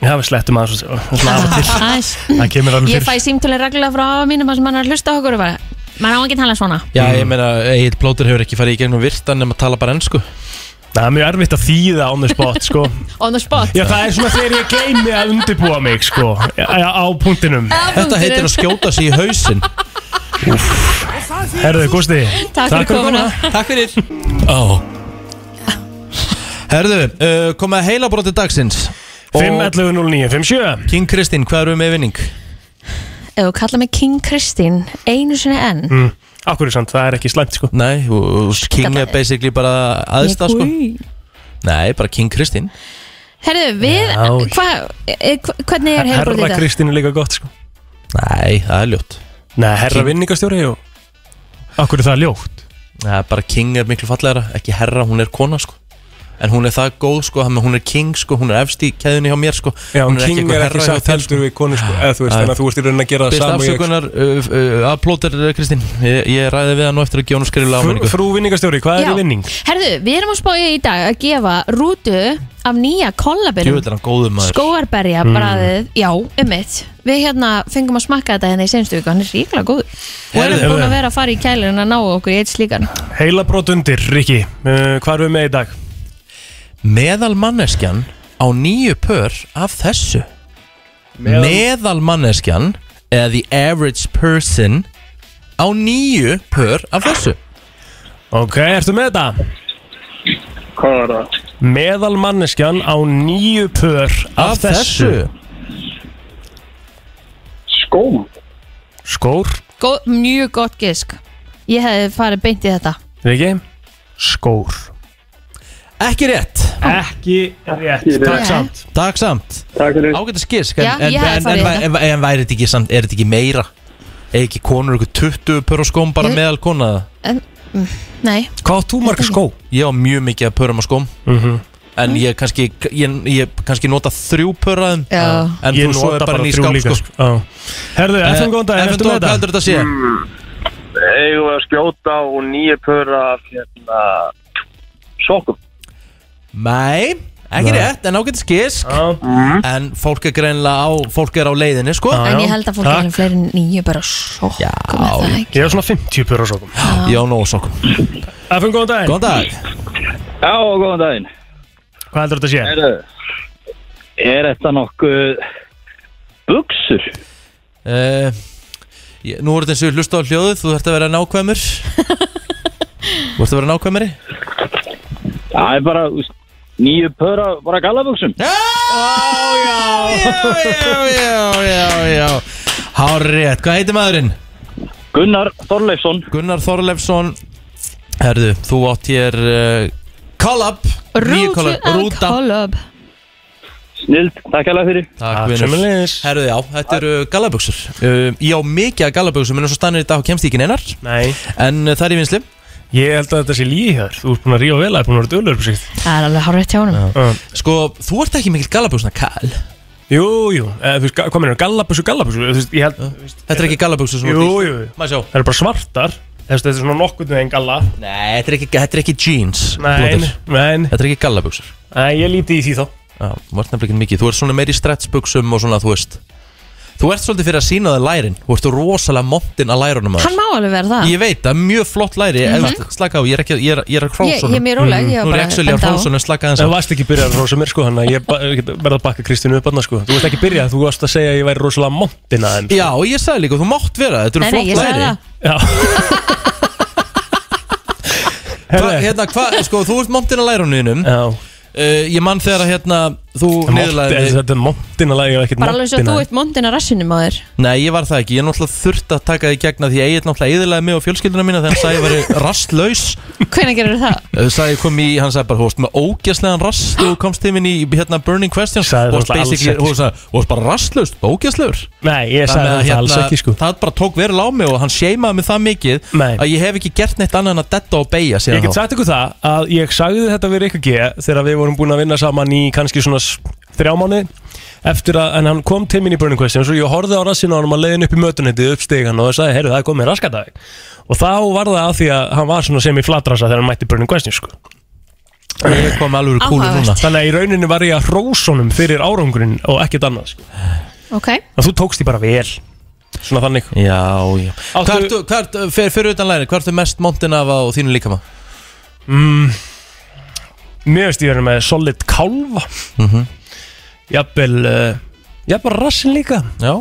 D: Já, við slettum aðeins og- og svona af og til
C: (laughs) Aðeins.
D: Það kemur alveg
C: Ég
D: fyrir
C: fæ símtölu reglulega frá afa mínum þar sem hann er að hlusta á okkur og bara, maður á ekki að tala svona
B: Já, ég meina, Egil Plóter hefur ekki farið í gegnum virtan nema að tala bara ennsku
D: Það er mjög erfitt að þýða on the spot, sko
C: (laughs) On the spot
D: Já, það er svona þegar ég gleymi að undirbúa mig, sko Já, já, Á punktinum
B: Þetta heitir að skjóta sig í hausinn
D: Herðu, Gústi
F: Takk fyrir
B: Ó Herðu, uh, komið heila broti dagsins
D: 5.11.09.57
B: King Kristín, hvað erum við með vinning?
C: Ef þú kalla mig King Kristín einu sinni enn
D: mm. Akkur er sant, það er ekki slæmt, sko
B: Nei, og- og King er basically bara aðstaf sko
C: Ég-
B: Nei, bara King Kristín
C: Herðu, við,
B: Já.
C: hva, e, hva- hvernig er heilbrótið þetta?
D: Kristín er líka gott, sko
B: Nei, það er ljótt
D: Nei, herra vinningastjóri og Akkur er það ljótt
B: Nei, bara King er miklu fallegra, ekki herra, hún er kona sko en hún er það góð sko, þannig að hún er king sko, hún er efst í keðinu hjá mér sko
D: Já,
B: hún
D: King
B: eitthvað
D: er
B: herra
D: ekki
B: hjá
D: satt
B: þér, sko.
D: heldur við konu sko, eða þú veist,
B: Æ.
D: þannig að þú ert í raunin að gera það
B: Biðst
D: sama og ég, sko.
B: afsökunar, uh, uh, uploader uh, Kristín ég, ég ræði við hann og eftir að gefa hún skriflega sko.
D: Frú-
B: áminningu
D: Frú vinningastjóri, hvað
C: Já. Herðu, við erum að spája í dag að gefa rútu af nýja kollabinum
B: Djúvill er hann góður maður
C: Skóarberja
B: Mm.
C: bræðið, já, ummitt Við hérna fengum að smakka þetta hérna í senstu viku Hann er ríkilega góður Og
D: Herðu,
C: erum búin
D: herðu.
C: að vera að fara í kælirinn að ná okkur í eitt slíkan
D: Heila brot undir, Rikki, uh, hvað erum við með í dag?
B: Meðal manneskjan á nýju pör af þessu
D: Meðal-
B: Meðal manneskjan eða the average person á nýju pör af þessu
D: Ok, ertu með þetta? Hvað var það? Meðal manneskjan á nýju pör af,
B: Af þessu.
D: Skór Skór,
C: Gó, Mjög gott gisk Ég hefði farið beint í þetta
D: Rikki Skór
B: Ekki rétt
D: Ekki rétt,
B: rétt.
D: takk samt
B: Takk samt
D: Takk fyrir
B: Ágætt að skisk
C: Já,
B: en, en,
C: ég hefði
B: en,
C: farið hérna.
B: en,
C: í þetta.
B: en, en væri þetta ekki, samt, er þetta ekki meira Eða ekki konur ykkur 20 pör á skóm bara
C: Ég-
B: meðal konaða
C: en, mm, Nei
D: Hvað átt þú marga skó? Mhm.
B: Ég á mjög mikið að pörum á skóm En ég kannski, ég, ég kannski nota þrjú pörraðum
C: Já.
B: En
D: Ég
B: þú svo er
D: nota
B: bara
D: bara
B: ný
D: þrjú
B: skáp
D: líka,
B: sko.
D: sko. Já. Herðu,
B: Eh,
D: FM góðan dag,
B: FM
D: ertu með
B: góðan,
D: þetta?
B: hvað heldur þetta að sé?
N: Mm, Eigum við að skjóta og nýja pöra af hérna sokkum.
B: Nei, ekki
N: Nei.
B: rétt, en ágætt skisk
D: mm.
B: En fólk er greinlega á, fólk er á leiðinni sko
C: En ég held að fólk er fleiri en nýju bara sokk Já,
D: Ég er svona 50 pör á sokum
B: Já, nóg sokum
D: FM góðan dag
B: Góðan dag
H: Já, góðan daginn.
D: Hvað heldur þetta sé?
H: Heyrðu, Er þetta nokkuð buksur?
B: uh, ég, Nú er þetta eins og ég hlusta á hljóðu Þú þarft að vera nákvæmur Þú þarft að vera nákvæmari
H: Það er bara úst, nýju pöra bara gallabuksum.
B: Já, já, já, já, já Hárrétt, hvað heitir maðurinn?
H: Gunnar Þorleifsson
B: Gunnar Þorleifsson Herðu, þú átt hér uh, Collab nýju
C: Rútu
B: collab,
C: að
B: Rúta
C: kollab
H: Snild, takk hella fyrir.
B: Takk, vinur. Herðu, já, þetta eru gallabuxur um, Ég á mikið að gallabuxur, menn eins og stannir í dag kemst ég ekki neinar
D: Nei
B: En uh, það er í vinsli
D: Ég held að þetta sé líhjör Þú ert búin að ríða vel að það er búin að vera dölur upp sig Uh,
C: Það er alveg hárið hjá honum
B: Sko, þú ert ekki mikill gallabuxna kall
D: Jú, jú, eða, þú veist, ga- hvað meina, gallabussu, gallabussu þú veist, ég held, þú veist,
B: Þetta er ekki gallabussu sem
D: Jú,
B: þú ert í.
D: jú,
B: maður sjá
D: Það eru bara svartar, Þú veist, þetta er svona nokkurnu en galla
B: Nei, þetta er ekki, þetta er ekki jeans
D: Nei,
B: Blóðir.
D: nei
B: Þetta er ekki gallabuxur
D: Nei, ég líti í því þá
B: Já, þú ert nefnilega ekki mikið Þú ert svona meiri stretchbuxum og svona, þú veist Þú ert svolítið fyrir að sína það lærin Þú ert rosalega montinn að lærunum
C: Hann má alveg vera það
B: Ég veit að mjög flott læri mm -hmm. Slaka á, ég er ekki ég er, ég er að
C: Mhm. Ég-
B: hrósa
C: ég er mjög róleg, ég var
B: Nú er
C: bara
B: ég actually að
C: benda á.
B: hrósa honum, slaka aðeins
D: Það varst ekki byrjað að rosa mér sko Þannig að ég ba- ég get- verð að bakka Kristínu upp annars sko Þú veist ekki byrjað, þú varst að segja að ég væri rosalega montin að þeim
B: Já, og ég sagði líka, þú mátt vera, þetta eru
C: Nei, nei,
B: flott
C: ég sagði
B: læri
C: það.
B: Hva, hérna, hva, sko, þú ert montin að læra hún innum
D: Já
B: Eh, Ég man þegar að hérna, þú niðurlæði
D: Montin- Þetta er montin að lægi
C: Bara alveg svo þú ert mondin að rassinum á
D: (laughs)
C: þér
B: Nei, ég var það ekki, ég náttúrulega þurfti að taka því gegna því að ég er náttúrulega eðilaði mig og fjölskylduna mína þegar hann sagði ég (laughs) væri rastlaus
C: Hvenær gerur það?
B: Eh, sagði kom í, hann sagði bara, þú veist, með ógæslegan rast þú komst til minn í hérna Burning Questions sagði
D: það náttúrulega alls ekki.
B: Þú sagði, þú veist bara rastlaus, ógæslegur
D: Nei, ég sagði þetta alls ekki, sko.
B: hérna, Það bara tók verið á mig og hann seimaði mig það mikið
D: Nei.
B: að ég hef ekki gert neitt annað en að detta og beigja
D: Ég get sagt ykkur það að ég sagði þetta við Rikki G þegar við vorum búin að vinna saman í kannski svona s- þrjá mánu eftir að, en hann kom til mín í Burning Questions og ég horfði á rassin á hann að leiðin upp í mötunandi upp stegan og það sagði, heyrðu það er komið raskatæk og þá var það að því að hann var svona sem í flatrasa þegar hann mætti Burning Questions sko.
B: Ég kom alveg úr kúlu núna. Áhugavert.
D: Þannig að í rauninni var ég að hrósunum fyrir árangurinn og ekkert annað sko.
C: Ok
D: að þú tókst því bara vel svona þannig
B: Já, já Hvað ertu, hvað ertu, fyrir, fyrir utan læri, hvað ertu mest montin af á þínu líkama?
D: mm, Mér veist ég verið með solid kálfa
B: Mhm.
D: Jafnvel uh, Jafnvel rassin líka
B: Já,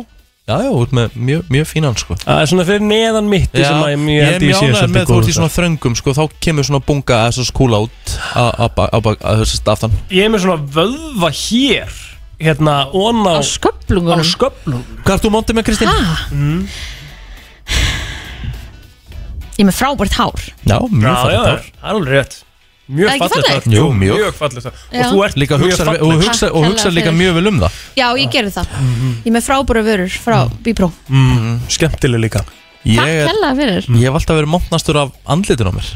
B: já, já, út með mjög, mjög fínan sko
D: Það er svona fyrir neðan mitt
B: Já,
D: sem að ég, ég
B: ég er
D: held ég
B: mjög
D: sé
B: ánægður með
D: svolítið
B: þú ert í
D: góður
B: svona
D: svona...
B: þröngum sko, þá kemur svona bunga eða svona skúla út á á bak- á bak- að þessu staftan
D: Ég er með svona vöðva hér Hérna, on á Á
C: sköplungunum
D: Á sköplungunum
B: Hvað ert þú montið með Kristín?
D: Mm.
C: Ég er með frábært hár
B: Já, mjög
D: Já,
B: fallegt
D: já,
B: hár.
D: Það er alveg rétt
C: Er
D: Mjög
C: ekki
D: fallegt
C: fallegt?
D: hár.
B: Jú, mjög.
D: fallegt hár.
C: Já.
D: Og þú ert
B: Líka
D: mjög
B: hugsar,
D: falleg.
B: og hugsar, og
C: Takk
B: hugsar líka
C: kærlega
B: mjög vel um það
C: Já, ég gerði það
D: Mm-hmm.
C: Ég er með frábæra vörur frá Bíbró
D: mm, Skemmtileg líka
B: Ég,
C: Takk hella fyrir
B: ég hef alltaf verið montnastur af andlitun á mér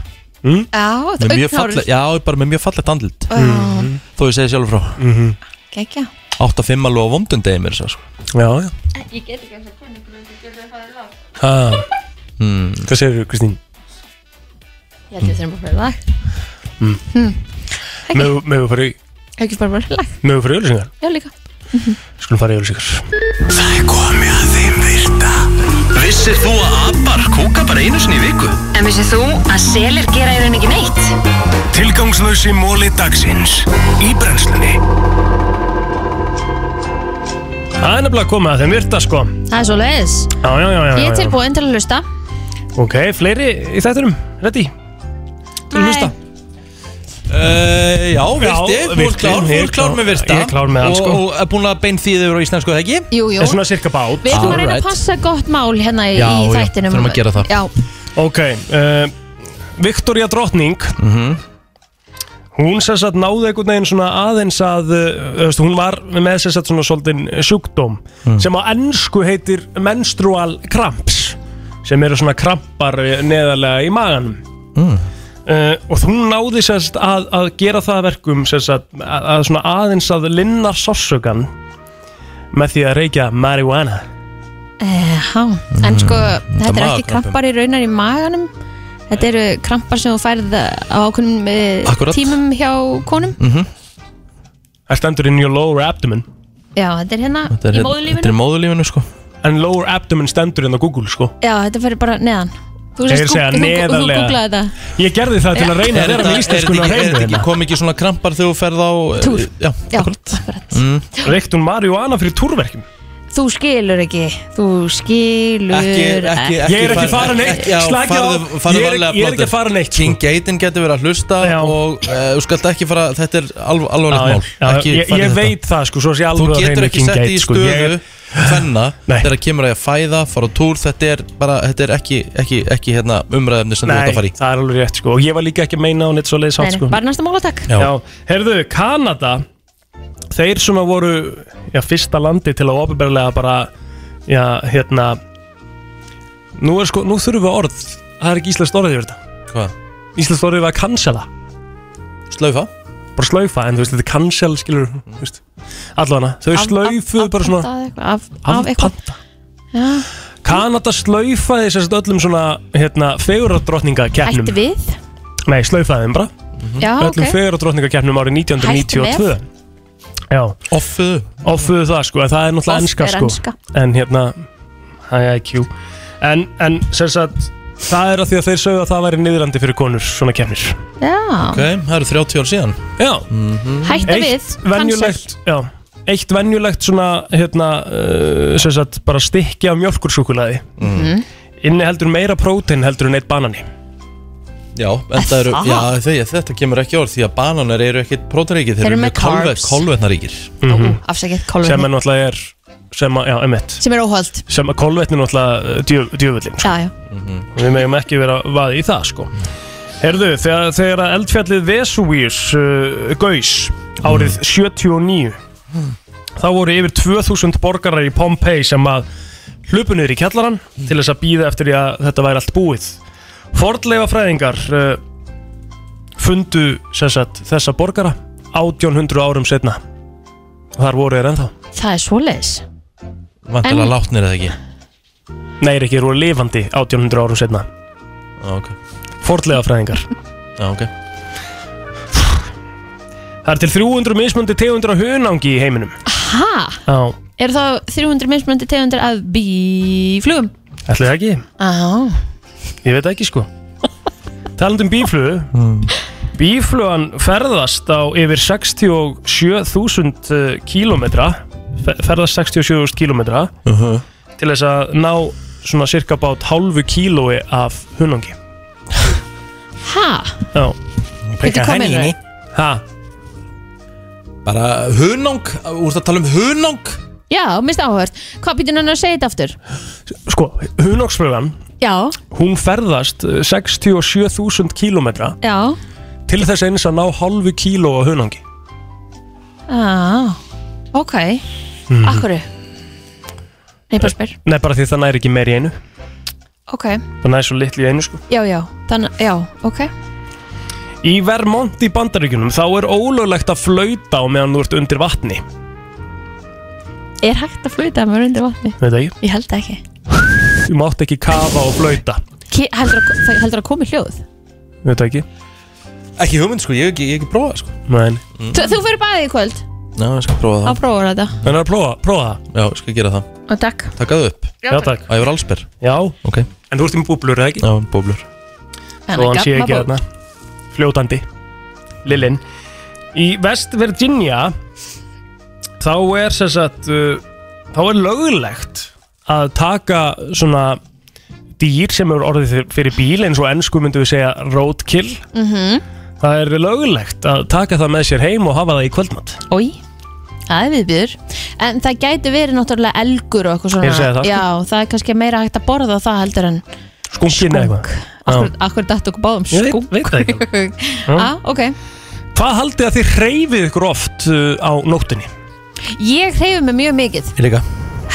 B: mm?
C: Já, þetta
B: Með mjög
C: augnhárið.
B: falleg- Já, bara með mjög fallegt andlit
C: Já.
D: Mm.
C: Mhm.
B: Þó ég segi sjálfur frá mm -hmm.
C: Gekja
B: 8-5 alveg á vondundegi mér sko.
D: Já, já
C: Ég get ekki að það kunni
D: ah.
B: Hmm.
D: Hvað segir þú, Kristín?
C: Ég held ég þurfum bara að fara í lag
D: Mm.
C: Hm, ekki.
D: Mögum við fara í
C: Ekki bara bara í lag
D: Mögum við fara í öllusingar?
C: Já líka
D: Skulum fara í öllusingar
A: Það er komið að þeim virta Vissir þú að abar kúka bara einu sinni í viku?
O: En vissið þú að selir gera í raun ekki neitt?
A: Tilgangslösi móli dagsins Í brennslunni
D: Það er nefnilega komið að þeim virta sko
C: Það er svo leiðis
D: Já, já, já, já, já.
C: Ég er tilbúin til að hlusta
D: Ok, fleiri í þættinum, ready?
C: Til að hlusta
B: Uh, já, virti, þú ert klár, þú ert klár með virta
D: Ég er klár með allt
B: Og-
D: sko
B: Og er búin að bein þýðið yfir á íslensku, eða ekki?
C: Jú, jú. En svona
D: cirka bát
C: Við erum að reyna að passa gott mál hérna í,
D: Já,
C: í
D: já,
C: þættinum
D: þurfum að gera það.
C: Já,
D: Ok, uh, Viktoria Drottning Hún sem sagt náði einhvern veginn svona aðeins að uh, veist, Hún var með sem sagt svona svolítinn sjúkdóm Sem á ennsku heitir menstrual cramps Sem eru svona krampar eh, neðarlega í maganum
B: Mm.
D: Uh, og hún náði sérst að, að gera það að verkum sérst að, að, að svona aðeins að linna sársökan með því að reykja marihuana
C: já
D: Mm,
C: En sko, þetta er ekki
D: magakrampum.
C: krampar í raunar í maganum Þetta eru krampar sem þú færð á ákveðnum eh,
D: Akkurat.
C: tímum hjá konum
D: mm -hmm. Það stendur in your lower abdomen
C: Já, þetta er hérna í móðulífinu
D: móðulífinu sko En lower abdomen stendur inn á Google sko
C: Já, þetta fyrir bara neðan Þú
D: Ég er að segja
C: gú- þú, þú
D: neðarlega.
C: googlaði þetta
D: Ég gerði það til að reyna að
B: Er
D: vera
B: þetta-
D: með
B: er
D: íslenskunum
B: þetta ekki-
D: að
B: er
D: reyna
B: þetta ekki-
D: kom ekki svona krampar þegar þú ferð á
B: eh,
C: Túr.
D: Já,
C: Já,
D: mm. Reykt hún marihuana fyrir túrverkjum
C: Þú skilur ekki Þú skilur
D: Ég er ekki fara neitt,
B: Já,
D: slakið á.
B: farðu- farðu
D: Ég er-
B: varlega,
D: ég er ekki
B: Plóter.
D: að fara neitt, sko.
B: King Gaten getur verið að hlusta Og eh, þú skalt ekki fara Þetta er alv alvarlegt
D: Já,
B: mál
D: já, já,
B: Ekki
D: ég-
B: fara í
D: ég
B: þetta.
D: veit það, sko, svo sé alveg
B: Þú
D: á hreinu
B: getur ekki
D: King
B: sett í
D: Gate, sko,
B: stöðu
D: ég- (laughs)
B: Fenna Þegar kemur að ég að fæða Fara á túr Þetta er bara Þetta er ekki Ekki, ekki hérna umræðumni sem þú ert að fara í
D: það er alveg rétt sko Og ég var líka ekki að meina á neitt svo leiðis
C: Nei, nei,
D: sko
C: bara næsta málatak
D: Já. heyrðu, Kanada Þeir svona voru já, fyrsta landi til að ofinberlega bara Já, hérna Nú er sko, nú þurfum við orð Það er ekki íslenskt orðið yfir þetta
B: Hvað?
D: Íslenskt orðið var að cancela
B: Slaufa?
D: Bara slaufa, en þú veist, þetta er cancel, skilur mm. veist, Allavega, þau
C: Af- af-
D: slaufuðu bara svona
C: Af, af, af eitthvað Já,
D: Kanada slaufaði sérst öllum svona hérna, feguradrottningakeppnum
C: Hætti við
D: Nei, slaufaði þeim bara
C: Já,
D: Öllum
C: ok.
D: feguradrottningakeppnum árið 1992
C: Hætti
D: Já Offuðu Offuðu það sko, en það er náttúrulega
C: Off
D: enska
C: er
D: sko
C: enska.
D: En hérna, það er IQ En, en sérst það er að því að þeir sögðu að það væri niðurandi fyrir konur svona keppnir
C: Já,
D: það eru 30 ár síðan Já
C: Hætta við,
D: Eitt venjulegt, já Eitt venjulegt svona, hérna, uh, sem sagt, bara stykki af mjölkursúkulaði
B: Mhm.
D: Inni heldur meira prótein heldur en eitt banani
B: Já, en það eru,
D: það?
B: já þegar, þetta kemur ekki orð því að bananar eru ekkit prótaríkir, þeir
C: Þeir
B: eru
C: eru
B: mjög
C: með
B: kolve,
C: carbs.
B: kolvetnaríkir
C: afsakið
D: Mhm. Sem er
C: kolvetni
D: náttúrulega er, sem að, já, emitt
C: Sem er óholt
D: Sem að kolvetni er náttúrulega uh, djö, djöfullin
C: Já, já
D: Við megum ekki vera vaði í það sko Herðu, þegar, þegar að eldfjallið Vesuvius uh, gaus árið 79 þá voru yfir 2000 borgarar í Pompeii sem að hlupu niður í kjallaran til þess að býða eftir því að þetta væri allt búið Fordleifa fræðingar uh, fundu sem sagt, þessa borgara 1800 árum setna Þar voru þeir ennþá
C: Það er svoleiðis
D: Vantilega
C: En-
D: látnir eða ekki Nei, er ekki, eru lifandi 1800 árum setna Ok Fordlega fræðingar Já, ok Það er til 300 mismundi tegundur af hunangi í heiminum
C: Ha,
D: Já
C: er það 300 mismunandi tegundir af bíflugum?
D: Ætli það ekki?
C: Já,
D: Ég veit ekki sko Talandi um bíflugu Bíflugan ferðast á yfir 67.000 eh, kílómetra fe- Ferðast 67.000 kílómetra
B: Mhm.
D: Til þess að ná svona cirka bát hálfu kílói af hunangi
C: ha,
D: Já
C: Bíddu, hvað meinarðu?
D: Hæ?
B: Bara hunang, úrst að tala um hunang
C: já, mist áhört Hvað býtum hann að segja þetta aftur?
D: Sko, hunangsflugan
C: Já,
D: Hún ferðast eh, 67.000 kílómetra
C: já,
D: Til þess eins að ná hálfu kíló af hunangi
C: já Ah, Ok,
D: Mhm.
C: akkurru Nei, bara spyr
D: Nei, bara því það næri ekki meir í einu
C: Ok,
D: Það næri svo litlu í einu sko
C: já, já, þannig, já, ok
D: Í Vermont í bandaríkunum þá er ólöglegt að flauta á meðan þú ert undir vatni
C: Er hægt að flöta með undir vatni?
D: Veit það ekki?
C: Ég held það ekki
D: Þú mátt ekki kafa og flauta
C: Ki- Heldur að, það- heldur að komi hljóð?
D: Veit það ekki?
B: Ekki hugmynd sko, ég hef ekki, ég hef ekki prófað sko
D: Nei
C: Þú- Þú fyrir bæði í kvöld
B: Já, ég skal prófa
C: á
B: það
C: prófur þetta
D: En að prófa, prófa það
B: Já, ég skal gera það
C: Og takk
B: Takkaðu upp
C: Já, Já, takk.
B: Æ, ég var allsber
D: Já
B: Ok
D: En þú ert í búblur eða ekki?
B: Já, búblur
C: En
D: Þó hann sé
C: gafna
D: ekki
C: bók.
D: þarna Fljótandi Lillin Í West Virginia Þá er sem sagt uh, Þá er löglegt Að taka svona Dýr sem eru orðið fyr- fyrir bíl eins og ennsku myndum við segja roadkill
C: Mhm.
D: Það er löglegt að taka það með sér heim og hafa það í kvöldmatt
C: Ói, það er viðbjör En það gæti verið náttúrulega elgur og eitthvað svona
D: Ég segi það, sko.
C: Já, það er kannski meira hægt að borða það heldur en
D: Skunkin eða eitthvað Já.
C: Akkur datt okkur báðum
D: Ég veit-
C: skunk
D: veit það ekki Já.
C: ah, ok
D: Hvað haldið að þið hreyfið ykkur oft uh, á nóttinni?
C: Ég hreyfi mig mjög mikið
B: Ég líka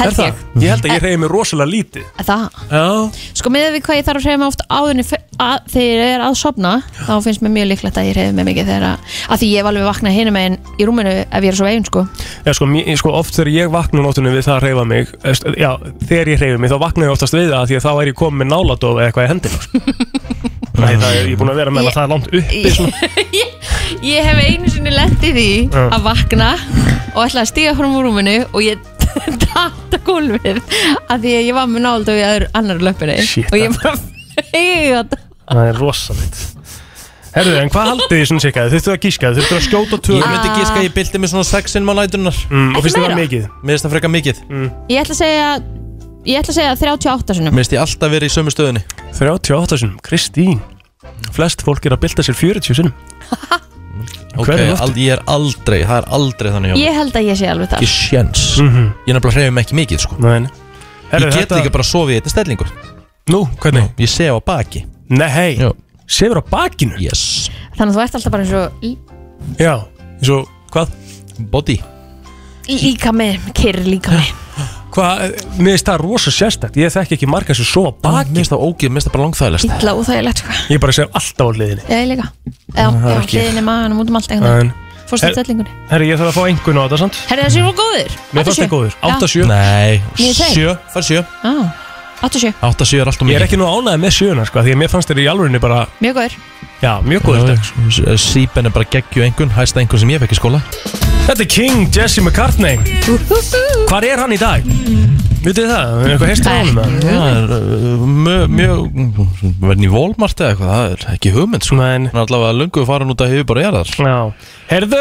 C: Held ég.
D: Ég held að ég hreyfi mig rosalega lítið
C: Það,
D: Já
C: sko með við hvað ég þarf að hreyfa mig oft áðunni þegar ég er að sofna þá finnst mér mjög líklegt að ég hreyfi mig mikið þegar að, að því ég hef alveg vaknað hinum megin í rúminu ef ég er svo eigin sko
D: Já, sko, mér, sko, oft þegar ég vakna á nóttunum við það að reyfa mig eðst, Já, þegar ég reyfi mig þá vakna ég oftast við það af Því að þá er ég komið með náladof eða eitthvað í hendina (laughs) sko. Nei, það er, ég er búin að vera með að það er langt uppi svona.
C: (laughs) Ég hef einu sinni lent í því
D: Já.
C: að vakna og ætla að stíga fram úr rúminu og ég (laughs) datta gólfið að því að ég var með náld og ég aður annar löppinni
D: Shit,
C: og ég bara fegið
D: Það er rosalegt Herðu, en hvað haldið þið svona sikkaði? Þurftu að gíska, þurftu að skjóta tvö
B: Ég myndi giska að ég bylti mig svona sexinn má nætunar
D: mm,
C: og finnst þér það meira?
D: mikið?
B: Mér finnst það freka mikið
D: mm.
C: Ég ætla að segja ég ætla að segja 38 sinum
B: Mér finnst ég alltaf verið í sömu stöðunni
D: 38 sinum, Kristín Flest fólk er að bylta sér 40 sinum
B: Ok,
D: Hvernig
B: al, ég er aldrei, það er aldrei þannig hjá mér.
C: Ég held að ég sé alveg þar
B: Ekki sjens Ég nefnilega hreyfum ekki mikið sko
D: Nei, nei.
B: Ég
D: Herru,
B: get
D: þetta-
B: líka bara að sofa í einni stellingu
D: Nú, hvernig?
B: Ég sef á baki
D: Nei, hei, sefur á bakinu?
B: Yes
C: Þannig að þú ert alltaf bara eins og lí-
D: Já, eins og hvað?
B: Body
C: líka með, kyrr líka með
D: Hvað, eh, mér finnst það rosa sérstakt Ég þekki ekki marga sem svo baki
B: Mér finnst það ógið, mér finnst það bara langþægilegst
C: illa óþægilegt sko
D: Ég bara sef alltaf á hliðinni
C: Já, ég líka Já,
D: Það er
C: já,
D: ekki ég.
C: hliðinni maðanum út um allt
D: En-
C: einhvern veginn Fórstu
D: Er-
C: stellingunni
D: Herri, ég þarf að fá einhvern á þetta, sant?
C: Herri, þessi var góður
D: Mér fannst það góður, 8-7
C: Mér
B: Nei,
C: segir.
B: 7, fær 7
C: 87
B: 8-7 er alltaf mikið
D: Ég er ekki nú ánæðið með sjöuna, sko Því að mér fannst þér í alvörinni bara
C: Mjög góður
D: Já, mjög góður dag
B: Sýpen er bara geggju einhvern, hæsta einhvern sem ég fekk í skóla
D: Þetta er King Jesse McCartney Hvar er hann í dag? Vitið þið það? Er eitthvað heist á honum? eða?
B: Það er uh, mjög, mjög, verðin í Walmart eða eitthvað, það er ekki hugmynd sko
D: Nei Hann
B: er allavega lungu farin út að hefur bara jarðar
D: Já, herðu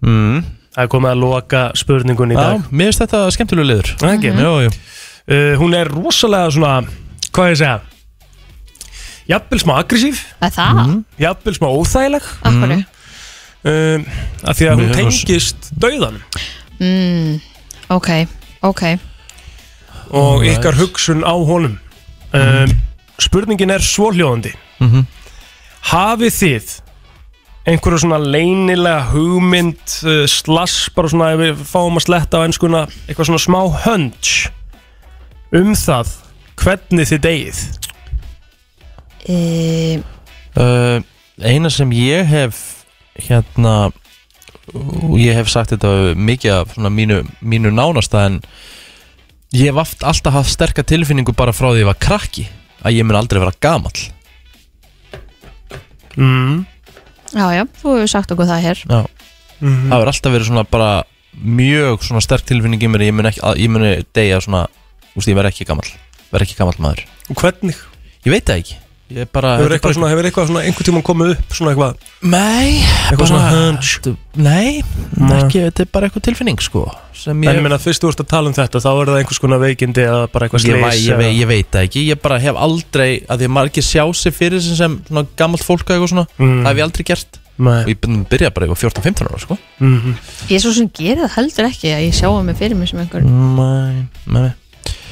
D: Það er komið að loka spurningun í dag
B: Mm. Já, mér finnst þetta skemmtilega liður
D: Það ekki?
B: Jú, jú
D: Uh, Hún er rosalega svona, hvað ég að segja Jafnvel smá aggressív
C: Það það?
B: Mhm.
D: Jafnvel smá óþægileg
C: Af hverju?
D: um, að Því að hún
B: Mjög rosa.
D: tengist dauðan
B: Mhm.
C: Mm, ok, ok
D: og
B: Alright.
D: ykkar hugsun á honum um, Spurningin er svohljóðandi
B: Mhm.
D: Hafið þið einhverju svona leynilega hugmynd uh, slass, bara svona ef við fáum að sletta á einskuna, eitthvað svona smá hunch um það hvernig þið degið
C: e,
B: Uh, eina sem ég hef hérna og ég hef sagt þetta mikið af svona mínu, mínu nánasta en ég hef aft, alltaf haft sterka tilfinningu bara frá því ég var krakki að ég mun aldrei vera gamall Mhm.
D: mm.
C: Já, já, þú hefur sagt okkur það hér
B: Já
D: Mhm.
B: Það hefur alltaf verið svona bara mjög svona sterk tilfinning í mér að ég mun, ekki, að, ég mun deyja svona, þú veist, ég verð ekki gamall verð ekki gamall maður
D: og hvernig?
B: Ég veit það ekki Ég bara þetta er
D: Hefur
B: bara-
D: eitthvað, svona, hefur eitthvað svona einhvern tímann komið upp svona eitthvað
B: Nei,
D: eitthvað svona
B: bara-
D: hunch
B: Nei, ekki, þetta er bara eitthvað tilfinning sko sem
D: En ég meina fyrst þú ert að tala um þetta þá er það einhvers konar veikindi eða bara
B: ég,
D: eitthvað slys
B: vei, ég,
D: eða-
B: vei, ég veit það ekki, ég bara hef aldrei að því að margir sjá sig fyrir sem, sem svona, gammalt fólk og eitthvað svona, það hef ég aldrei gert
D: Nei.
B: og ég byrja- byrja bara eitthvað 14-15 ára sko
D: Mhm.
C: Ég er svo sem gerir það heldur ekki að ég sjáum mig fyrir mig sem einhver
B: Nei, nei.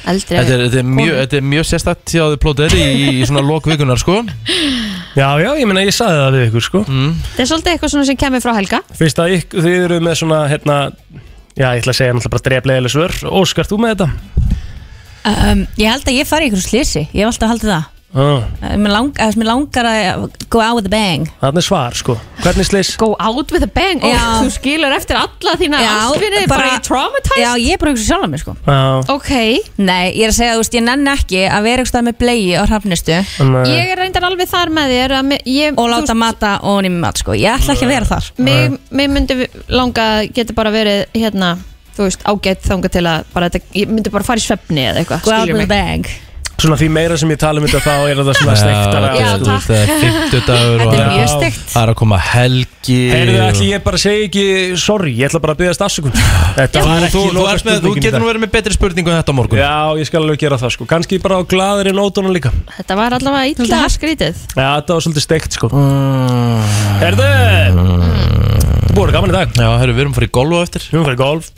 C: eldri
B: Þetta er, þetta er mjög,
C: konu.
B: þetta er mjög sérstætt hjá þið plótið í, í svona lokvikunar sko
D: Já, já, ég meina ég sagði það við ykkur sko
B: mm.
C: Þetta er svolítið eitthvað svona sem kemur frá Helga
D: Fyrst að ykk, þið eru með svona hérna, Já, ég ætla að segja náttúrulega bara dreflegileg svör Óskar, þú með þetta?
G: Um, ég held að ég fari í ykkur slísi, ég hef alltaf haldið það
D: Ah.
G: Mér lang, eða, mér langar að go out with a bang
D: Þarna er svar sko Hvernig slis?
C: Go out with a bang og
G: Já.
C: þú skilur eftir alla þína
G: Já,
C: ástvinni bara, bara traumatized
G: Já, ég er bara að hugsa sjálf að mér sko
D: Já
C: Ok
G: Nei, ég er að segja, þú veist, ég nenn ekki að vera eitthvað með blegi á hrafnistu
D: Nei.
C: Ég er reyndar alveg þar með þér að mi- ég,
G: og láta mata og nými mat sko Ég ætla ekki að vera þar
C: mig, mig myndi langa að geta bara verið hérna þú veist ágætt þanga til að bara, þetta, ég myndi bara fara í svefni eða eitthvað
G: Go out
C: skilurðu
G: with a
C: mig?
G: bang
D: Svona því meira sem ég tala um þetta þá er þetta svona steiktara
B: þú veist, það er fimmtudagur
D: Þetta er
B: og
D: mjög
B: það-
D: steikt.
B: Það er að koma helgi
D: Heyrðu,
B: og-
D: ætli ég bara segi ekki sorry, ég ætla bara að byggast afsökun Þetta var
B: Þú-
D: ekki
B: þú- þú ert með- þú getur nú verið með betri spurningu en þetta á morgun
D: Já, ég skal alveg gera það sko Kanski bara á glaðri nótunum líka
C: Þetta var allavega illa skrítið
D: Já, þetta var svolítið steikt sko Herðu Þú búið að vera gaman í dag
B: Já, herru, við erum að fara í golf á eftir
D: Við erum að fara í golf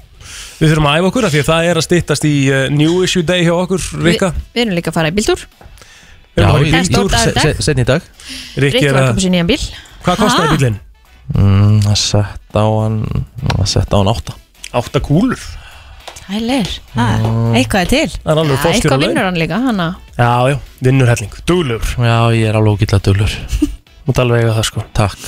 D: Við þurfum að æfa okkur af því að það er að styttast í uh, New Issue Day hjá okkur, Rikka
C: Við- Við erum líka að fara í bíltúr
D: Við erum að fara í
C: Það er stór
D: bíltúr.
C: dagur í dag.
D: Se- se-
B: Setni í dag
C: Rikki var að koma sér í nýjan bíl
D: Hvað
C: Ha?
D: kostaði bílinn?
B: Mm, Það sett á hann Það sett á hann átta
D: Átta kúlur
C: Ælir,
D: Mm.
C: eitthvað er til
D: Það er alveg
C: Já,
D: fólkstjóri á
C: Eitthvað
D: laun.
C: vinnur hann líka, hann að
D: Já, já, vinnur helling, duglur
B: Já, ég er alveg ógilla duglur
D: Mátt alveg eiga það sko
B: Takk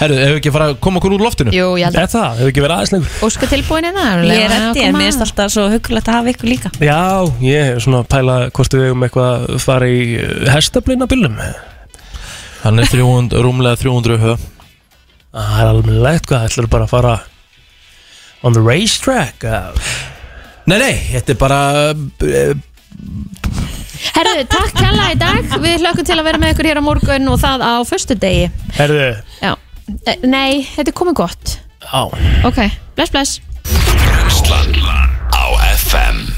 B: Herru, hefur við ekki fara að koma okkur úr loftinu?
C: Jú, ég held að-
D: Er það, hefur ekki verið aðeins lengur
C: Óska tilbúin eða
G: Ég er reddi, en mér finnst sko. alltaf svo huggulegt að hafa ykkur líka
D: Já, ég er svona að pæla hvort við eigum eitthvað að fara í eh, hestablina bílum
B: Hann er 300, rúmlega 300 höf
D: Ah, Það er alveg legt hvað, ætlar bara að fara on the racetrack uh.
B: Nei, nei, þetta er bara eh,
C: Herðu, takk hella í dag Við hlökkum til að vera með ykkur hér á morgun og það á föstudegi
D: Herðu
C: Já, Eh, nei, þetta er komið gott
D: Já
C: Ok, bless bless
A: Brenslan á FM